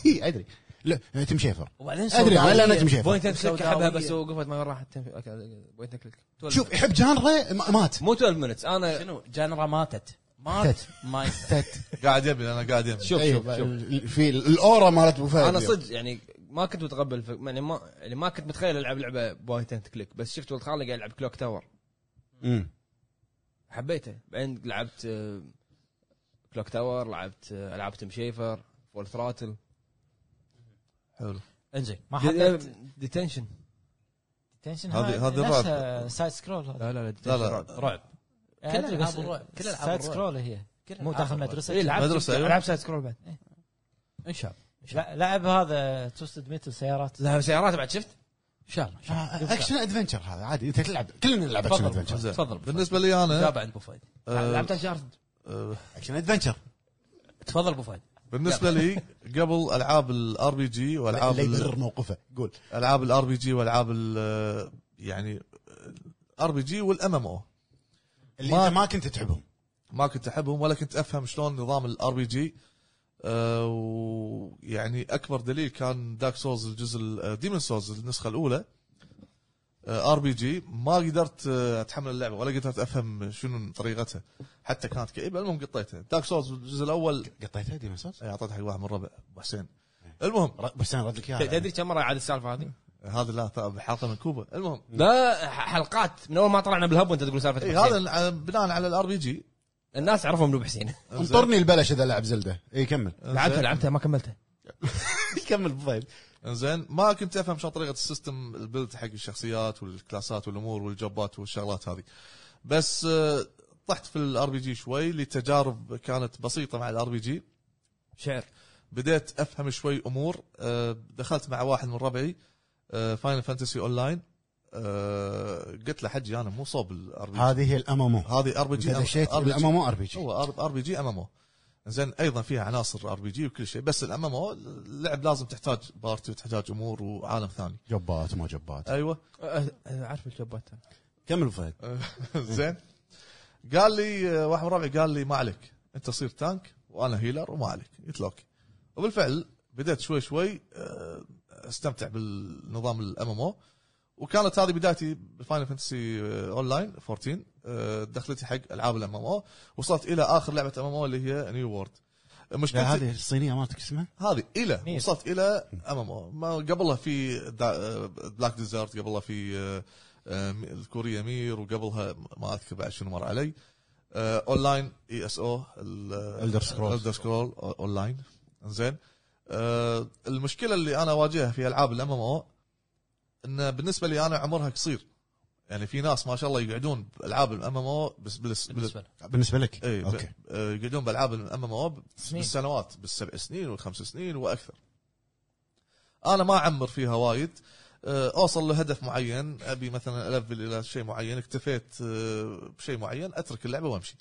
F: ادري لا تم شيفر
A: وبعدين
F: ادري
A: سوداوية.
F: على لا تم شيفر
G: بوينت اند كليك
A: سوداوية.
G: احبها بس وقفت ما راحت بوينت اند كليك
F: شوف يحب جانره ما- مات
G: مو 12 مينتس انا
A: شنو جانرا ماتت ماتت ما يقدر.
B: قاعد يبي انا قاعد يبي
G: شوف شوف
F: أيوة،
G: شوف
F: ال- في ال- الاورا مالت ابو فهد
G: انا صدق يعني ما كنت متقبل الف- يعني ما يعني ما كنت متخيل العب لعبه بوينت اند كليك بس شفت ولد خالي قاعد يلعب كلوك تاور
F: مم.
G: حبيته بعدين لعبت آه، كلوك تاور لعبت آه، العاب تيم شيفر فول ثراتل
B: حلو
A: انزين
C: ما حددت
G: ديتنشن
C: تنشن
B: هذه-
C: هذه آه،
B: هذه
C: هذه سايد سكرول هذا
G: لا لا
B: لا لا
A: رعب
C: يعني
A: كل
C: أدري
A: ألعاب
C: بس
A: الرعب- كل ألعاب
C: سايد
A: الرعب.
C: سكرول هي
A: كل
C: مو
A: ألعاب
C: داخل
A: الرعب.
C: مدرسه
G: اي لعبت
B: مدرسة، أيوة.
G: لعبت سايد سكرول بعد
A: ان شاء الله إن شاء الله.
C: لا- لعب هذا توستد ميتل سيارات
A: طيب،
G: لا سيارات بعد شفت
A: ان شاء الله إن شاء الله.
F: آه، اكشن ادفنشر هذا عادي انت تلعب كلنا نلعب اكشن ادفنشر
B: زين.
A: تفضل.
B: بالنسبه لي انا
A: تابع عند ابو فهد
B: آه،
G: لعبت انشارتد
B: آه،
F: اكشن ادفنشر
A: تفضل ابو فهد
B: بالنسبه لي قبل العاب الار بي جي والعاب
F: اللي
B: ال-
F: يبرر موقفه قول
B: العاب الار بي جي والعاب ال- يعني الار بي جي والام ام او
F: اللي
B: ما-
F: انت ما كنت تحبهم
B: ما كنت احبهم ولا كنت افهم شلون نظام الار بي جي آه، ويعني اكبر دليل كان داك سولز الجزء آه، ديمن سولز النسخه الاولى ار بي جي ما قدرت آه، اتحمل اللعبه ولا قدرت افهم شنو طريقتها حتى كانت كئيبه المهم قطيتها داك سولز الجزء الاول
F: قطيتها ديمون سولز
B: إيه، اعطيتها حق واحد من ربع ابو حسين المهم
F: بس انا رد لك اياها
G: تدري كم مره عاد السالفه هذه؟
B: هذا لا طبعاً حلقه من كوبا المهم
G: لا ح- حلقات من اول ما طلعنا بالهب وانت تقول سالفه
B: اي
G: أبو حسين.
B: هذا على- بناء على الار بي جي
G: الناس عرفوا من ابو حسين
F: انطرني البلش اذا لعب زلده اي كمل
G: لعبتها لعبتها ما كملتها
F: كمل
G: طيب.
F: بفايد
B: زين ما كنت افهم شلون طريقه السيستم البيلد حق الشخصيات والكلاسات والامور والجوبات والشغلات هذه بس آه، طحت في الار بي جي شوي لتجارب كانت بسيطه مع الار بي جي
G: شعر
B: بديت افهم شوي امور آه، دخلت مع واحد من ربعي آه، فاينل فانتسي اون لاين آه، قلت له حجي انا مو صوب الار بي جي
F: هذه هي الام ام او
B: هذه ار بي جي
F: دشيت الام ام او ار بي جي
B: هو ار بي جي ام ام او زين ايضا فيها عناصر ار بي جي وكل شيء بس الام ام او اللعب لازم تحتاج بارتي وتحتاج امور وعالم ثاني
F: جبات ما جبات
B: ايوه
G: عارف الجبات
F: كمل بفايد
B: زين قال لي آه، واحد من ربعي قال لي ما عليك انت صير تانك وانا هيلر وما عليك قلت له اوكي وبالفعل بدأت شوي شوي آه، استمتع بالنظام الام ام او وكانت هذه بدايتي بالفاينل فانتسي اون لاين 14 آه، دخلتي حق العاب الام ام او وصلت الى اخر لعبه ام ام او اللي هي نيو وورد
F: لا
B: مشكلتي
F: هذه الصينيه مالتك اسمها
B: هذه الى
C: مية.
B: وصلت الى ام ام او ما قبلها في دا- بلاك ديزرت قبلها في آه، آه، الكورية مير وقبلها ما اذكر بعد شنو مر علي آه، اونلاين اي اس او
F: Elder Scrolls.
B: الدر سكرول اونلاين آه، زين آه، المشكله اللي انا اواجهها في العاب الام ام او ان بالنسبه لي انا عمرها قصير يعني في ناس ما شاء الله يقعدون بالعاب الام ام او بس بس- بال-
A: بالنسبه له
F: بالنسبه لك
B: اي
F: اوكي
B: اوكي إيه، آه، يقعدون بالعاب الام ام او
C: سنين.
B: بالسنوات بالسبع سنين والخمس سنين واكثر انا ما اعمر فيها وايد أه، اوصل لهدف معين ابي مثلا الفل الى شيء معين اكتفيت أه، بشيء معين اترك اللعبه وامشي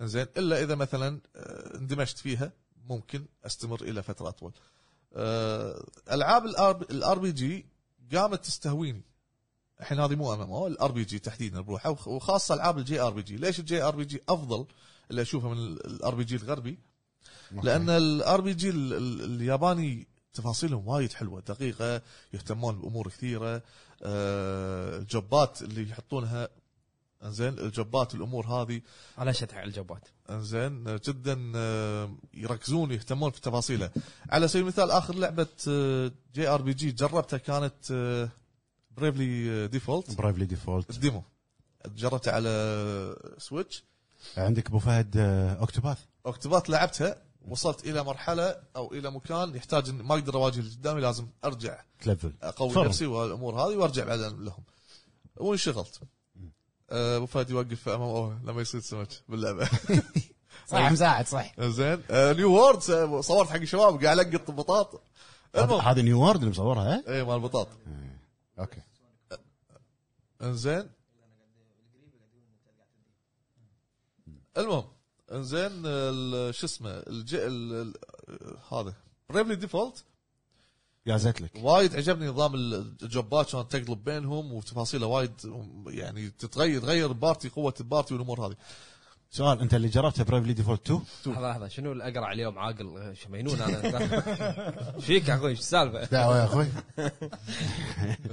B: زين الا اذا مثلا أه، اندمجت فيها ممكن استمر الى فتره اطول أه، العاب الار بي جي قامت تستهويني الحين هذه مو ام ام او الار بي جي تحديدا بروحه وخ- وخاصه العاب الجي ار بي جي ليش الجي ار بي جي افضل اللي اشوفه من الار بي جي الغربي لان الار بي جي الياباني تفاصيلهم وايد حلوه دقيقه يهتمون بامور كثيره آه، الجبات اللي يحطونها انزين الجبات الامور هذه
G: على شد حق الجبات
B: انزين جدا آه، يركزون يهتمون في تفاصيله على سبيل المثال اخر لعبه آه، جي ار بي جي جربتها كانت آه، بريفلي ديفولت
F: برايفلي ديفولت
B: الديمو جربتها على آه، سويتش
F: عندك ابو فهد آه، اوكتوباث
B: اكتوبات لعبتها وصلت الى مرحله او الى مكان يحتاج إن- ما اقدر اواجه اللي قدامي لازم ارجع
F: تلفل
B: اقوي
F: فرم.
B: نفسي والامور هذه وارجع بعد لهم وانشغلت آه، ابو فهد يوقف امامه لما يصيد سمك باللعبه
H: صح مساعد صح
B: زين آه، نيو وورد س- صورت حق الشباب قاعد القط بطاط المهم
F: هذا نيو وورد اللي مصورها ها؟
B: اي مال البطاط
F: اوكي
B: انزين المهم انزين ال- شو اسمه الج... ال... ال- هذا بريفلي ديفولت
F: جازت لك
B: وايد عجبني نظام الجوبات شلون تقلب بينهم وتفاصيله وايد يعني تتغير تغير بارتي قوه البارتي والامور هذه
F: سؤال انت اللي جربته برايفلي ديفولت 2
G: لحظه لحظه شنو الاقرع اليوم عاقل شو مجنون انا إيش فيك يا اخوي ايش السالفه؟
F: دعوه يا اخوي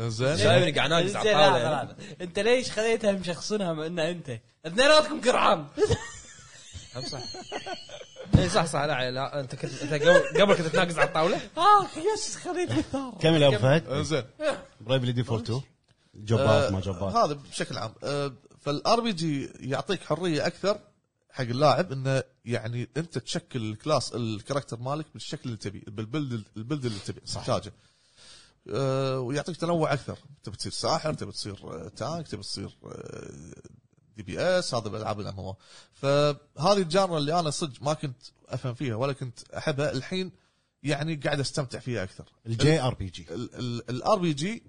B: زين
G: شايفني قاعد ناقص على يعني.
C: زين، لحظة،
G: الطاوله
C: لحظة. انت ليش خليتها مشخصنها مع انها انت؟ اثنيناتكم قرعان
G: هم صح اي صح صح لا, لا انت كنت انت قبل- قبل كنت تناقص على الطاوله
C: اه يس خليت بالثار
F: كمل يا ابو فهد
B: زين
F: برايفلي ديفولت 2
B: أه،
F: جبات ما جبات
B: آه، هذا بشكل عام آه، فالار بي جي يعطيك حريه اكثر حق اللاعب انه يعني انت تشكل الكلاس الكاركتر مالك بالشكل اللي تبيه بالبلد البلد اللي تبيه تحتاجه آه، ويعطيك تنوع اكثر تبي تصير ساحر تبي تصير آه، تانك تبي تصير آه، دي بي اس هذا بالالعاب الام ام فهذه الجاره اللي انا صدق ما كنت افهم فيها ولا كنت احبها الحين يعني قاعد استمتع فيها اكثر
F: الجي ار بي جي
B: الار بي جي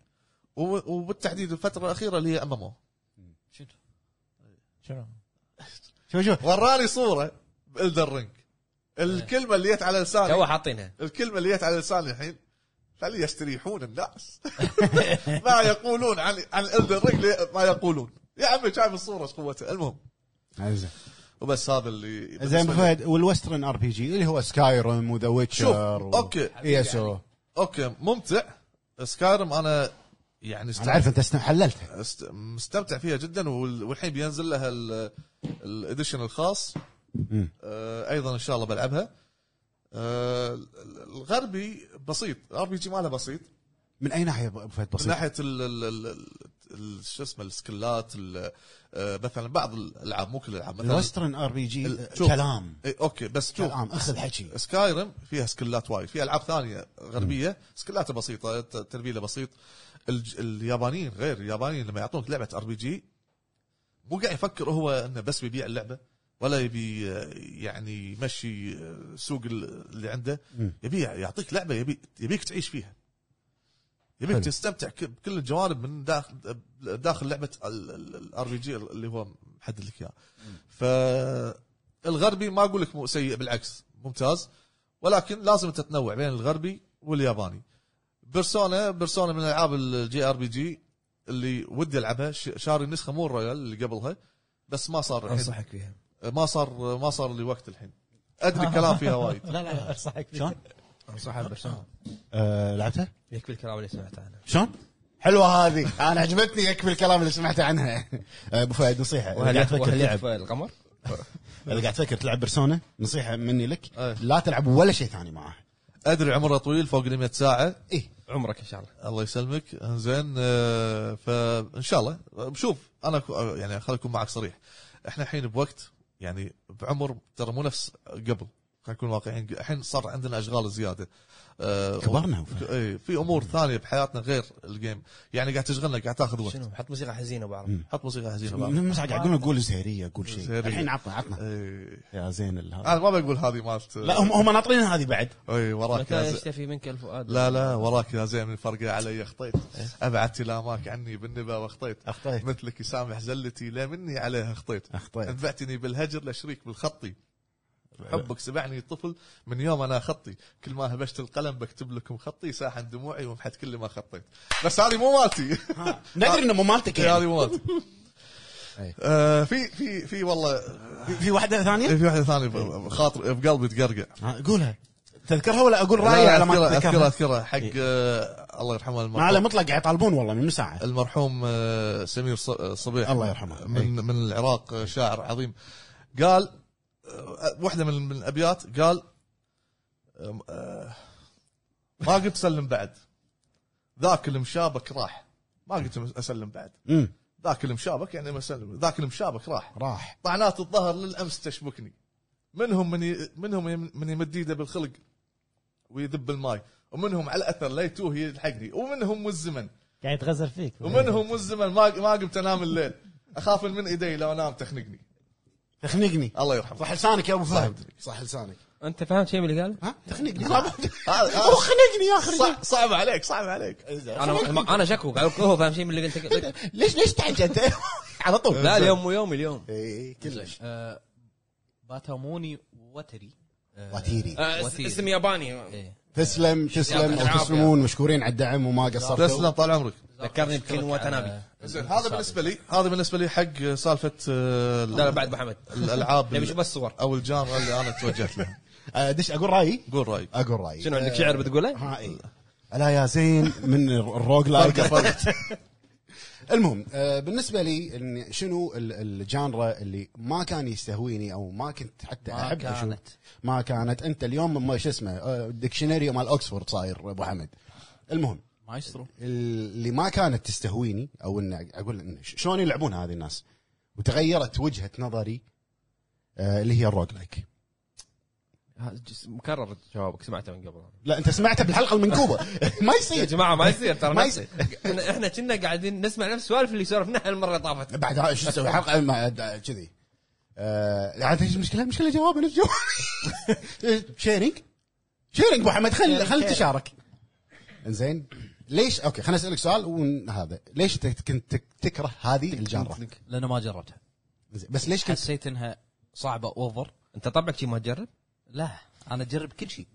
B: وبالتحديد الفتره الاخيره اللي هي ام ام او
C: شنو؟
F: شوف شوف
B: وراني صوره بالدر رينج الكلمه اللي جت على لساني
G: تو حاطينها
B: الكلمه اللي جت على لساني الحين خلي يستريحون الناس ما يقولون عن عن الدر رينج ما يقولون يا عمي شايف الصوره ايش قوتها المهم
F: آه، زين
B: وبس هذا اللي
F: زين ابو فهد والوسترن ار بي جي اللي هو سكاي روم وذا
B: شوف
F: ويتشر
B: اوكي
F: اي اس او
B: اوكي ممتع سكايرم انا يعني
F: انا
B: استمتعت
F: عارف انت استن- حللتها
B: است- مستمتع فيها جدا وال- والحين بينزل لها ال- الاديشن الخاص
F: مم.
B: آه، ايضا ان شاء الله بلعبها آه، الغربي بسيط الار بي جي ماله بسيط
F: من اي ناحيه ابو فهد
B: من
F: بسيط؟
B: ناحيه ال- ال- ال- ال- ال- شو اسمه السكلات ال- آه، مثلا بعض الالعاب مو كل الالعاب مثلا
F: الوسترن ار بي جي آه،
B: ال- شوف.
F: كلام
B: إيه، اوكي بس شوف
F: كلام اخذ حكي
B: سكايرم فيها سكلات وايد في العاب ثانيه غربيه سكلاتها بسيطه ت- تربيله بسيط الج- اليابانيين غير اليابانيين لما يعطونك لعبه ار بي جي مو قاعد يفكر هو انه بس بيبيع اللعبه ولا يبي آه، يعني يمشي آه، سوق ال- اللي عنده
F: مم.
B: يبي يعطيك لعبه يبي يبيك تعيش فيها يبيك
F: حلو.
B: تستمتع ك- بكل الجوانب من داخل داخل لعبه الار بي جي اللي هو محدد لك اياه فالغربي ما اقول لك مو سيء بالعكس ممتاز ولكن لازم تتنوع بين الغربي والياباني بيرسونا بيرسونا من العاب الجي ار بي جي اللي ودي العبها ش- شاري النسخه مو الرويال اللي قبلها بس ما صار الحين
G: انصحك فيها
B: ما صار ما صار لي وقت الحين ادري كلام فيها وايد
C: لا لا انصحك فيه.
F: شلون؟
G: انصحها بشلون
F: آه، لعبتها؟
G: يكفي الكلام اللي سمعته عنها
F: شلون؟ حلوه هذه انا عجبتني يكفي الكلام اللي سمعته عنها آه، ابو فهد نصيحه إذا قاعد تفكر
G: وهل
F: تلعب
G: يعرف القمر؟
F: اذا قاعد تفكر تلعب بيرسونا نصيحه مني لك
B: أي.
F: لا تلعب ولا شيء ثاني معاه
B: ادري عمرها طويل فوق ال 100 ساعه
G: عمرك ان شاء الله
B: الله يسلمك انزين آه، فان شاء الله بشوف انا أكو- آه، يعني خليني اكون معك صريح احنا الحين بوقت يعني بعمر ترى مو نفس قبل خلينا نكون واقعيين الحين صار عندنا اشغال زياده آه،
F: كبرنا
B: و- اي في امور ثانيه بحياتنا غير الجيم يعني قاعد تشغلنا قاعد تاخذ وقت
G: شنو حط موسيقى حزينه بعرف
F: مم.
B: حط موسيقى حزينه بعد
F: مش قاعد يقولون قول سهريه قول شيء
B: سهرية.
F: الحين عطنا عطنا آه، طيب.
B: إي.
F: يا زين ال- هذا.
B: انا إيه. ما بقول هذه مالت
F: نعم. لا هم هم ناطرين هذه بعد
B: اي وراك يا
G: متى
B: زين
G: يشتفي منك الفؤاد
B: لا لا وراك يا زين من فرقه علي خطيت ابعدت لاماك عني بالنبا واخطيت
F: إيه. اخطيت
B: مثلك يسامح زلتي لا مني عليها خطيت
F: اخطيت
B: انبعتني بالهجر لشريك بالخطي حبك سبعني طفل من يوم انا خطي كل ما هبشت القلم بكتب لكم خطي ساحن دموعي ومحت كل ما خطيت بس هذه مو مالتي
F: ندري انه مو مالتك
B: هذه
F: يعني.
B: مو مالتي
F: أي.
B: آه، في في في والله
F: إيه. في- إيه. في واحده ثانيه
B: في واحده ثانيه بخاطر بقلبي تقرقع
F: ها، قولها تذكرها ولا اقول رايي
B: لا،
F: على إيه. ما
B: اذكرها اذكرها
F: تذكرها
B: اذكرها حق آه، الله يرحمه
F: ما على
B: المرحوم
F: مطلق قاعد يطالبون والله من ساعه
B: المرحوم آه، سمير ص- آه، صبيح
F: الله يرحمه إيه.
B: من
F: إي.
B: من العراق آه، شاعر عظيم قال آه، واحده من من الابيات قال آم، آه، ما قد سلم بعد ذاك المشابك راح ما قد اسلم بعد
F: مم.
B: ذاك المشابك يعني ما اسلم ذاك المشابك راح
F: راح
B: طعنات الظهر للامس تشبكني منهم من ي... منهم يم- من يمد ايده بالخلق ويذب الماي ومنهم على الاثر لا يتوه يلحقني ومنهم والزمن
C: قاعد يتغزل فيك
B: ومنهم والزمن ما ما قمت انام الليل اخاف من ايدي لو انام تخنقني
F: تخنقني
B: الله يرحمه
F: صح لسانك يا ابو فهد صح لسانك
G: انت فاهم شيء من اللي قاله؟
F: ها تخنقني هو
B: هذا- هذا
F: خنقني يا اخي
B: صع- صعب عليك صعب عليك
G: انا انا شكو قاعد أقول هو فاهم شيء من اللي قلت
F: ليش ليش تحكي انت على طول
G: لا اليوم مو يومي اليوم
F: إي، كلش
A: آه، باتاموني وتري آه،
F: وتيري
A: آه،
H: اس- اسم ياباني
A: إيه.
F: تسلم تسلم
A: يعطيك العافية.
F: وتسلمون مشكورين على الدعم وما قصرتوا
B: تسلم طال عمرك
G: ذكرني
A: أشكرك
G: بكين واتنابي.
A: على-
B: زين هذا بالنسبه لي هذا بالنسبه لي حق سالفه آه،
G: لا لا بعد محمد
B: الالعاب
H: يعني
G: نبي نشوف بس الصور
B: او الجانرا اللي انا توجهت لها
F: آه، دش اقول رايي
B: قول رايك
F: اقول رايي
G: شنو عندك
F: آه،
G: شعر بتقوله؟
F: ها اي الا يا زين من الروج لايك
B: فرقه فرقه
F: المهم آه، بالنسبه لي إن شنو ال- الجانرا اللي ما كان يستهويني او ما كنت حتى
A: ما
F: احب اشوف
A: كانت
F: ما كانت انت اليوم ما شو اسمه آه، الدكشنري مال اوكسفورد صاير ابو حمد المهم
A: مايسترو
F: اللي ما كانت تستهويني او ان اقول إن ش- شلون يلعبون هذه الناس وتغيرت وجهه نظري آه، اللي هي الروج لايك
G: مكرر جوابك سمعته من قبل
F: لا انت سمعتها بالحلقه المنكوبه ما
G: يا
F: يصير
G: جماعه ما يصير ترى
F: ما
G: ما يصير احنا كنا قاعدين نسمع نفس السوالف اللي سولفناها المره اللي طافت
F: بعد ها- شو اسوي حلقه ما- دا- كذي آه، عاد ايش المشكله؟ المشكله جوابه نفس جوابي شيرنج شيرنج ابو حمد خل خل تشارك زين ليش اوكي خليني اسالك سؤال وهذا ليش انت كنت تك- تكره هذه الجاره؟
A: لانه ما جربتها
F: زين، بس ليش كنت
A: حسيت انها صعبه اوفر
G: انت طبعك شي ما تجرب؟
A: لا انا اجرب كل شيء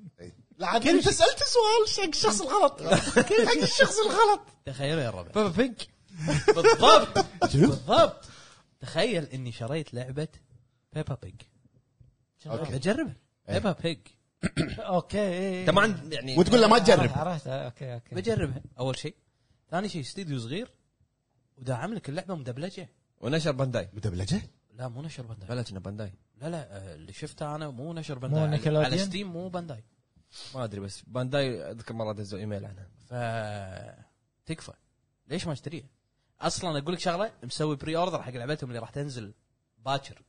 F: لا عاد انت سالت سؤال حق الشخص الغلط حق الشخص الغلط
A: تخيل يا الربع
G: بابا فينك
A: بالضبط
F: شنو؟
A: بالضبط تخيل اني شريت لعبه بيبا بيج
F: أوكي.
A: اجربها بيبا بيج
C: اوكي إيه.
G: انت ما عند يعني
F: وتقول له ما
C: عرفت-
F: تجرب
C: آه، عرفت اوكي اوكي
A: بجربها اول شيء ثاني شيء استديو صغير وداعم لك اللعبه مدبلجه
G: ونشر بانداي
F: مدبلجه؟
A: لا مو نشر بانداي
G: بلاش انه بانداي
A: لا لا آه، اللي شفته انا مو نشر
C: مو
A: بانداي على,
C: نيكلوديون؟
A: على ستيم مو بانداي
G: ما ادري بس بانداي اذكر مره دزوا ايميل عنها
A: ف تكفى ليش ما اشتريها؟ اصلا اقول لك شغله مسوي بري اوردر حق لعبتهم اللي راح تنزل باكر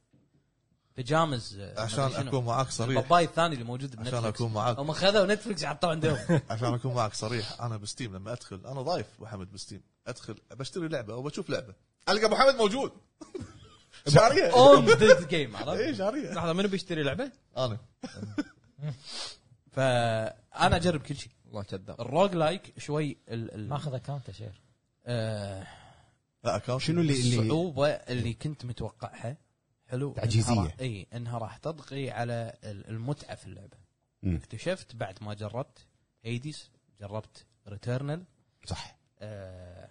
A: بيجامز آه،
B: عشان
A: مدري شنو.
B: اكون معاك صريح
A: الباباي الثاني اللي موجود بنتفلكس
B: عشان اكون معاك
A: هم خذوا نتفلكس حطوه عندهم
B: عشان اكون معك صريح انا بستيم لما ادخل انا ضايف ابو حمد بستيم ادخل بشتري لعبه او بشوف لعبه القى ابو حمد موجود شاريه
A: اون ذيس جيم
B: اي
A: عرفت؟
B: شاريه
G: لحظه منو بيشتري لعبه؟
B: انا
A: فانا اجرب كل شيء
G: والله كذاب
A: الروج لايك شوي ال ال
C: ماخذ اكونت يا شيخ
A: آه،
B: لا أكاونت.
F: شنو اللي اللي
A: الصعوبه اللي كنت متوقعها حلو
F: تعجيزية.
A: إنها راح- اي انها راح تطغي على ال- المتعه في اللعبه
F: مم.
A: اكتشفت بعد ما جربت هيديس جربت ريتيرنال
F: صح
A: آه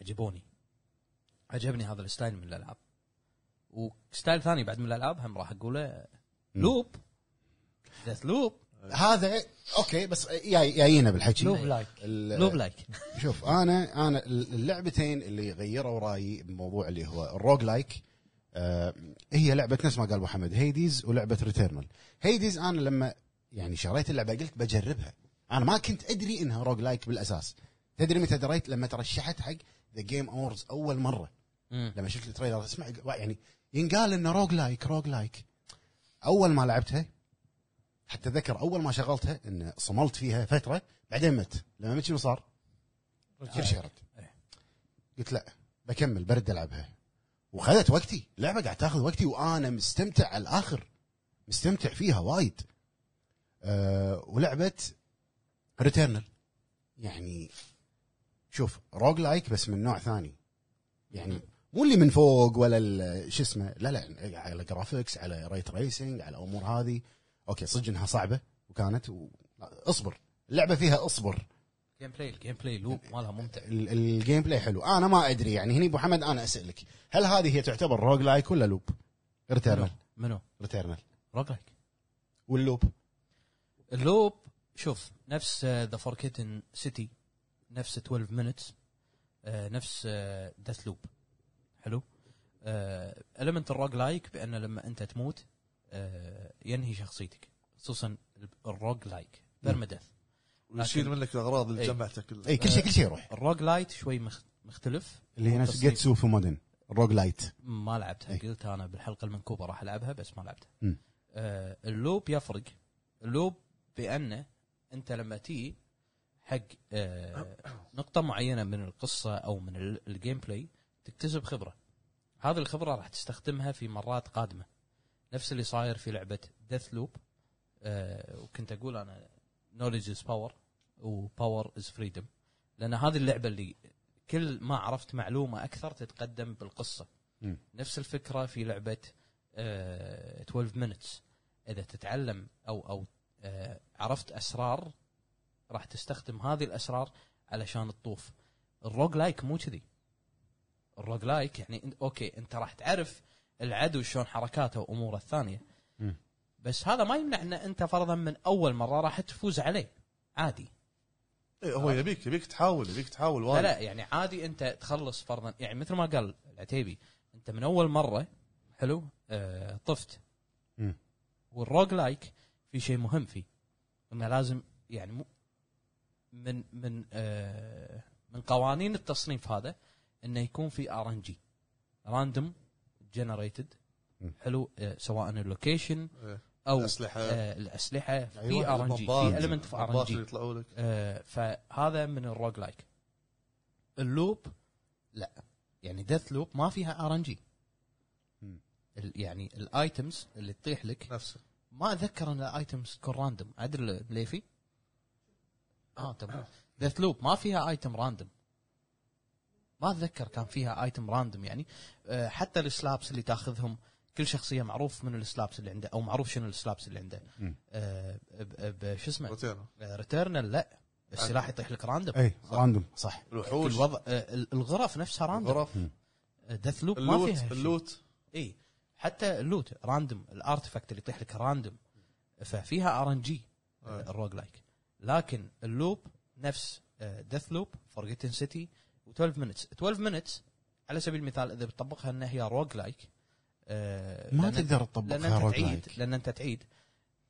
A: عجبوني عجبني هذا الستايل من الالعاب وستايل ثاني بعد من الالعاب هم راح اقوله
F: مم.
A: لوب ديث لوب
F: هذا اوكي بس جاي- جايينا بالحكي
C: لوب لايك
F: ال-
A: لوب لايك
F: شوف انا انا اللعبتين اللي غيروا رايي بموضوع اللي هو الروج لايك آه هي لعبه نفس ما قال أبو محمد هيديز ولعبه ريتيرنال هيديز انا لما يعني شريت اللعبه قلت بجربها انا ما كنت ادري انها روج لايك بالاساس تدري متى دريت لما ترشحت حق ذا جيم اورز اول مره لما شفت التريلر اسمع يعني ينقال انه روج لايك روج لايك اول ما لعبتها حتى ذكر اول ما شغلتها ان صملت فيها فتره بعدين مت لما مت شنو صار؟ كل شيء رد قلت لا بكمل برد العبها وخذت وقتي اللعبه قاعد تاخذ وقتي وانا مستمتع على الاخر مستمتع فيها وايد أه ولعبه ريتيرنال يعني شوف روج لايك بس من نوع ثاني يعني مو اللي من فوق ولا ال- شو اسمه لا لا على جرافيكس على ريت ريسنج على الامور هذه اوكي صدق انها صعبه وكانت و... اصبر اللعبه فيها اصبر
A: جيم بلاي الجيم بلاي لوب مالها ممتع
F: ال- الجيم بلاي حلو انا ما ادري يعني هني ابو حمد انا اسالك هل هذه هي تعتبر روج لايك ولا لوب؟ ريتيرنال
A: منو؟
F: ريتيرنال
A: روج لايك
F: واللوب
A: اللوب شوف نفس آه، ذا فوركيتن سيتي نفس 12 مينتس نفس ديث لوب حلو المنت الروج لايك بان لما انت تموت آه، ينهي شخصيتك خصوصا الروج لايك بيرمدث
B: ويشيل
A: لكن-
B: منك الاغراض
A: إي.
B: اللي جمعتها كلها
F: اي إيه، كل شيء كل شيء يروح
A: الروج لايت شوي مخ- مختلف
F: اللي هي نفس
A: والتصنيف
F: جيتسو فومودن روج لايت
A: ما لعبتها
F: أي.
A: قلت انا بالحلقه المنكوبه راح العبها بس ما لعبتها
F: مم.
A: آه اللوب يفرق اللوب بانه انت لما تي حق آه نقطه معينه من القصه او من ال- الجيم بلاي تكتسب خبره هذه الخبره راح تستخدمها في مرات قادمه نفس اللي صاير في لعبه ديث لوب آه وكنت اقول انا نولج از باور وباور از فريدم لان هذه اللعبه اللي كل ما عرفت معلومه اكثر تتقدم بالقصه
F: مم.
A: نفس الفكره في لعبه آه، 12 مينتس اذا تتعلم او او آه، عرفت اسرار راح تستخدم هذه الاسرار علشان تطوف الروج لايك مو كذي الروج لايك يعني انت اوكي انت راح تعرف العدو شلون حركاته واموره الثانيه
F: مم.
A: بس هذا ما يمنع ان انت فرضا من اول مره راح تفوز عليه عادي
B: إي، هو يبيك يبيك تحاول يبيك تحاول
A: لا
B: وايد
A: لا يعني عادي انت تخلص فرضا يعني مثل ما قال العتيبي انت من اول مره حلو آه طفت
F: مم.
A: والروج لايك في شيء مهم فيه انه لازم يعني مو من من آه من قوانين التصنيف هذا انه يكون في ار ان جي راندوم جنريتد
F: مم.
A: حلو آه سواء اللوكيشن
B: إيه.
A: او
B: اسلحه
A: آه الاسلحه في
B: أيوة،
A: ار ان جي
B: البومبات،
A: في المنت في ار ان
B: البومبات
A: جي
B: اللي يطلعوا لك
A: آه، فهذا من الروج لايك اللوب لا يعني ديث لوب ما فيها ار ان جي
F: مم.
A: يعني الايتمز اللي تطيح لك
B: نفسه
A: ما اتذكر ان الايتمز تكون راندوم ادري ليفي اه تمام ديث لوب ما فيها ايتم راندوم ما اتذكر كان فيها ايتم راندوم يعني آه، حتى السلابس اللي تاخذهم كل شخصيه معروف من السلابس اللي عنده او معروف شنو السلابس اللي عنده
F: مم.
A: آه، ب- ب- شو اسمه
B: روتينا
A: ريتيرنال لا السلاح يطيح لك راندوم
F: اي راندوم صح
B: الوحوش
A: الوضع آه، ال- الغرف نفسها راندوم
B: الغرف
A: ديث لوب ما
B: اللوت
A: فيها شيء.
B: اللوت
A: اي حتى اللوت راندوم الارتفاكت اللي يطيح لك راندوم ففيها ار ان جي
B: أي.
A: الروج لايك لكن اللوب نفس آه، ديث لوب فورجيتن سيتي و12 مينتس 12 مينتس على سبيل المثال اذا بتطبقها انها هي آه، روج لايك
F: ما تقدر
A: لان
F: تطبقها
A: انت
F: روج
A: تعيد
F: لايك
A: لان انت تعيد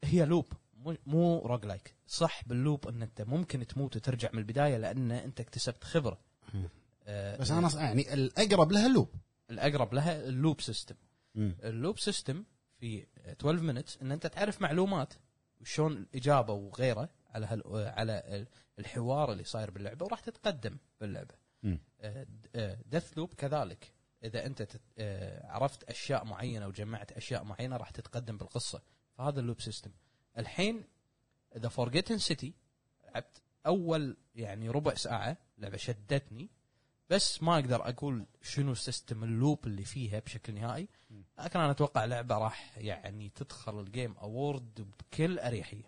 A: هي لوب مو- مو روج لايك صح باللوب ان انت ممكن تموت وترجع من البدايه لان انت اكتسبت خبره
F: مم.
A: آه،
F: بس انا ص- يعني الاقرب لها لوب
A: الاقرب لها اللوب سيستم
F: مم.
A: اللوب سيستم في 12 مينتس ان انت تعرف معلومات وشون الاجابه وغيره على هال على ال- الحوار اللي صاير باللعبه وراح تتقدم آه، باللعبه.
F: مم.
A: دث لوب كذلك اذا انت تت- آه، عرفت اشياء معينه وجمعت اشياء معينه راح تتقدم بالقصه فهذا اللوب سيستم. الحين ذا فورجيتن سيتي لعبت اول يعني ربع ساعه لعبه شدتني بس ما اقدر اقول شنو سيستم اللوب اللي فيها بشكل نهائي لكن انا اتوقع لعبه راح يعني تدخل الجيم اوورد بكل اريحيه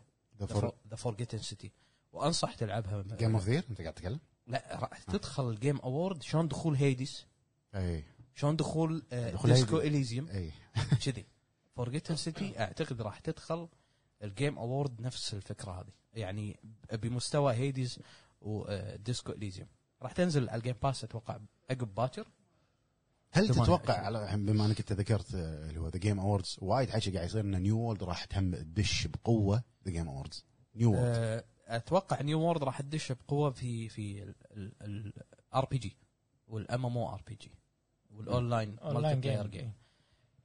A: ذا فورجيتن سيتي وانصح تلعبها
F: جيم اوف ذير انت قاعد تتكلم؟
A: لا راح تدخل الجيم اوورد شلون دخول هيديس
F: اي
A: شلون دخول
F: دخول
A: ديسكو
F: هايدي.
A: اليزيوم
F: اي
A: كذي فورجيتن سيتي اعتقد راح تدخل الجيم اوورد نفس الفكره هذه يعني بمستوى هيديز وديسكو اليزيوم راح تنزل على الجيم باس اتوقع عقب باكر
F: هل
A: ثمانية.
F: تتوقع على الحين بما انك انت ذكرت آه، اللي هو ذا جيم اووردز وايد حكي قاعد يصير ان نيو وورلد راح تهم تدش بقوه ذا جيم اووردز نيو وورلد
A: آه، اتوقع نيو وورد راح تدش بقوه في في الار بي جي والام ام او ار بي جي والاونلاين مالتي
C: اونلاين
A: بلاير
C: جيم
A: جيم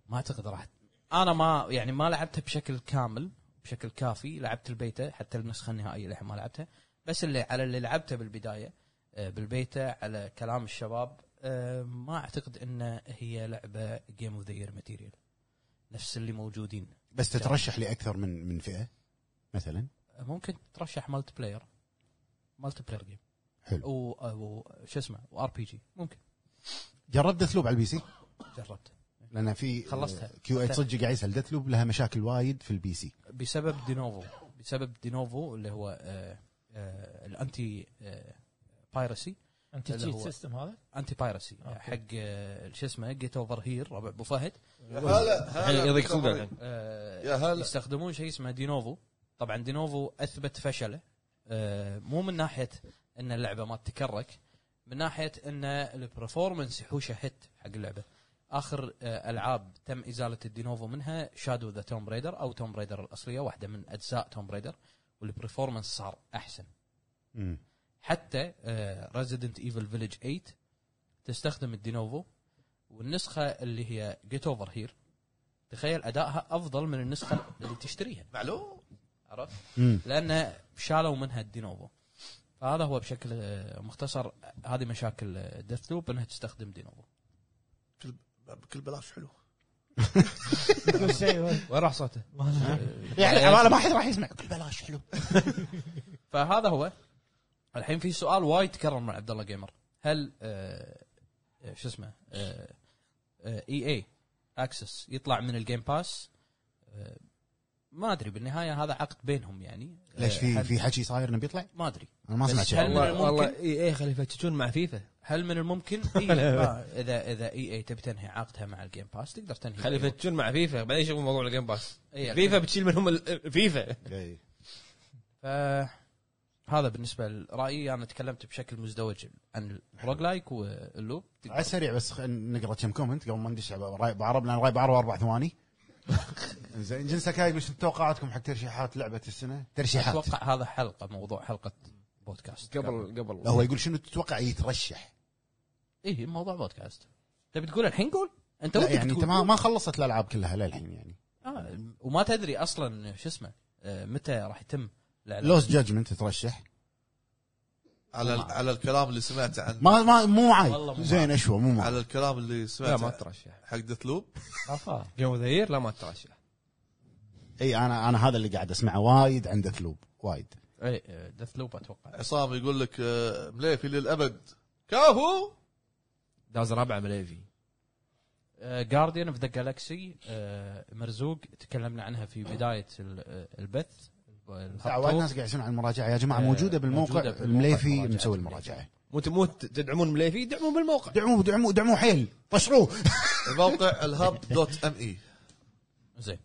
A: ما اعتقد راح انا ما يعني ما لعبتها بشكل كامل بشكل كافي لعبت البيتا حتى النسخه النهائيه للحين ما لعبتها بس اللي على اللي لعبته بالبدايه آه، بالبيتا على كلام الشباب آه، ما اعتقد ان هي لعبه جيم اوف ذا يير ماتيريال نفس اللي موجودين
F: بس تترشح لاكثر من من فئه مثلا
A: ممكن ترشح مالتي بلاير مالتي بلاير جيم
F: حلو.
A: و, و... شو اسمه وار بي جي ممكن
F: جربت ديث لوب على البي سي
A: جربته
F: لان في
A: خلصتها.
F: كيو اي صدق قاعد يسال ديث لوب لها مشاكل وايد في البي سي
A: بسبب دينوفو بسبب دينوفو اللي هو آه آه الانتي آه بايرسي
C: انت
A: اللي
C: تشيت
A: هو-
C: سيستم هذا؟
A: انتي بايرسي
C: أوكي.
A: حق آه شو اسمه جيت اوفر هير ربع ابو فهد
B: يا هلا هلا
G: الحين يضيق صدره الحين
A: آه
B: يا هلا
A: يستخدمون شيء اسمه دينوفو طبعا دينوفو اثبت فشله آه، مو من ناحيه ان اللعبه ما تتكرك من ناحيه ان البرفورمنس يحوشه هيت حق اللعبه اخر آه، العاب تم ازاله الدينوفو منها شادو ذا توم ريدر او توم ريدر الاصليه واحده من اجزاء توم ريدر والبرفورمنس صار احسن
F: مم.
A: حتى آه، ريزيدنت ايفل فيلج 8 تستخدم الدينوفو والنسخه اللي هي جيت اوفر هير تخيل ادائها افضل من النسخه اللي تشتريها
B: معلوم
A: عرفت؟
F: مم.
A: لان شالوا منها الدينوفو فهذا هو بشكل آه، مختصر هذه مشاكل ديث لوب انها تستخدم دينوفو
B: بكل بلاش حلو
C: كل شيء
G: وين راح صوته؟
F: يعني حواله ما حد راح يسمع كل بلاش حلو
A: فهذا هو الحين في سؤال وايد تكرر من عبد الله جيمر هل آه، آه، شو اسمه اي اي اكسس يطلع من الجيم باس آه، ما ادري بالنهايه هذا عقد بينهم يعني آه،
F: ليش في
A: هل-
F: في حكي صاير انه بيطلع؟
A: ما ادري
F: انا ما
A: بس
F: سمعت
A: هل من
F: شيء
G: والله
A: الممكن-
G: والله اي اي إيه، خلي يفتشون مع فيفا
A: هل من الممكن إيه ما- اذا اذا اي اي تبي تنهي عقدها مع الجيم باس تقدر تنهي
G: خلي يفتشون مع فيفا بعدين يشوفون موضوع الجيم باس
A: إيه،
G: فيفا بتشيل منهم ال- فيفا
F: إي.
A: فهذا بالنسبه لرايي انا تكلمت بشكل مزدوج عن الروج لايك واللوب
F: على السريع بس خل- نقرا كم كومنت قبل ما ندش على راي بعرب لان راي بعرب اربع ثواني زين جنسة كاي يقول شنو توقعاتكم حق ترشيحات لعبه السنه؟ ترشيحات
A: اتوقع هذا حلقه موضوع حلقه بودكاست
G: قبل
F: لا،
G: قبل
F: هو يقول شنو تتوقع يترشح؟
A: اي إيه، موضوع بودكاست تبي تقول الحين قول انت
F: لا
A: ودك
F: يعني انت
A: تقول.
F: ما ما خلصت الالعاب كلها للحين يعني
A: آه وما تدري اصلا شو اسمه آه، متى راح يتم الاعلان
F: لوس جادجمنت ترشح
B: على على الكلام اللي سمعته عن
F: ما ما مو
A: والله
F: معاي
A: مو
F: زين اشوى مو معاي
B: على الكلام اللي
G: لا ما
B: سمعته
G: ترشح
B: حق ديث لوب
C: عفا
G: جيم اوف ذا يير لا ما ترشح
F: اي انا انا هذا اللي قاعد اسمعه وايد عند ثلوب وايد
A: اي دث لوب اتوقع
B: عصام يقول لك آه، مليفي للابد كافو
G: داز رابعه مليفي
A: آه، جارديان اوف ذا جالكسي آه، مرزوق تكلمنا عنها في بدايه ال- آه، البث
F: وايد ناس قاعد يسمعون عن المراجعه يا جماعه
A: آه،
F: موجوده إيه، بالموقع
A: موجودة بالموقع
F: المليفي
A: المراجعة.
F: مسوي المراجعه
G: مو مو تدعمون مليفي دعمون بالموقع
F: دعموه دعموه دعموه حيل طشروه
B: الموقع الهب دوت ام اي
A: زين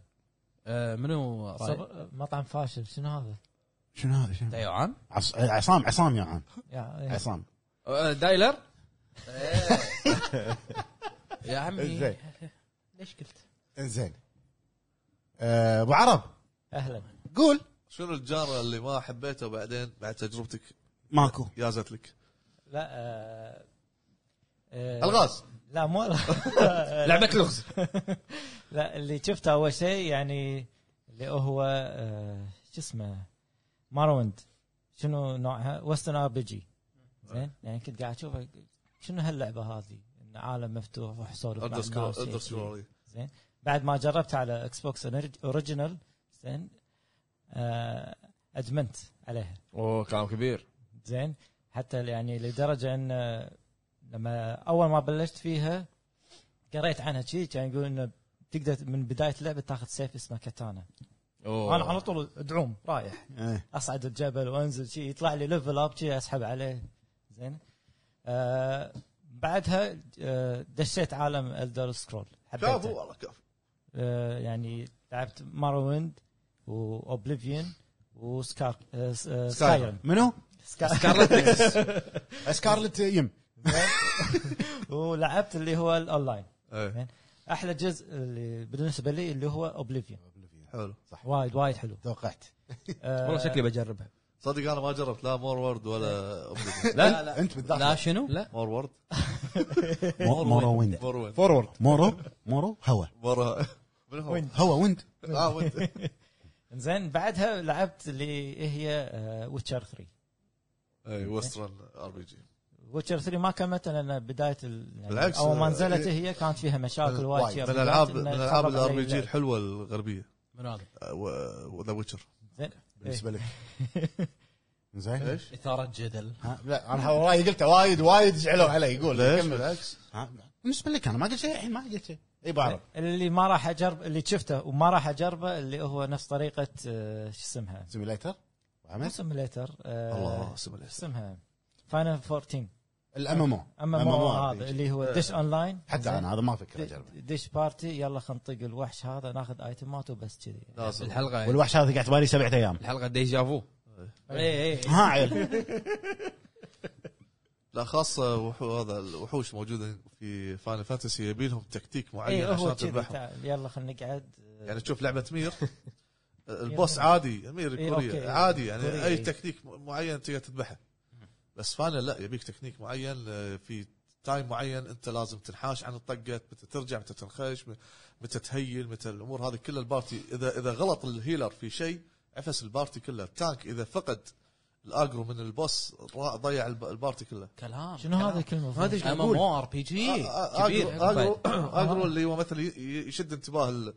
A: آه، منو رايك؟
C: مطعم فاشل شنو هذا؟
F: شنو هذا شنو
A: ديوان
F: عص- عصام عصام يا عم
C: يعني
F: عصام
G: آه، دايلر
A: يا عمي
F: إيه، زين.
A: ليش قلت؟
F: انزين آه، ابو عرب
C: اهلا
F: قول
B: شنو الجاره اللي ما حبيته وبعدين بعد تجربتك
F: ماكو
B: يازت لك
C: لا آه، آه،
B: الغاز
C: لا مو
G: لعبه لغز
C: لا اللي شفته اول شيء يعني اللي هو آه، شو اسمه ماروند شنو نوعها؟ وسترن ار بي جي زين يعني كنت قاعد اشوف شنو هاللعبه هذه؟ إن عالم مفتوح روح سولف مع الناس،
B: اندرسكور
C: شيء كذي.
B: اندرسكور
C: بعد ما جربت على اكس بوكس اوريجينال زين آه، ادمنت عليها
G: اوه كلام كبير
C: زين حتى يعني لدرجه ان آه، لما اول ما بلشت فيها قريت عنها شيء كان يقول انه تقدر من بدايه اللعبه تاخذ سيف اسمه كاتانا انا على طول ادعوم رايح
F: إيه.
C: اصعد الجبل وانزل شيء يطلع لي ليفل اب شيء اسحب عليه زين آه بعدها آه، دشيت عالم الدر سكرول
B: كافو
C: حبيته
B: والله كافو
C: آه، يعني لعبت مارويند واوبليفيون وسكار آه، سكايرم
F: منو؟
G: سكارلت نكسس
F: سكارلت يم
C: ولعبت اللي هو الاونلاين
B: إيه،
C: احلى جزء اللي بالنسبه لي اللي هو اوبليفيون
B: حلو صح
C: وايد وايد حلو
F: توقعت
C: آه،
G: والله شكلي بجربها
B: صدق انا ما جربت لا مور وورد ولا Oblivion.
A: لا لا
F: انت بالذات
A: لا شنو؟ لا
B: مور وورد
F: مو- مورو ويند
B: مور وورد
D: فورورد
F: مورو مورو هوا
B: مور من هو؟
C: وين؟
F: هوا ويند إيه.
B: اه وين؟
C: زين بعدها لعبت اللي هي آه، ويتشر 3
B: اي إيه، وسترن ار بي جي
C: ويتشر 3 ما كملتها لان بدايه ال... يعني
B: بالعكس،
C: اول ما
B: آه،
C: نزلت
B: إيه.
C: هي كانت فيها مشاكل
F: وايد.
C: وايد
F: من
B: من
C: شيء
B: الالعاب
C: إنه
B: من الالعاب
C: خرب علي
B: الار بي جي
C: اللعب.
B: الحلوه الغربيه
A: من هذا
B: وذا ويتشر
C: زين إيه.
F: بالنسبه لك زين
B: ليش؟
A: اثاره جدل
F: ها، لا انا رايي قلته وايد وايد زعلوا علي يقول
B: ليش؟
F: كمل.
B: بالعكس إيه.
F: ها، بالنسبه لك انا ما قلت شيء الحين ما قلت شيء اي بعرف
C: اللي ما راح اجرب اللي شفته وما راح اجربه اللي هو نفس طريقه آه، شو اسمها
F: سيميليتر
C: مو
F: وعمل
C: سيميليتر
B: إيه؟ الله
C: آه، شو
B: سمع
C: اسمها فاينل 14
F: الام ام او
C: اما مو آه، هذا اللي إيه. هو
B: آه،
C: دش اونلاين
F: حتى انا هذا ما افكر اجربه
C: دش بارتي يلا خلينا نطق الوحش هذا ناخذ ايتمات وبس كذي
B: لازم
G: الحلقه
F: والوحش هذا قاعد بالي سبعة ايام
C: إيه.
G: الحلقه ديجافو
C: اي اي
F: ها
B: إيه.
F: عيل
B: لا خاصه وحو- هذا الوحوش موجوده في فاينل فانتسي يبي لهم تكتيك معين
C: اي إيه، هو
B: عشان
C: كذي
B: تذبحهم
C: تعال، يلا خلينا نقعد
B: يعني تشوف لعبه مير البوس عادي مير
C: إيه، أوكي.
B: كوريا عادي يعني
C: كوريا،
B: اي
C: إيه.
B: تكنيك م- معين تقدر تذبحه بس فاينل لا يبيك تكنيك معين آه، في تايم معين انت لازم تنحاش عن الطقه متى ترجع متى تنخش م- متى تهيل متى الامور هذه كلها البارتي اذا اذا غلط الهيلر في شيء عفس البارتي كله التانك اذا فقد الاجرو من البوس را- ضيع الب- البارتي كله آه،
A: كلام
C: شنو هذا الكلمه
A: ما ادري ام ام ار بي جي إيه،
C: آه،
A: كبير
B: اجرو اجرو اجرو اللي هو مثلا ي- يشد انتباه ال-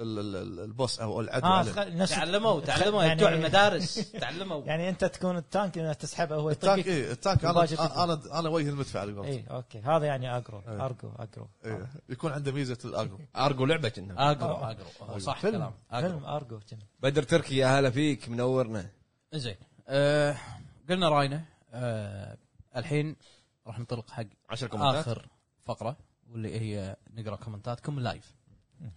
B: ال- ال- البوس او العدو
C: اه
B: عليه.
C: خ- نفس
A: تعلموا تعلموا
C: يعني-
A: بتوع المدارس تعلموا
C: يعني انت تكون التانك انه تسحبه هو
B: التاك
C: يطقك
B: اي التاك انا
C: مباشر تقدر.
B: انا انا وجه المدفع على قولتهم.
C: اي اوكي هذا يعني اجرو
B: إيه.
C: ارجو اجرو
B: إيه. يكون عنده ميزه الاجرو
G: ارجو لعبه كنا
A: اجرو اجرو صح
C: آه، فيلم
A: كلام اجرو
C: فيلم ارجو كنا.
G: بدر تركي يا هلا فيك منورنا
A: زين آه، قلنا راينا آه، الحين راح نطلق حق
G: 10 كومنتات
A: اخر فقره واللي هي نقرا كومنتاتكم لايف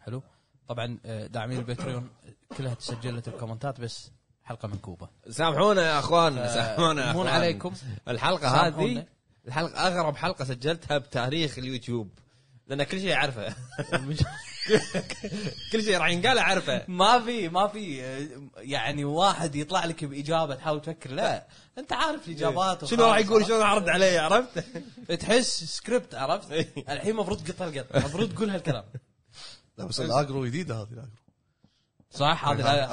A: حلو طبعا آه، داعمين الباتريون كلها تسجلت الكومنتات بس حلقه منكوبه
G: سامحونا يا اخوان سامحونا يا
A: مون
G: اخوان
A: أه، عليكم
G: الحلقه
A: سامحونا.
G: هذه الحلقه اغرب حلقه سجلتها بتاريخ اليوتيوب لان كل شيء اعرفه كل شيء راح ينقال اعرفه
A: ما في ما في آه، يعني واحد يطلع لك باجابه تحاول تفكر لا انت عارف الاجابات
G: إيه. شنو راح يقول شنو راح ارد عليه عرفت؟
A: تحس سكريبت عرفت
G: إيه.
A: الحين مفروض قطع القط مفروض تقول هالكلام
B: لا بس
C: إيه.
B: الاجرو جديده هذه الاجرو
A: صح هذا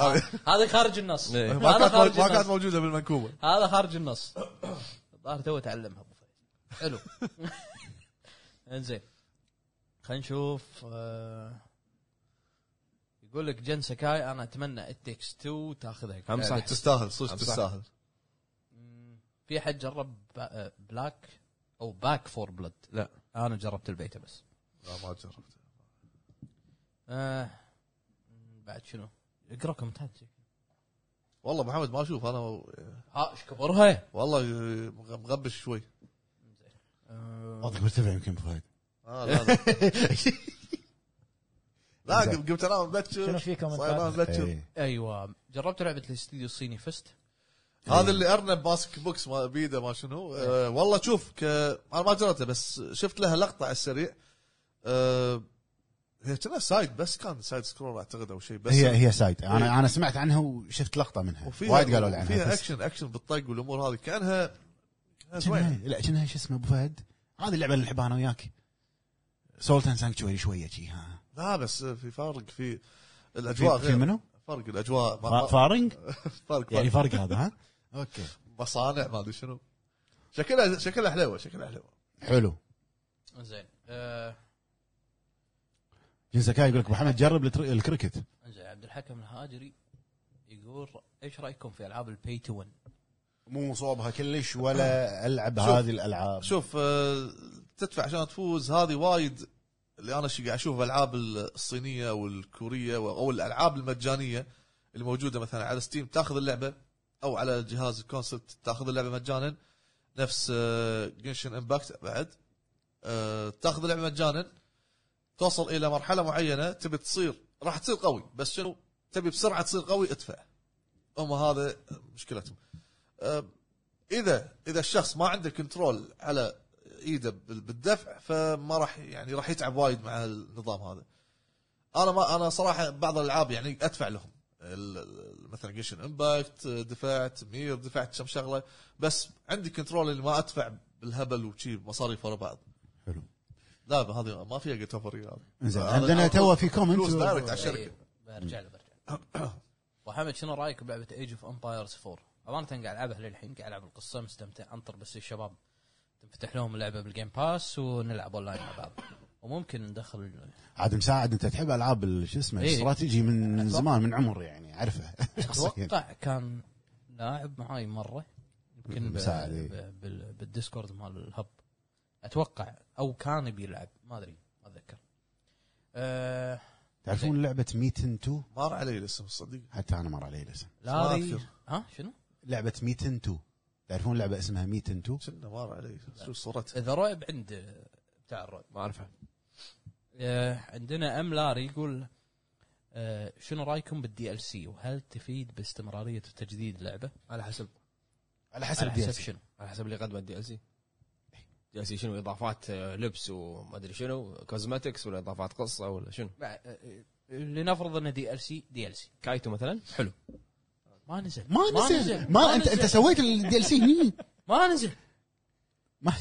A: هذا خارج النص
G: إيه.
B: ما
A: هذا
B: كانت
A: خارج
B: ما كانت
A: النص
B: موجوده بالمنكوبه
A: هذا خارج النص الظاهر تو تعلمها ابو فهد حلو انزين خلينا نشوف آه، يقول لك جن سكاي انا اتمنى التكس 2 تاخذها
G: هم صح.
B: يعني تستاهل صدق
G: صح.
B: تستاهل
A: في حد جرب با- بلاك او باك فور بلد
G: لا.
A: انا جربت البيتا بس
B: لا ما جربت
A: آه بعد شنو اقرا كومنتات
B: والله محمد ما اشوف انا
A: ها ايش آه، كبرها
B: والله مغبش شوي
F: وضعك مرتفع يمكن أبو فهد
B: آه لا لا لا قم- قمت انام مبكر
C: شنو في كومنتات؟
B: صاير أنام مبكر
F: إيه.
A: ايوه جربت لعبه الاستديو الصيني فست
F: إيه.
B: هذا اللي ارنب ماسك بوكس ما بيده ما شنو أه والله شوف ك... انا ما جربته بس شفت لها لقطه على السريع أه هي كنا سايد بس كان سايد سكرول اعتقد او شيء بس
F: هي هي سايد انا انا سمعت عنها وشفت لقطه منها وايد قالوا لي عنها
B: فيها
F: بس
B: اكشن اكشن بالطق والامور هذه كانها كأنها
F: كأنها-
B: زوينة.
F: لا كأنها شو اسمه ابو فهد هذه اللعبه اللي نحبها انا وياك سولتن سانكتوري شويه شي ها
B: لا بس في فرق في الاجواء
F: في, في
B: غير
F: منو؟
B: فرق الاجواء ما-
F: فا-
B: ما-
F: فارنج
B: فرق
F: يعني
B: يعني
F: فرق هذا ها اوكي
B: مصانع ما ادري شنو شكلها شكلها حلوه شكلها حلوه
F: حلو
A: زين آه
F: جنسكاي يقول لك ابو حمد جرب التر- الكريكت
A: زين عبد الحكم الهاجري يقول ايش رايكم في العاب البي تو ون؟
F: مو صوبها كلش ولا العب هذه الالعاب
B: شوف آه، تدفع عشان تفوز هذه وايد اللي انا شي قاعد اشوف الالعاب الصينيه والكوريه و- او الالعاب المجانيه الموجوده مثلا على ستيم تاخذ اللعبه او على جهاز الكونسبت تاخذ اللعبه مجانا نفس جنشن امباكت آه، بعد آه، تاخذ اللعبه مجانا توصل الى مرحله معينه تبي تصير راح تصير قوي بس شنو تبي بسرعه تصير قوي ادفع هم هذا مشكلتهم آه، اذا اذا الشخص ما عنده كنترول على ايده بال- بالدفع فما راح يعني راح يتعب وايد مع النظام هذا انا ما انا صراحه بعض الالعاب يعني ادفع لهم ال- ال- مثلا جيشن امباكت دفعت مير دفعت كم شغله بس عندي كنترول اللي ما ادفع بالهبل وشي مصاريف ورا بعض
F: حلو.
B: لا ما هذه ما فيها جيت اوفر
F: زين عندنا تو في كومنت
B: فلوس دايركت على الشركه
A: إيه، برجع له برجع له. وحمد شنو رايك بلعبه ايج اوف امبايرز 4؟ امانه قاعد العبها للحين قاعد العب القصه مستمتع انطر بس الشباب تنفتح لهم اللعبه بالجيم باس ونلعب اونلاين مع بعض وممكن ندخل
F: عاد مساعد انت تحب العاب ال- شو اسمه
A: إيه.
F: الاستراتيجي من
A: أتوقع.
F: زمان من عمر يعني اعرفه شخصيا
A: اتوقع كان لاعب معاي مره يمكن ب-
F: مساعد، إيه.
A: ب- بال- بالديسكورد مال الهب اتوقع او كان بيلعب ما ادري ما اتذكر أه
F: تعرفون لعبه ميتن 2
B: مر علي الاسم الصديق
F: حتى انا مر علي الاسم
A: لا
B: ما
A: هذه-
B: أذكر.
A: ها شنو؟
F: لعبه ميتن 2 تعرفون لعبه اسمها ميتن 2
B: كنا مر علي شو صورته
A: اذا رعب عند بتاع الرعب
G: ما اعرفه
A: آه، عندنا ام لاري يقول آه، شنو رايكم بالدي ال سي وهل تفيد باستمراريه وتجديد اللعبه؟
G: على حسب
A: على
F: على
A: حسب
F: حسب
A: شنو؟
G: على حسب اللي قدمه الدي ال سي دي ال سي شنو اضافات آه، لبس وما ادري شنو كوزماتكس ولا اضافات قصه ولا شنو
A: بع- آه، آه، لنفرض انه دي ال سي دي ال سي
G: كايتو مثلا
A: حلو ما نزل
F: ما نزل ما انت انت سويت الدي ال سي هني
A: ما نزل
F: ما-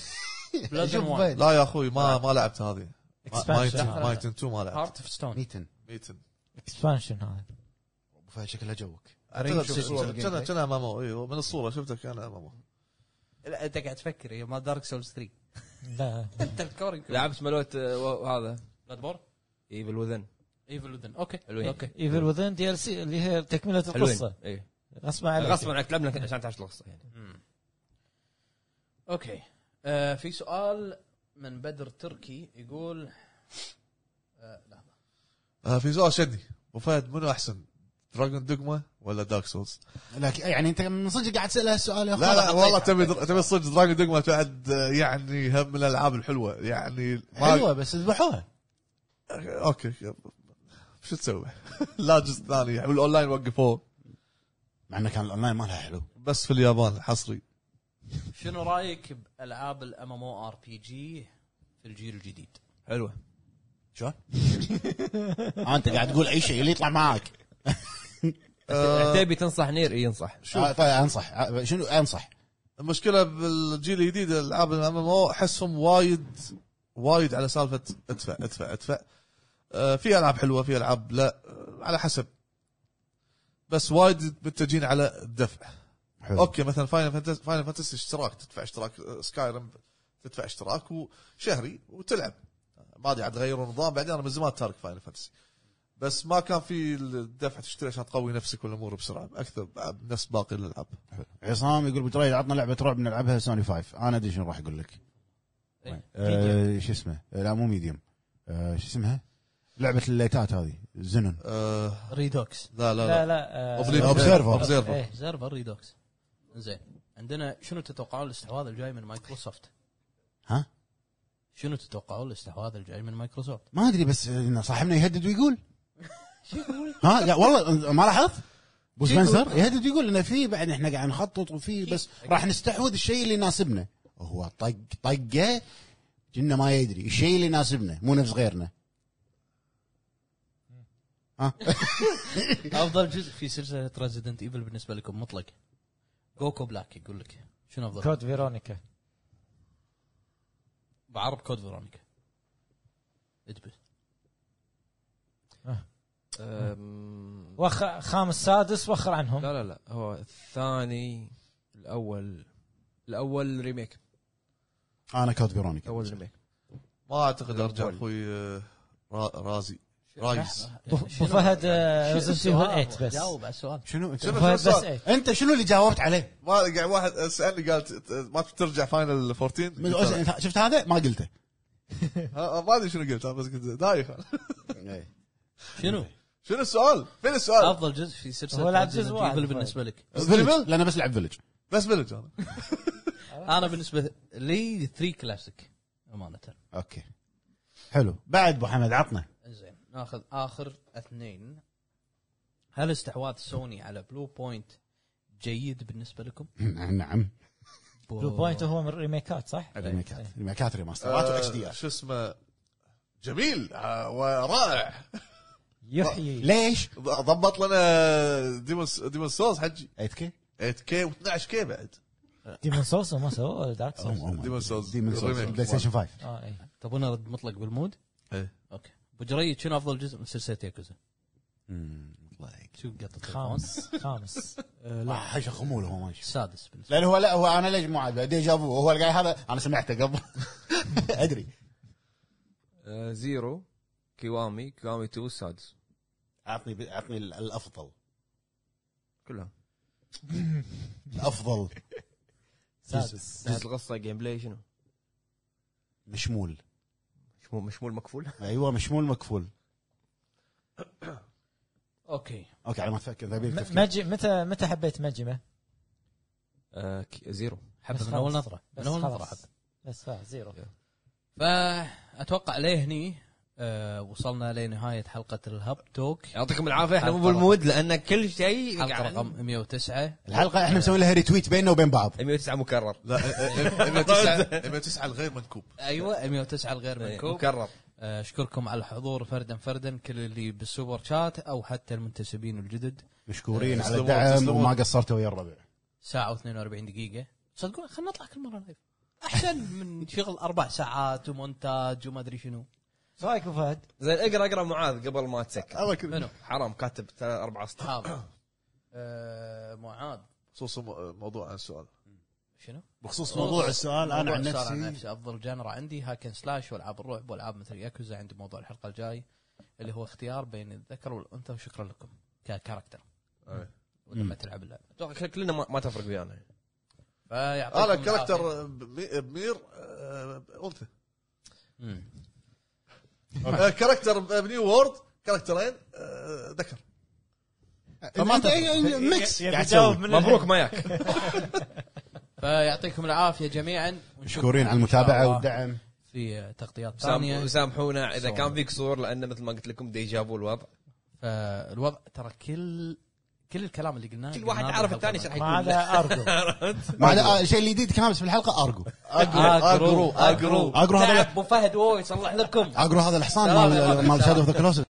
A: Blood and Wine.
F: وين
B: لا يا اخوي ما ما لعبت هذه
C: اكسبانشن هذا.
B: مايتن 2 ما لعبت
A: هارت اوف ستون
F: ميتن
B: ميتن
C: اكسبانشن هذا
F: أبو فهد شكلها جوك
B: كنا كنا امامه ايوه من الصوره شفتك كان امامه
A: لا انت قاعد تفكر يا ما دارك سولز 3
C: لا
A: انت الكوري
G: لعبت ملوت آه، وهذا
A: بلاد بور
G: ايفل وذن
A: ايفل وذن اوكي
G: حلوين.
A: اوكي
C: ايفل وذن دي ال سي اللي هي تكمله القصه
G: اي
C: غصبا عنك
G: غصبا عنك لعبنا عشان تعرف القصه يعني
A: مم. اوكي آه في سؤال من بدر تركي يقول آه لحظه
B: آه، في سؤال شدني ابو فهد منو احسن دراجون دوجما ولا دارك سولز؟
F: لك يعني انت من صدق قاعد تسال هالسؤال يا
B: لا لا والله تبي تبي صدق دراجون دوجما بعد آه، يعني هم من الالعاب الحلوه يعني ما
F: حلوه بس ذبحوها
B: اوكي شو تسوي؟ لا جزء ثاني يعني الاونلاين وقفوه
F: مع انه كان الاونلاين مالها حلو
B: بس في اليابان حصري
A: شنو رايك بالعاب الام ام او ار بي جي في الجيل الجديد؟
G: حلوه
F: شلون؟ آه، انت قاعد تقول اي شيء اللي يطلع معاك
G: عتيبي تنصح نير اي ينصح
F: آه، طيب انصح آه، شنو انصح
B: المشكله بالجيل الجديد الالعاب الام ام او احسهم وايد وايد على سالفه ادفع ادفع ادفع آه، في العاب حلوه في العاب لا آه، على حسب بس وايد متجهين على الدفع
F: حلو.
B: اوكي مثلا فاينل فانتسي فاينل فانتسي اشتراك تدفع اشتراك سكاي ريم تدفع اشتراك وشهري وتلعب ما ادري عاد غيروا النظام بعدين انا من زمان تارك فاينل فانتسي بس ما كان في الدفع تشتري عشان تقوي نفسك والامور بسرعه اكثر نفس باقي الالعاب
F: عصام يقول بتريد عطنا لعبه رعب نلعبها سوني فايف انا ادري شنو راح اقول لك
A: إيه.
F: آه، شو اسمه آه، لا مو ميديوم آه، شو اسمها لعبه الليتات هذه زنون
B: آه
A: ريدوكس
B: لا لا لا
C: لا لا آه،
F: Observer.
B: اوبزيرفر
C: إيه.
A: زربر ريدوكس زين عندنا شنو تتوقعون الاستحواذ الجاي من مايكروسوفت؟
F: ها؟
A: شنو تتوقعون الاستحواذ الجاي من مايكروسوفت؟
F: ما ادري بس آه، إن صاحبنا يهدد ويقول ها لا والله ما لاحظت ابو سبنسر يهدد يقول انه في بعد احنا قاعد نخطط وفي بس راح نستحوذ الشيء اللي يناسبنا هو طق طقه كنا ما يدري الشيء اللي يناسبنا مو نفس غيرنا
A: افضل جزء في سلسله ريزدنت ايفل بالنسبه لكم مطلق جوكو بلاك يقول لك شنو افضل؟
C: كود فيرونيكا
A: بعرب كود فيرونيكا اثبت
G: أم،
C: وخ... خامس سادس وخر عنهم
G: لا لا لا هو الثاني الاول الاول ريميك
F: انا كود فيرونيكا
G: اول ريميك
B: ما اعتقد ارجع اخوي آه، را- رازي رايز
C: أبو فهد ريزنت ايفل 8 بس
A: جاوب على السؤال
F: شنو
C: أبو
B: شنو
C: فهد
B: شنو
C: بس
B: صار؟
C: إيه. 8
F: انت شنو اللي جاوبت عليه؟
B: ما قاعد واحد سالني قال ت- ت- ما ترجع فاينل 14
F: من-
B: قلت له،
F: شفت هذا ما قلته
B: ها- ما ادري شنو قلت أنا بس قلت دايخ
A: شنو؟
B: شنو السؤال؟ فين السؤال؟
A: افضل جزء في
C: هو
A: سلسله
C: لعب جزء
A: ريزدنت
C: واحد.
A: ايفل بالنسبه لك
F: فيلج لان بس لعب فيلج
B: بس بلج انا
A: انا بالنسبه لي 3 كلاسيك امانه
F: اوكي حلو بعد ابو حمد عطنا
A: زين ناخذ اخر اثنين هل استحواذ سوني على بلو بوينت جيد بالنسبه لكم؟
F: نعم
C: بلو بوينت هو من الريميكات صح؟
F: ريميكات ريميكات ريماسترات واتش دي
B: آه،
F: ار
B: شو اسمه جميل آه، ورائع
C: يحيي
F: ليش؟
B: ضبط لنا ديمون ديمون سولز حجي
F: 8 كي
B: 8 كي و12 كي بعد
C: ديمون سولز ما سووه ولا دارك
F: Oh,
C: سولز؟
B: ديمون سولز
F: ديمون سولز
B: الريميك.
F: بلاي ستيشن 5
C: اه اي
A: تبون ارد مطلق بالمود؟
B: إيه.
A: اوكي ابو جريد شنو افضل جزء من سلسله ياكوزا؟
F: الله يعينك
A: شو قطة التليفون؟
C: خامس خامس
F: لا حاجه خمول هو ماشي
A: السادس بالنسبه
F: لان هو لا هو انا ليش مو عاجبه ديجافو هو اللي قاعد هذا انا سمعته قبل ادري
G: آه، زيرو كيوامي كيوامي 2 السادس
F: اعطني اعطني ال- الافضل
G: كلها
F: الافضل
C: سادس
G: جزء القصه جيم بلاي شنو؟
F: مشمول
G: مشمول مشمول مكفول
F: ايوه مشمول مكفول
A: اوكي
F: اوكي على ما تفكر ذا بيك
C: م-
F: تفكير.
C: مجي متى متى حبيت مجمه؟
G: آه، ك- زيرو
A: حبه
C: بس
A: من اول
C: خلاص.
A: نظره
C: بس
A: من اول
C: خلاص.
A: نظره حبه
C: بس خلاص زيرو
A: فاتوقع ليه هني آه وصلنا لنهايه حلقه الهب توك
G: يعطيكم العافيه احنا
A: حلقة
G: مو بالمود لان كل شيء
A: حلقه
G: قاعد-
A: رقم 109
F: الحلقه احنا مسويين لها ريتويت بيننا وبين بعض
G: 109 مكرر
B: لا 109 109 الغير منكوب
A: ايوه 109 الغير
G: إيه،
A: منكوب
G: يعني مكرر
A: آه، اشكركم على الحضور فردا فردا كل اللي بالسوبر شات او حتى المنتسبين الجدد
F: مشكورين على
B: تسلمون،
F: الدعم
B: تسلمون.
F: وما قصرتوا ويا الربع
A: ساعه و42 دقيقه تصدقون خلينا نطلع كل مره لايف احسن من شغل اربع ساعات ومونتاج وما ادري شنو
C: ايش رايك أبو فهد؟
G: زين اقرا اقرا معاذ قبل ما تسكر
B: الله يكرمك
A: منو
G: حرام كاتب ثلاث اربع اسطر
A: هذا آه، معاذ
B: خصوصا مو- موضوع عن السؤال
A: شنو؟
F: بخصوص موضوع السؤال انا
A: موضوع
F: عن
A: السؤال عن
F: نفسي
A: نفسي افضل جنرا عندي هاكن سلاش والعاب الرعب والعاب مثل ياكوزا عندي موضوع الحلقه الجاي اللي هو اختيار بين الذكر والانثى وشكرا لكم ككاركتر
B: أي.
A: ولما تلعب اللعبه
G: اتوقع كلنا ما, ما تفرق ويانا
A: فيعطيكم
B: انا
A: العافية.
B: كاركتر بمي- بمير آه، انثى
A: مم.
B: آه، كاركتر بنيو وورد كاركترين آه، ذكر
F: فما أنت- إيه،
A: يعني
F: ميكس
C: يبي
F: قاعد
C: يجاوب
F: تسوي.
C: من الحين.
G: مبروك ماياك
A: فيعطيكم العافيه جميعا
F: مشكورين على
A: إن شاء
F: المتابعه
A: الله
F: والدعم
A: في تغطيات
G: سام-
A: ثانيه
G: سامحونا اذا
A: سوري.
G: كان في قصور لان مثل ما قلت لكم ديجافو الوضع
A: فالوضع ترى كل كل الكلام اللي قلناه
G: كل واحد
A: قلناه
G: عارف
A: بالحلقة
G: الثاني ايش راح
C: ما
G: يقول
C: عدا ارجو
F: ما عدا- الشيء اللي جديد كان بس في الحلقه ارجو
A: اجرو اجرو
F: اجرو هذا
A: ابو نعم، فهد وهو يصلح لكم
F: اجرو هذا الحصان مال مال شادو اوف ذا كلوسس